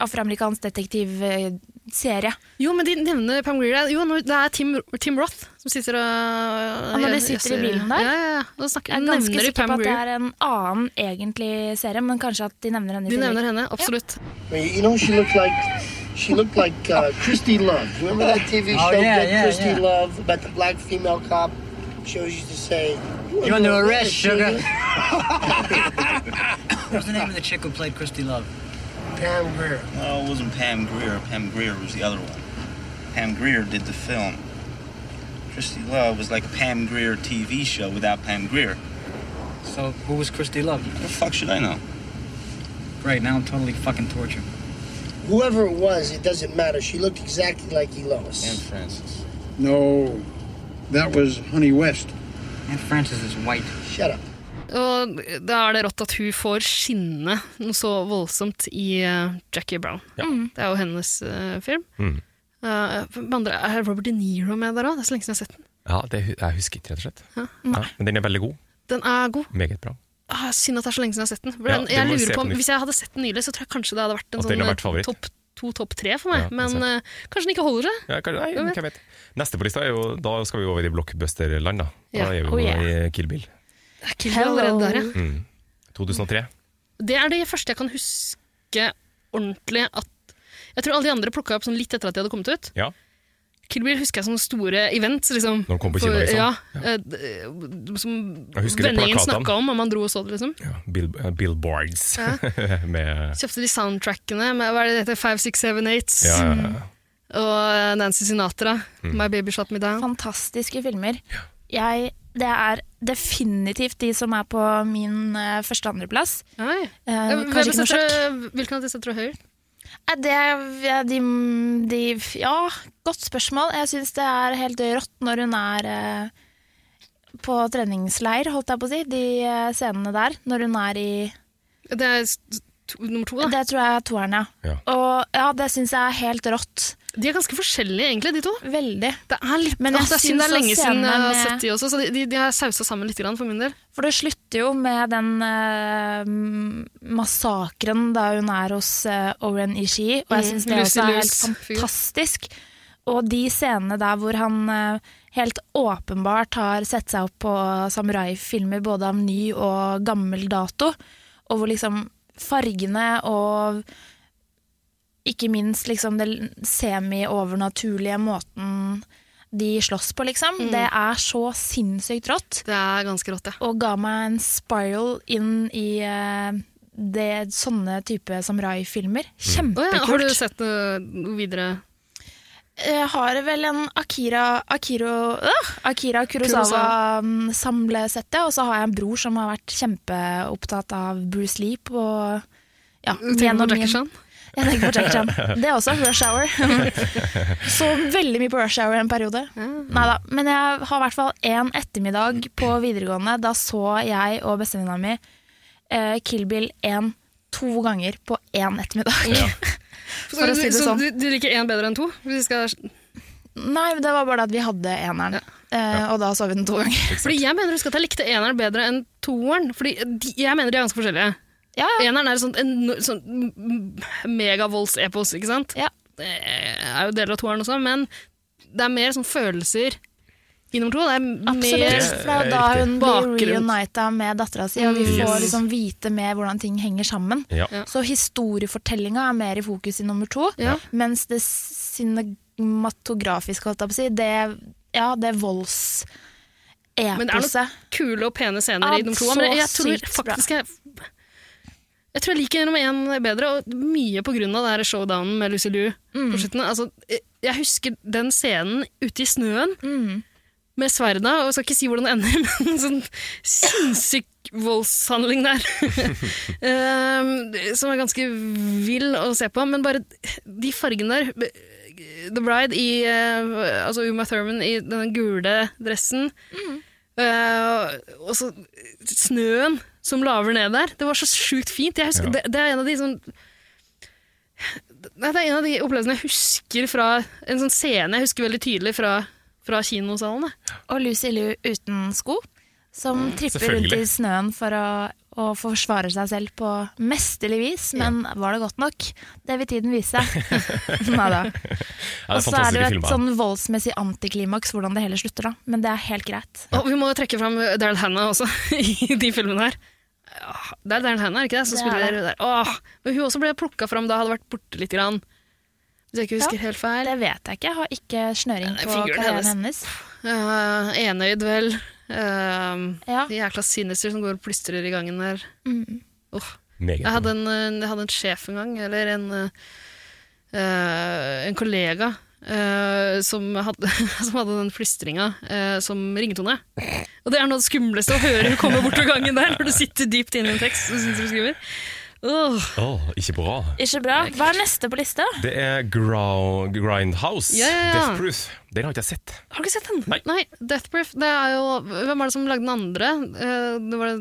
S1: Afroamerikansk eh, detektivserie.
S3: Jo, men de nevner Pam Greer. Jo, nå- det er Tim, Tim Roth som sitter og
S1: Ja, når de sitter i bilen der?
S3: Ja, ja, ja. Da snakker,
S1: Jeg er ganske
S3: nevner de
S1: sikker
S3: Pam
S1: på at det
S3: Greer.
S1: er en annen egentlig serie, men kanskje at de nevner henne i
S3: De
S1: tillegg.
S3: nevner henne, absolutt.
S8: I mean, you know, she looked like she looked like uh, Christy Love. Remember that TV
S12: Oh,
S8: show,
S12: yeah,
S8: Good
S12: yeah,
S8: Christy
S12: yeah.
S8: Love, about the black female cop? She always used to say,
S12: You're under arrest, sugar."
S8: What's the name of the chick who played Christy Love?
S12: Pam Greer. No, it wasn't Pam Greer. Pam Greer was the other one. Pam Greer did the film. Christy Love was like a Pam Greer TV show without Pam Greer.
S8: So who was Christy Love?
S12: The fuck should I know?
S8: Great, now I'm totally fucking tortured. Whoever it was, it doesn't matter. She looked exactly like E. Elois.
S12: Anne Francis.
S8: No, that was Honey West. Aunt Frances is white. Shut up.
S3: Og da er det rått at hun får skinne noe så voldsomt i eh, Jackie Brown.
S1: Mm.
S3: Det er jo hennes eh, film.
S2: Mm.
S3: Eh, med andre, er Robert De Niro med der òg? Det er så lenge siden jeg har sett den.
S2: ja det, hu- jeg husker ikke, rett og slett.
S3: Ja.
S2: Ja, men den er veldig god.
S3: Den er god.
S2: Meget bra.
S3: Ah, synd at det er så lenge siden jeg har sett den. For
S2: Ja,
S3: den
S2: det
S3: jeg
S2: må vi se
S3: lurer på om,
S2: på nytt.
S3: Hvis jeg hadde sett den nylig, så tror jeg kanskje det hadde vært en
S2: At den har vært
S3: sånn eh,
S2: favoritt.
S3: topp to, topp tre for meg.
S2: Ja,
S3: men
S2: sant.
S3: eh, kanskje den ikke holder seg.
S2: Ja, kanskje, nei,
S3: Hvem vet?
S2: hvem vet. Neste på lista er jo Da skal vi over i blockbuster-land, da.
S3: Ja.
S2: Da er vi
S3: Oh,
S2: jo
S3: yeah.
S2: i Kill Bill.
S3: Det er ikke allerede der, ja.
S2: Mm. 2003.
S3: Det er det første jeg kan huske ordentlig at Jeg tror alle de andre plukka opp sånn litt etter at de hadde kommet ut.
S2: Ja.
S3: Kill Bill husker jeg som store events. Liksom,
S2: Når den kom på kino, liksom.
S3: Ja, eh, d- Som
S2: Jeg husker de
S3: vendingen
S2: plakatene.
S3: snakka om, og man dro og så det, liksom.
S2: Bill, eh, billboards.
S3: Ja.
S2: Med
S3: Kjøpte de soundtrackene med hva er det det heter, Five, Six, Seven, Eights
S2: ja, ja, ja.
S3: og eh, Nancy Sinatra.
S2: Mm.
S3: My Baby Shot Me Down.
S1: Fantastiske filmer. Jeg, det er definitivt de som er på min eh, første- og andreplass.
S3: Nei.
S1: Eh,
S3: Hvem
S1: kanskje ikke noe
S3: setter-
S1: sjokk.
S3: Hvilken av de setter du høyere?
S1: Er Det, ja, de, de, ja, godt spørsmål. Jeg syns det er helt rått når hun er eh, på treningsleir, holdt jeg på å si. De eh, scenene der. Når hun er i
S3: Det er s- to, nummer to, da.
S1: Det tror jeg er toeren, ja.
S2: Ja.
S1: Og ja, det syns jeg er helt rått.
S3: De er ganske forskjellige, egentlig, de to.
S1: Veldig.
S3: Det er litt
S1: Men jeg
S3: Åh, det er synd
S1: syns
S3: det er lenge
S1: også
S3: siden jeg har
S1: scenene med-
S3: sett de også, så de, de, de er sausa sammen litt grann, for min del.
S1: For det slutter jo med den eh, m- massakren da hun er hos eh, Oren Ishii, og jeg
S3: Mm,
S1: syns det
S3: Lucy
S1: også er helt
S3: Liu's fyr.
S1: fantastisk. Og de scenene der hvor han eh, helt åpenbart har sett seg opp på samuraifilmer både av ny og gammel dato, og hvor liksom fargene og ikke minst liksom den semi-overnaturlige måten de slåss på, liksom. Det er så sinnssykt rått
S3: Det er ganske rått, ja.
S1: og ga meg en spiral inn i eh, det, sånne type samurai-filmer.
S3: Mm. Å ja, har du eh,
S1: Kjempekult.
S3: sett noe noe videre?
S1: eh, har vel en Akira, Akiro, øh, Akira Kurosawa-samlesette, og så har jeg en bror som har vært kjempeopptatt av Bruce Lee på ja,
S3: Tenker du på
S1: gjennom min-
S3: Jackie Chan?
S1: Jeg tenker på Jackie Chan. Det er også Rush Hour. så veldig mye på Rush Hour en periode. Nei da. Men jeg har i hvert fall en ettermiddag på videregående. Da så jeg og bestevenninna mi eh, Kill Bill 1 to ganger på én ettermiddag. For å si det
S3: så
S1: sånn.
S3: du, du liker én bedre enn to? Hvis vi skal...
S1: Nei, det var bare det at vi hadde eneren, eh, og da så vi den to ganger.
S3: Fordi jeg mener husk at jeg likte eneren bedre enn toeren. Fordi de, jeg mener de er ganske forskjellige. Eneren er et sånt, en, sånn m- megavoldseepos, ikke sant? Det er jo deler av toeren også, men det er mer sånn følelser i nummer to. Det er mer
S1: Absolutt. For det er jo da hun blir reunita med dattera si, og vi
S3: Mm.
S1: får
S3: Yes.
S1: liksom vite mer hvordan ting henger sammen.
S3: Ja. Ja.
S1: Så historiefortellinga er mer i fokus i nummer to, mens det cinematografiske, holdt jeg på å si, det, ja, det
S3: Men det er
S1: voldseposet.
S3: noen kule og pene scener
S1: Ja,
S3: i nummer to.
S1: så
S3: Men jeg tror
S1: sykt bra.
S3: faktisk jeg jeg tror jeg liker nummer én bedre, og mye på grunn av det her showdownen med Lucy Liu.
S1: Mm.
S3: på slutten. Altså, jeg- jeg husker den scenen ute i snøen
S1: Mm.
S3: med sverda, og jeg skal ikke si hvordan det ender, men en sånn sinnssyk voldshandling der. um, som er ganske vill å se på, men bare de fargene der eh, The Bride i eh, Altså Uma Thurman i den gule dressen. Eh, og så snøen som laver ned der. Det var så sjukt fint. Jeg husker,
S13: Ja.
S3: det, det er en av de sånn Nei, det er en av de opplevelsene jeg husker fra En sånn scene jeg husker veldig tydelig fra, fra kinosalen.
S1: Og Lucy Liu uten sko, som tripper rundt i
S3: selvfølgelig.
S1: snøen for å, å forsvare seg selv på mesterlig vis. Men var det godt nok? Det vil tiden vise. Nei da.
S2: Ja,
S1: Og så er det jo
S2: det er fantastiske
S1: et
S2: filmer.
S1: sånn voldsmessig antiklimaks hvordan det hele slutter, da. Men det er helt greit.
S3: Og vi må trekke fram Daryl Hannah også, i de filmene her. Åh, Det er Daryl Hannah, er det ikke det? Som
S1: Det er
S3: spiller
S1: det.
S3: der. Åh, men hun også ble plukka fram da, hadde vært borte litt. Grann. Hvis jeg ikke husker helt feil.
S1: Det vet jeg ikke. Jeg har ikke snøring på
S3: figuren
S1: karrieren hennes.
S3: hennes. Eh, enøyd, vel. Uh, Jækla sinister som går og plystrer i gangen der. Åh.
S2: Meget
S3: Jeg hadde, en, eh, jeg hadde en sjef en gang, eller en, eh, eh, en kollega, eh, som, hadde, som hadde den plystringa eh, som ringetone. Og det er noe av det skumleste å høre komme bortover gangen der, når du sitter dypt inne i en tekst og syns du skriver. Åh.
S2: Åh, ikke bra.
S1: Ikke bra. Hva er neste på lista?
S2: Det er Grou- Grindhouse.
S3: Ja, ja, ja.
S2: Death Proof. Den har ikke jeg sett.
S3: Har du ikke sett den?
S2: Nei.
S3: Death Proof, det er jo Hvem er det som lagde den andre? Eh, Det var,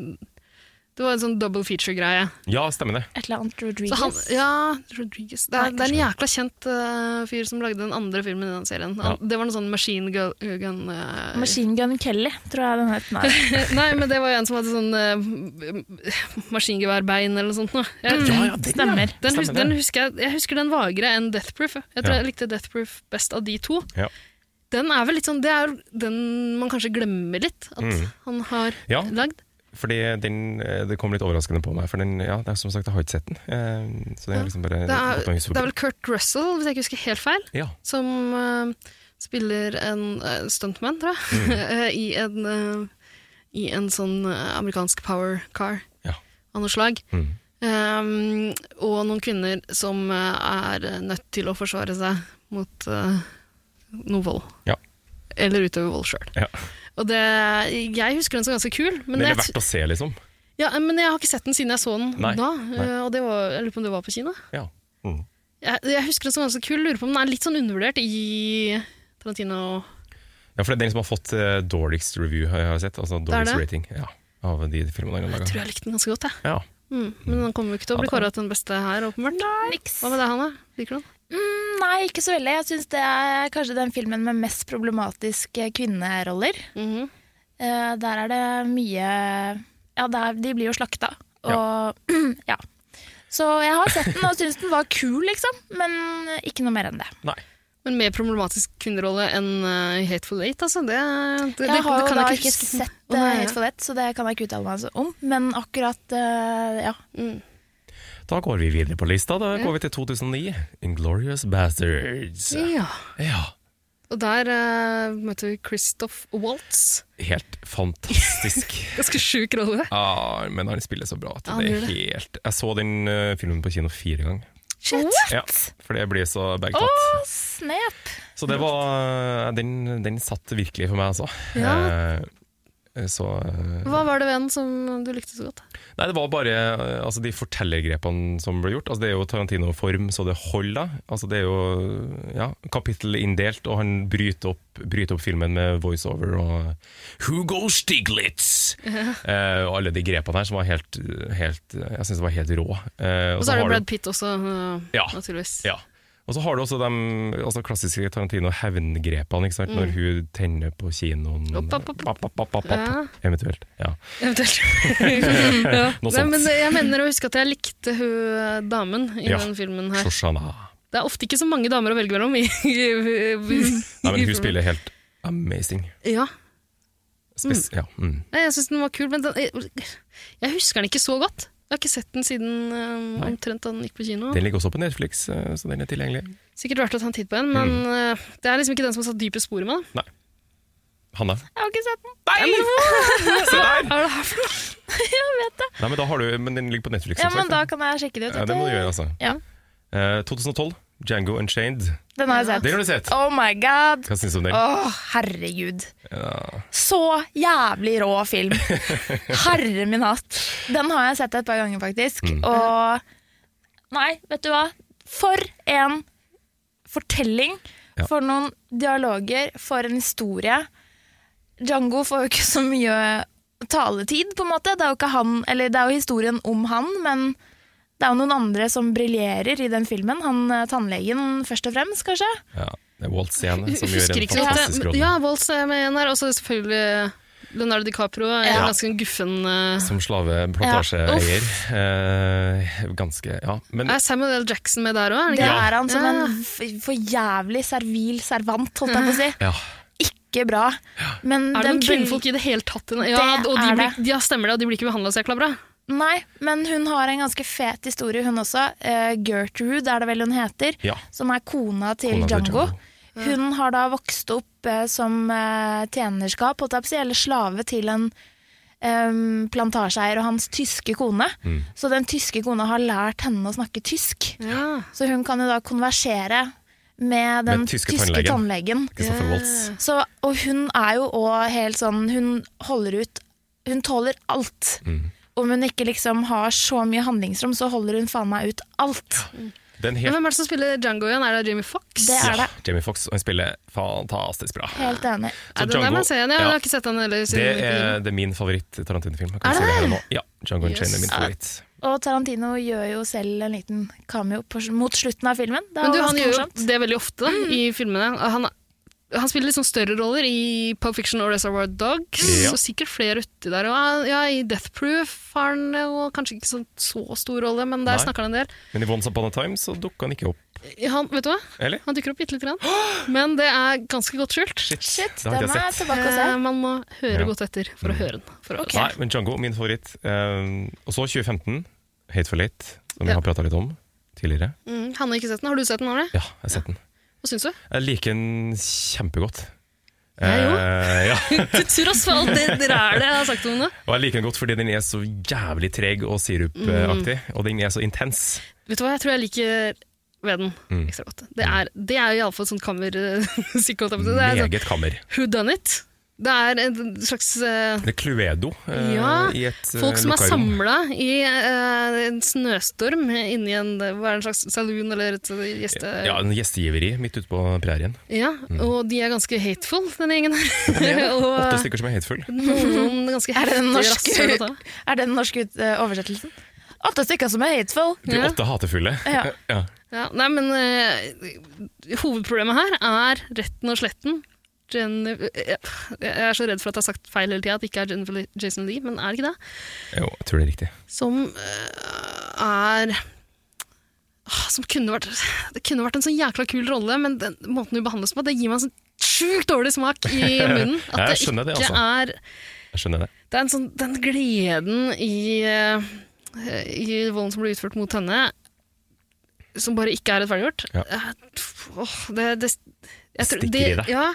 S3: det var en sånn double feature-greie.
S2: Ja, stemmer det.
S1: Et eller annet
S3: Så
S1: Rodriguez.
S3: han, ja, Rodriguez. Det er,
S1: Nei,
S3: det er en jækla kjent eh, fyr som lagde den andre filmen i den serien. Han, Det var noe sånn Machine Gun, gun eh,
S1: Machine Gun Kelly, tror jeg den het. Nei.
S3: Nei, men det var jo en som hadde sånn uh, maskingeværbein eller noe sånt. Nå. Jeg-
S1: Ja, ja, den, Stemmer. ja.
S3: Den, hus,
S1: Stemmer det.
S3: den husker jeg, jeg husker den vagere enn Death Proof. Jeg tror
S2: Ja.
S3: jeg likte Death Proof best av de to.
S2: Ja.
S3: Den er vel litt sånn, Det er jo den man kanskje glemmer litt at
S2: Mm.
S3: han har
S2: Ja.
S3: lagd.
S2: Fordi den, eh, det kom litt overraskende på meg, for den, ja, det er som sagt, jeg har ikke sett den. Eh, Så det er liksom bare
S3: Det er,
S2: gått meg hus
S3: det
S2: forbi.
S3: er vel Kurt Russell, hvis jeg ikke husker helt feil,
S2: Ja.
S3: som eh, spiller en eh, stuntman, tror
S2: Mm.
S3: jeg, eh, i, en, eh, i en sånn eh, amerikansk power car av noe slag.
S2: Mm.
S3: Um, og noen kvinner som eh, er nødt til å forsvare seg mot eh, noe vold.
S2: Ja.
S3: Eller utøve vold sjøl.
S2: Ja.
S3: Og det, jeg husker den som ganske kul, men,
S2: Men det er
S3: jeg,
S2: verdt å se, liksom.
S3: ja, men jeg har ikke sett den siden jeg så den
S2: Nei,
S3: da.
S2: nei.
S3: eh, Og det var, jeg lurer på om det var på kino.
S2: Ja. Mm.
S3: Jeg, jeg husker den som ganske kul. Lurer på om den er litt sånn undervurdert i Tarantino.
S2: ja, for det er den som har fått eh, dårligst review, har jeg sett. Altså
S3: Det er
S2: dårligst
S3: det?
S2: rating ja, av de filmene han
S3: Jeg tror
S2: laga.
S3: jeg likte den ganske godt, jeg.
S2: Ja.
S3: Mm, men den kommer jo ikke til å bli
S2: Ja, da.
S3: kåra til den beste her, åpenbart. Hva med deg, Hanna? Liker du den?
S1: Mm, Nei, ikke så veldig. Jeg syns det er kanskje den filmen med mest problematiske kvinneroller.
S3: Mm.
S1: Eh, der er det mye Ja, der, de blir jo slakta. Og ja. Så jeg har sett den og syns den var kul, liksom. Men ikke noe mer enn det.
S3: Men mer problematisk kvinnerolle enn eh, Hateful Eight, altså. Det, det, det,
S1: jeg har
S3: det
S1: jo
S3: kan
S1: da
S3: jeg
S1: ikke,
S3: ikke huske.
S1: sett
S3: Å, nei,
S1: eh,
S3: ja.
S1: Hate for Lett, så det kan jeg ikke uttale meg så om. Men akkurat eh, ja.
S2: Da går vi videre på lista. Da
S3: Ja.
S2: går vi til 2009. Inglorious Bastards.
S3: Ja.
S2: Ja.
S3: Og der eh, møter vi Christoph Waltz.
S2: Helt fantastisk.
S3: Ganske sjuk rolle.
S2: Ja, men han spiller så bra at
S3: Ja, han
S2: det er
S3: gjør det.
S2: helt Jeg så den eh, filmen på kino fire ganger.
S1: Shit!
S2: Ja, for det blir så
S1: Å,
S2: bagtatt.
S1: snap!
S2: Så det var eh, Den, den satt virkelig for meg, altså.
S3: Ja.
S2: Eh, Så eh,
S3: Hva var det ved den som du likte så godt?
S2: Nei, det var bare eh, altså, de fortellergrepene som ble gjort. Altså, det er jo Tarantino-form så det holder. Altså, det er jo ja, kapittelinndelt, og han bryter opp, bryter opp filmen med voiceover og Hugo Stiglitz!
S3: Ja.
S2: Eh, og alle de grepene her som var helt, helt Jeg syns det var helt rå. Eh,
S3: Og så
S2: har
S3: er det
S2: du-
S3: Brad Pitt også, øh,
S2: Ja.
S3: naturligvis.
S2: ja. Og så har du også de altså klassiske Tarantino-hevngrepene, ikke sant?
S3: Mm.
S2: når hun tenner på kinoen
S3: Opp, opp, opp,
S2: Opp, opp, opp, opp.
S3: Ja.
S2: Eventuelt. Ja.
S3: Eventuelt. ja.
S2: Noe
S3: Nei,
S2: sånt.
S3: men jeg mener å huske at jeg likte hun eh, damen i
S2: Ja.
S3: den filmen her.
S2: Shoshana.
S3: Det er ofte ikke så mange damer å velge mellom. I, i, i,
S2: Nei, men hun spiller helt amazing.
S3: Ja.
S2: Spes ja. Mm.
S3: Nei, Jeg syns den var kul, men den, jeg, jeg husker den ikke så godt. Jeg har ikke sett den siden eh,
S2: Nei.
S3: omtrent da den gikk på kino.
S2: Den ligger også på Netflix, eh, så den er tilgjengelig.
S3: Sikkert verdt å ta en titt på en, men
S2: Mm.
S3: eh, det er liksom ikke den som har satt dypest spor i meg.
S2: Hanne?
S1: Jeg har ikke sett den.
S2: Nei! Se der!
S3: Hva er det her for noe?
S1: jeg vet det.
S2: Nei, men, da har du, men den ligger på Netflix.
S1: Ja,
S2: som
S1: men
S2: sagt,
S1: da kan jeg sjekke det ut.
S2: Ja,
S1: vet
S2: det må du
S1: du.
S2: gjøre, altså.
S1: Ja,
S2: Eh, 2012, Django Unchained.
S1: Den har jeg sett.
S2: Den har du sett.
S1: Oh my god!
S2: Hva syns du om den?
S1: Åh, herregud.
S2: Ja.
S1: Så jævlig rå film. Herre min hatt. Den har jeg sett et par ganger, faktisk.
S2: Mm.
S1: Og Nei, vet du hva? For en fortelling.
S2: Ja.
S1: For noen dialoger. For en historie. Django får jo ikke så mye taletid, på en måte. Det er jo ikke han, eller det er jo historien om han, men det er jo noen andre som briljerer i den filmen. Han eh, tannlegen først og fremst, kanskje.
S2: Ja, det er Walt Scene
S3: Jeg
S2: som gjør
S3: husker
S2: en
S3: ikke så godt.
S2: fantastisk
S3: det.
S2: rolle.
S3: Ja, Waltz er med igjen her. Og så selvfølgelig eh, Leonardo DiCaprio. Er
S2: Ja.
S3: ganske en guffen eh,
S2: Som slaveplantasjeeier. Eh, ganske Ja. Men
S3: Er Samuel L. Jackson med der òg?
S1: Det er han som en f- for jævlig servil servant, holdt jeg på å si.
S2: ja.
S1: Ikke bra. Men
S3: Er det
S1: den
S3: noen
S1: bel-
S3: kvinnfolk i det hele tatt? i den- Ja,
S1: Det
S3: og de
S1: er
S3: blir, ja, stemmer det, og de blir ikke behandla så jækla bra.
S1: Nei, men hun har en ganske fet historie, hun også. Eh, Gertrude er det vel hun heter,
S2: Ja.
S1: som er kona til
S2: Kona til
S1: Django.
S2: Django.
S1: Hun har da vokst opp eh, som eh, tjenerskap, holdt jeg på å si, eller slave til en em, plantasjeeier og hans tyske kone.
S2: Mm.
S1: Så den tyske kona har lært henne å snakke tysk. Så hun kan jo da konversere med den
S2: Med
S1: tyske,
S2: tyske tannlegen.
S1: tannlegen.
S2: Christopher Waltz.
S1: Så, og hun er jo òg helt sånn Hun holder ut Hun tåler alt.
S2: Mm.
S1: Om hun ikke liksom har så mye handlingsrom, så holder hun faen meg ut alt.
S2: Den helt,
S3: Hvem er det som spiller Django igjen? Er det Jamie Fox?
S1: Det er
S2: ja,
S1: det.
S2: Jamie Fox han spiller fantastisk bra.
S1: Helt enig.
S2: Så
S3: Er det den der
S2: Django-
S3: man ser igjen? Ja,
S2: ja.
S3: Jeg har ikke sett den heller
S2: Det
S3: siden
S2: er, det er min favoritt-Tarantino-film. Jeg kan si det her og nå. Ja, Django
S3: Yes.
S2: Unchained er min favoritt.
S1: Og Tarantino gjør jo selv en liten cameo på, mot slutten av filmen. Det er
S3: Men du,
S1: jo
S3: han
S1: ganske
S3: gjør jo
S1: morsomt.
S3: det veldig ofte da, i filmene. Han, han spiller litt sånn større roller i Pulp Fiction og Reservoir Dogs,
S2: Ja.
S3: og sikkert flere uti der. Og, ja, I Death Proof har han jo kanskje ikke sånn, så stor rolle, men der
S2: Nei.
S3: snakker han en del.
S2: Men i Once Upon a Time så dukka han ikke opp.
S3: Han, vet du hva?
S2: Eller?
S3: Han dukker opp bitte lite grann, men det er ganske godt skjult.
S1: Shit,
S2: det har ikke
S1: den er
S2: jeg sett.
S1: tilbake å se.
S3: Eh, man må
S2: Ja.
S3: høre
S2: Mm.
S3: godt etter for å høre den. For å,
S2: Nei, men Django, min favoritt. Eh, og så 2015, Hate for Late, som vi
S3: Ja.
S2: har prata litt om tidligere.
S3: Mm, han har ikke sett den. Har du sett den, Arne?
S2: Ja, jeg har sett den.
S3: Hva syns du?
S2: Jeg liker den kjempegodt.
S3: Jeg jo.
S2: Eh, ja.
S3: Til tross for alt det rælet jeg har sagt om det.
S2: Og jeg liker den godt fordi den er så jævlig treg og sirupaktig,
S3: Mm.
S2: og den er så intens.
S3: Vet du hva jeg tror jeg liker ved den
S2: Mm.
S3: ekstra godt? Det er, det er jo iallfall sånn kammermusikk. holdt jeg på å si. Det er sånn
S2: Meget kammer.
S3: Who done it? Det er en slags eh,
S2: Det er Cluedo eh,
S3: Ja,
S2: i et eh,
S3: folk som er
S2: lukka rom.
S3: samla i eh, en snøstorm inni en, hva er det, en slags saloon eller et eh, gjeste...
S2: Ja, Mm. en gjestgiveri midt ute på prærien.
S3: Ja, og de er ganske hateful, denne gjengen her.
S2: Åtte
S3: og eh,
S2: stykker som er hateful.
S3: noen ganske
S1: Er det den
S3: heftige
S1: norske,
S3: rasshøl å ta.
S1: er det den norske ut- eh, oversettelsen? Åtte stykker som er hateful.
S2: De
S3: Ja.
S2: åtte hatefulle.
S1: Ja.
S2: Ja.
S3: Ja, nei, men eh, hovedproblemet her er retten og sletten. Jenny, jeg jeg er så redd for at jeg har sagt feil hele tida, at det ikke er Jennifer Lee- Jason Lee, men er det ikke det?
S2: Jo, jeg tror det er riktig.
S3: Som eh, er ah, Som kunne vært Det kunne vært en sånn jækla kul rolle, men den måten hun behandles på, det gir meg en sånn sjukt dårlig smak i munnen.
S2: Ja,
S3: At
S2: jeg
S3: det
S2: skjønner
S3: ikke
S2: det, altså.
S3: er
S2: Jeg skjønner det.
S3: Det er en sånn Den gleden i, eh, i volden som blir utført mot henne, som bare ikke er rettferdiggjort
S2: Ja.
S3: eh, pff, åh, det, det, jeg tror-
S2: Stikker i
S3: det-
S2: deg.
S3: Ja,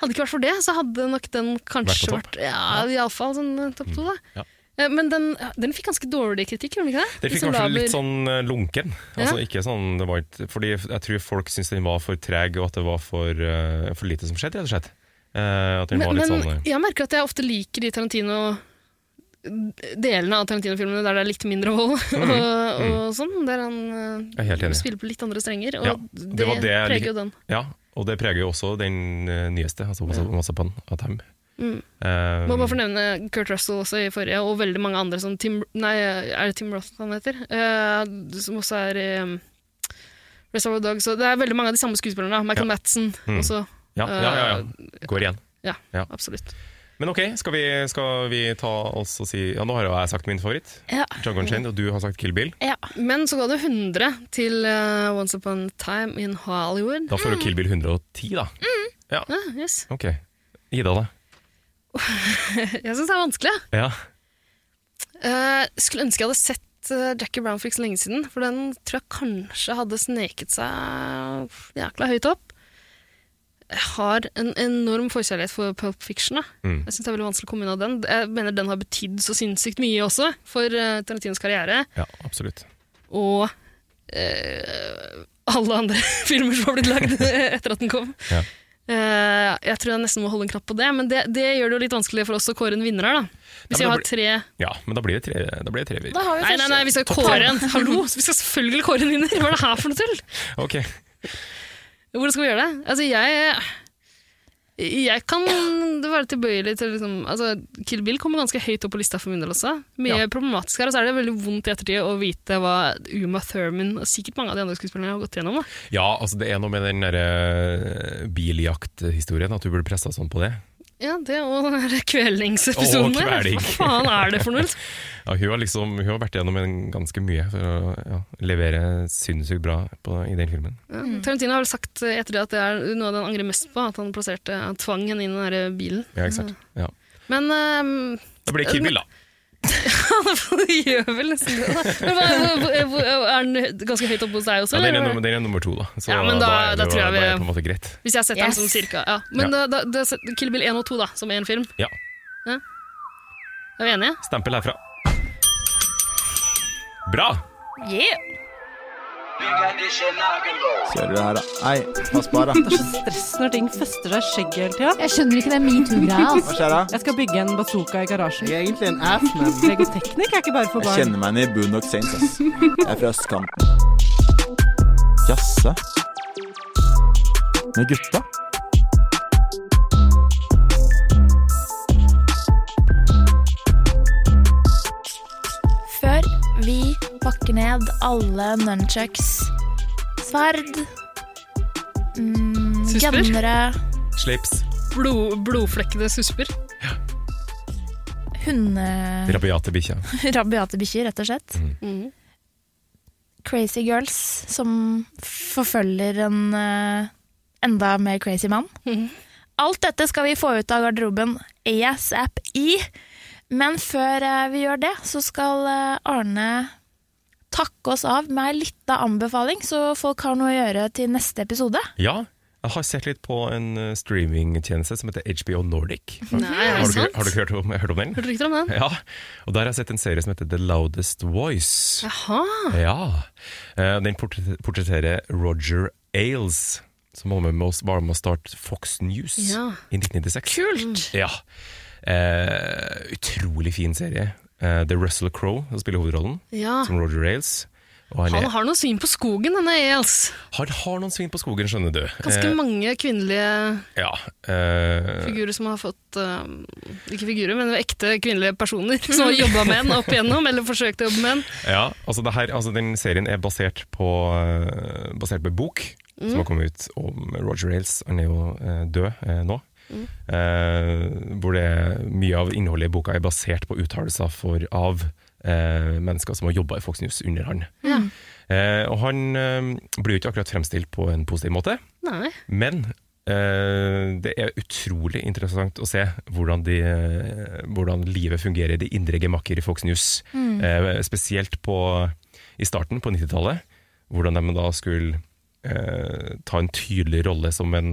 S3: hadde det ikke vært for det, så hadde nok den kanskje
S2: Vært på
S3: vært
S2: topp. Mm,
S3: ja, iallfall sånn eh, topp to. Da.
S2: Ja.
S3: Eh, Men den, den fikk ganske dårlig kritikk, gjorde den ikke det?
S2: Den fikk
S3: Liksom
S2: kanskje
S3: Laber-
S2: litt sånn eh, lunken.
S3: Ja.
S2: Altså, ikke sånn, det var ikke, fordi jeg tror folk syntes den var for treg, og at det var for, eh, for lite som skjedde, rett og slett. Eh, at den var
S3: Men,
S2: litt
S3: men
S2: sånn eh,
S3: jeg merker at jeg ofte liker de Tarantino delene av Tarantino-filmene der det er litt mindre hold
S2: Mm,
S3: og,
S2: mm.
S3: og sånn, der han
S2: Jeg er helt
S3: eh,
S2: enig.
S3: spiller på litt andre strenger. Og
S2: ja,
S3: det,
S2: var det jeg lik-
S3: preger jo den.
S2: Ja, og det preger jo også den eh, nyeste, altså Once Upon- Once Upon a Time.
S3: Mm.
S2: Eh,
S3: Må bare fornevne Kurt Russell også i forrige, og veldig mange andre som Tim Nei, er det Tim Roth han heter? Eh, som også er i um, Reservoir Dogs. og Det er veldig mange av de samme skuespillerne. da. Michael
S2: Ja.
S3: Madsen
S2: Mm.
S3: også. Eh,
S2: ja, ja, ja, ja. Går igjen.
S3: Ja,
S2: Ja.
S3: absolutt.
S2: Men ok, skal vi, skal vi ta oss og si Ja, nå har jo jeg sagt min favoritt.
S3: Ja.
S2: Jungle Unchained, og du har sagt Kill Bill.
S3: Men så ga du 100 til eh, Once Upon a Time in Hollywood.
S2: Da får du Kill Bill 110, da. Ja.
S3: Ja, yes.
S2: Ok. Ida, da?
S3: jeg syns det er vanskelig. ja.
S2: Ja.
S3: Eh, skulle ønske jeg hadde sett eh, Jackie Brown for ikke så lenge siden, for den tror jeg kanskje hadde sneket seg jækla høyt opp. Jeg har en enorm forkjærlighet for Pulp Fiction. Da.
S13: Mm.
S3: Jeg synes det er veldig vanskelig å komme unna den. Jeg mener den har betydd så sinnssykt mye også for eh, Tarantinos karriere,
S2: ja, absolutt.
S3: og eh, alle andre filmer som har blitt lagd etter at den kom.
S2: Ja.
S3: Eh, jeg tror jeg nesten må holde en knapp på det, men det, det gjør det jo litt vanskelig for oss å kåre en vinner her, da. Hvis
S2: Nei, men
S3: jeg
S2: da
S3: har tre
S2: ja, men da blir det tre. Da blir det tre
S3: Nei, nei, nei, vi skal kåre en. Hallo, vi skal selvfølgelig kåre en vinner. Hva er det her for noe tull?
S2: Ok.
S3: Hvordan skal vi gjøre det? Altså, jeg Jeg kan være tilbøyelig til liksom, altså, Kill Bill kommer ganske høyt opp på lista for min del også. Mye
S13: Ja.
S3: problematisk her, og så er det veldig vondt i ettertid å vite hva Uma Thurman og sikkert mange av de andre skuespillerne har gått gjennom. Da.
S2: Ja, altså det er noe med den der eh, biljakthistorien, at du burde pressa sånn på det.
S3: Ja, det og den der kvelingsepisoden
S2: Å,
S3: der.
S2: kveling.
S3: Hva faen er det for noe? liksom?
S2: Ja, hun, har liksom, hun har vært gjennom en ganske mye for å ja, levere sinnssykt bra på, i den filmen.
S3: Ja, Tarantino har vel sagt etter det at det er noe av det han angrer mest på, at han plasserte, han tvang henne inn i den der bilen.
S2: Ja, ikke sant?
S3: Mm.
S2: Ja.
S3: Men ehm,
S2: Da blir det Kill Bill, da.
S3: Det gjør vel nesten det, da. Men hva, hvor- hvor- er den ganske høyt oppe hos deg også?
S2: Ja, den, er
S3: eller?
S2: nummer, den er nummer to, da. Så
S3: Ja, men da-
S2: er
S3: da
S2: det, jo-
S3: tror
S2: da
S3: jeg
S2: er
S3: vi-
S2: det på en måte greit.
S3: Hvis jeg setter
S13: Yes.
S3: den som cirka. Ja. Men
S2: Ja.
S3: Da, da, da, set- Kill Bill 1 og 2 da, som én film.
S2: Ja.
S3: Ja. Er vi enige?
S2: Stempel herfra. Bra!
S14: Kjører det her, da. Nei, pass på her, da.
S13: Stress når ting fester seg i skjegget hele tida.
S15: Jeg skjønner ikke den metoo-greia.
S14: Hva skjer da?
S13: Jeg skal bygge en bazooka i garasjen. Jeg
S14: er egentlig en ass, men
S13: Legoteknikk er ikke bare for
S14: Jeg
S13: barn.
S14: kjenner meg igjen i Boondock Saints, ass. Jeg er fra østkanten. Jasse? Med gutta?
S1: Før vi pakker ned alle nunchucks, sverd, mm,
S3: Susper?
S1: gennere,
S2: Slips.
S3: Blod, blodflekkede susper.
S1: hunde...
S2: Rabiate bikkja.
S1: Rabiate bikkjer, rett og slett.
S2: Mm.
S1: Mm. Crazy girls som forfølger en eh, enda mer crazy mann.
S3: Mm.
S1: Alt dette skal vi få ut av garderoben ASAP i. Men før eh, vi gjør det, så skal eh, Arne takke oss av med ei lita anbefaling, så folk har noe å gjøre til neste episode.
S2: Ja, jeg har sett litt på en eh, streamingtjeneste som heter HBO Nordic.
S1: Nei, er det
S2: har, du,
S1: sant?
S2: har du hørt om, hørt om den?
S3: Hørte rykter om den.
S2: Ja, og der har jeg sett en serie som heter The Loudest Voice.
S3: Jaha.
S2: Ja. Eh, Den portre- portretterer Roger Ailes, som holder med med oss bare med å starte Fox News
S3: Ja.
S2: i 1996.
S3: Kult!
S2: Ja. Eh, utrolig fin serie. Eh, det er Russell Crowe som spiller hovedrollen,
S3: Ja.
S2: som Roger Ailes. Og
S3: Han
S2: er-
S3: har noe svin på skogen, denne Ailes.
S2: han har noen svin på skogen, skjønner du.
S3: Ganske
S2: Eh,
S3: mange kvinnelige
S2: Ja. eh,
S3: figurer som har fått eh, Ikke figurer, men ekte kvinnelige personer som har jobba med den opp igjennom, eller forsøkt å jobbe med den.
S2: Ja, altså, det her, altså den serien er basert på, eh, basert på en bok
S3: Mm.
S2: som har kommet ut om Roger Ailes. Han er jo eh, død eh, nå.
S3: Mm.
S2: Eh, hvor det er mye av innholdet i boka er basert på uttalelser for, av eh, mennesker som har jobba i Fox News under han.
S3: Ja.
S2: Eh, og han eh, blir jo ikke akkurat fremstilt på en positiv måte,
S3: Nei.
S2: men eh, det er utrolig interessant å se hvordan, de, eh, hvordan livet fungerer i de indre gemakker i Fox News.
S16: Mm.
S2: Eh, spesielt på, i starten, på 90-tallet, hvordan de da skulle eh, ta en tydelig rolle som en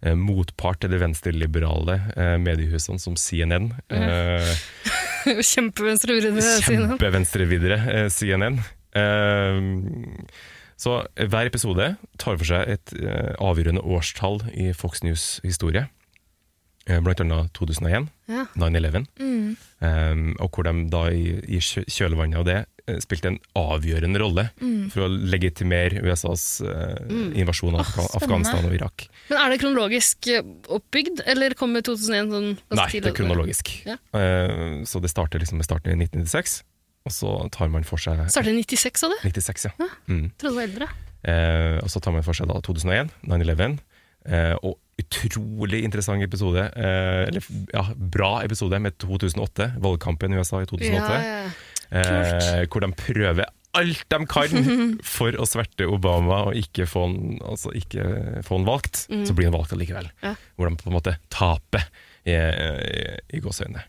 S2: eh, motpart til de venstreliberale eh, mediehusene som CNN. Eh,
S3: Kjempevenstrevidde sine.
S2: Kjempevenstrevidere eh, CNN. Eh, så hver episode tar for seg et eh, avgjørende årstall i Fox News' historie. Eh, blant annet 2001,
S3: Ja.
S2: 9-11.
S3: Mm.
S2: Eh, og hvor de da i, i kjø- kjølvannet av det eh, spilte en avgjørende rolle
S3: Mm.
S2: for å legitimere USAs eh,
S3: Mm.
S2: invasjon av
S3: Åh,
S2: Afga-
S3: spennende.
S2: Afghanistan og Irak.
S3: Men er det kronologisk eh, oppbygd, eller kommer 2001 sånn
S2: Nei,
S3: ganske
S2: det er
S3: tidlig?
S2: kronologisk.
S3: Ja.
S2: Eh, så det starter liksom med starten i 1996, og så tar man for seg
S3: Startet i 96 av det?
S2: 96, ja. Mm.
S3: Jeg trodde det var eldre.
S2: Eh, og så tar man for seg da 2001, 9-11, eh, og utrolig interessant episode, eh, eller ja, bra episode med 2008, valgkampen i USA i 2008,
S3: Ja,
S2: Eh, hvor de prøver alt de kan for å sverte Obama og ikke få han, altså ikke få han valgt,
S15: Mm.
S2: så blir han valgt allikevel.
S15: Ja.
S2: Hvor de på en måte taper i, i, i gåseøynene.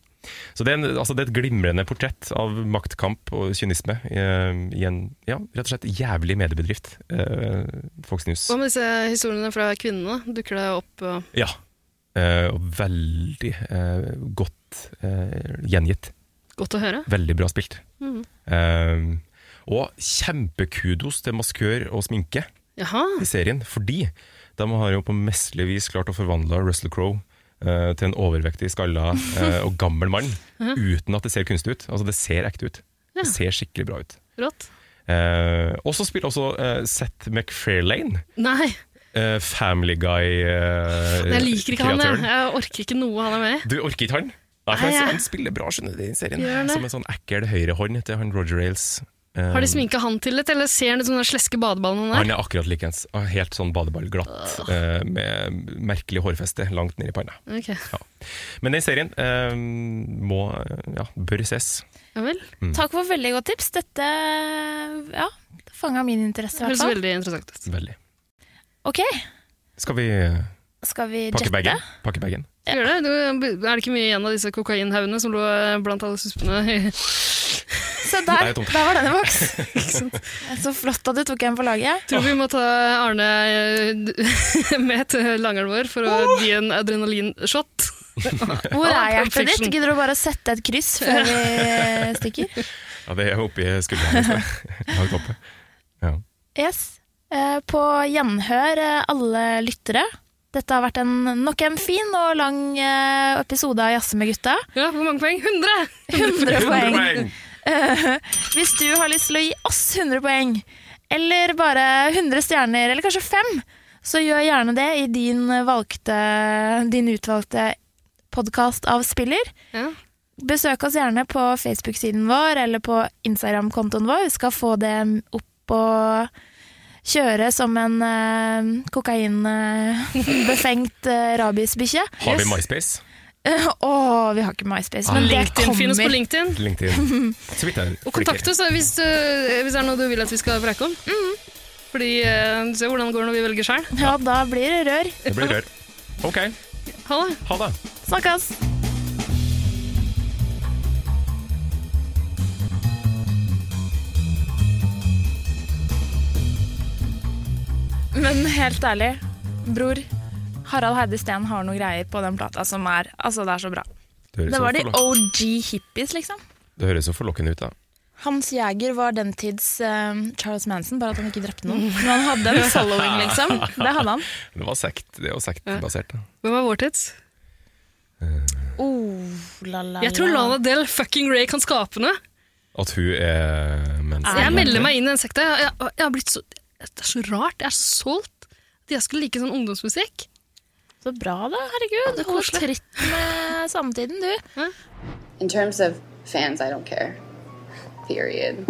S2: Så det er, en, altså det er et glimrende portrett av maktkamp og kynisme i, i en ja, rett og slett jævlig mediebedrift, eh, Fox News.
S3: Hva med disse historiene fra kvinnene? Dukker det opp eh,
S2: Ja. Eh, og veldig eh, godt eh, gjengitt.
S3: godt å høre?
S2: Veldig bra spilt.
S3: Mhm.
S2: Eh, og kjempekudos til maskør og sminke
S3: Jaha.
S2: i serien, fordi de har jo på mestlig vis klart å forvandle Russell Crowe eh, til en overvektig, skalla eh, og gammel mann,
S3: Ja.
S2: uten at det ser kunstig ut. Altså, det ser ekte ut.
S3: Ja.
S2: Det ser skikkelig bra ut.
S3: Rått.
S2: Eh, og så spiller også eh, Seth MacFarlane,
S3: Nei,
S2: eh, Family eh, Guy-kreatøren.
S3: jeg liker ikke han. Jeg. jeg orker ikke noe han er med i.
S2: Du orker ikke han? Nei, for
S3: Nei, jeg-
S2: han, han spiller bra, skjønner du, i den serien.
S3: Gjør han det?
S2: Som en sånn ekkel høyrehånd til han Roger Ailes. Eh,
S3: Har de sminka han til litt, eller ser han ut som den sleske badeballen han
S2: Han
S3: er?
S2: er akkurat likeens. Helt sånn badeballglatt, eh, med merkelig hårfeste langt ned i panna.
S3: Ok,
S2: Men den serien eh, må, ja, bør ses.
S3: ja vel.
S2: Mm.
S1: Takk for veldig godt tips. Dette ja, fanga min interesse. i hvert
S3: Høres
S1: fall.
S3: veldig interessant ut.
S2: Veldig.
S1: Ok,
S2: Skal vi eh,
S1: skal vi
S2: pakke
S1: jette?
S2: bagen? Pakke bagen.
S3: Gjør det? Du, er det ikke mye igjen av disse kokainhaugene som lå eh, blant alle suspene?
S1: Se
S3: Nei,
S1: der,
S3: jeg tok-
S1: der var den i boks. Så flott at du tok en på laget.
S3: Tror vi må ta Arne eh, med til langeren vår for å gi en adrenalinshot.
S1: Hvor er hjertet ditt? Gidder du bare å sette et kryss før vi eh, stikker?
S2: Ja, det er oppi skulderen. Langt oppe. Ja.
S1: Yes. Eh, På gjenhør, eh, alle lyttere. Dette har vært en, nok en fin og lang eh, episode av Jazze med gutta.
S3: Ja, hvor mange poeng? 100!
S1: 100 poeng.
S3: 100 poeng.
S1: Eh, Hvis du har lyst til å gi oss 100 poeng, eller bare 100 stjerner, eller kanskje 5, så gjør gjerne det i din, valgte, din utvalgte podkast av spiller. Besøk oss gjerne på Facebook-siden vår eller på Instagram-kontoen vår. Vi skal få det opp og kjøre som en uh, kokainbefengt uh, rabiesbikkje.
S2: Har vi MySpace?
S1: Eh, Å, vi har ikke MySpace,
S2: Ah.
S1: men det
S2: LinkedIn
S1: kommer.
S3: finnes på LinkedIn.
S2: LinkedIn. Twitter.
S3: Og kontakt oss da, hvis, du, hvis det er noe du vil at vi skal preike om.
S1: Mm.
S3: Fordi eh, du ser hvordan det går når vi velger sjøl.
S1: Ja, da blir det rør.
S2: Det blir rør. Ok,
S3: Ha det.
S2: ha det.
S1: Snakkes! Men helt ærlig, bror. Harald Heide Steen har noen greier på den plata som er Altså, det er så bra.
S2: Det høres
S1: Det var
S2: jo
S1: de
S2: forlo-
S1: OG hippies, liksom.
S2: Det høres jo forlokkende ut, da.
S1: Hans Jæger var den tids eh, Charles Manson, bare at han ikke drepte noen. Men han hadde en following, liksom. Det hadde han.
S2: Det var sekt, det er jo sektbasert. da.
S3: Hvem er vår tids?
S1: Oh, la, la,
S3: Jeg tror Lana Del fucking Ray kan skape noe.
S2: At hun er mens
S3: Så jeg melder meg inn i den sekta. Jeg, jeg, jeg har blitt så, det er så rart. Jeg er så solgt at jeg skulle like sånn ungdomsmusikk.
S1: Så bra, da. Herregud.
S3: det er
S1: Hold
S3: koselig.
S1: tritt med samtiden, du.
S16: In terms of fans, I don't care. Period.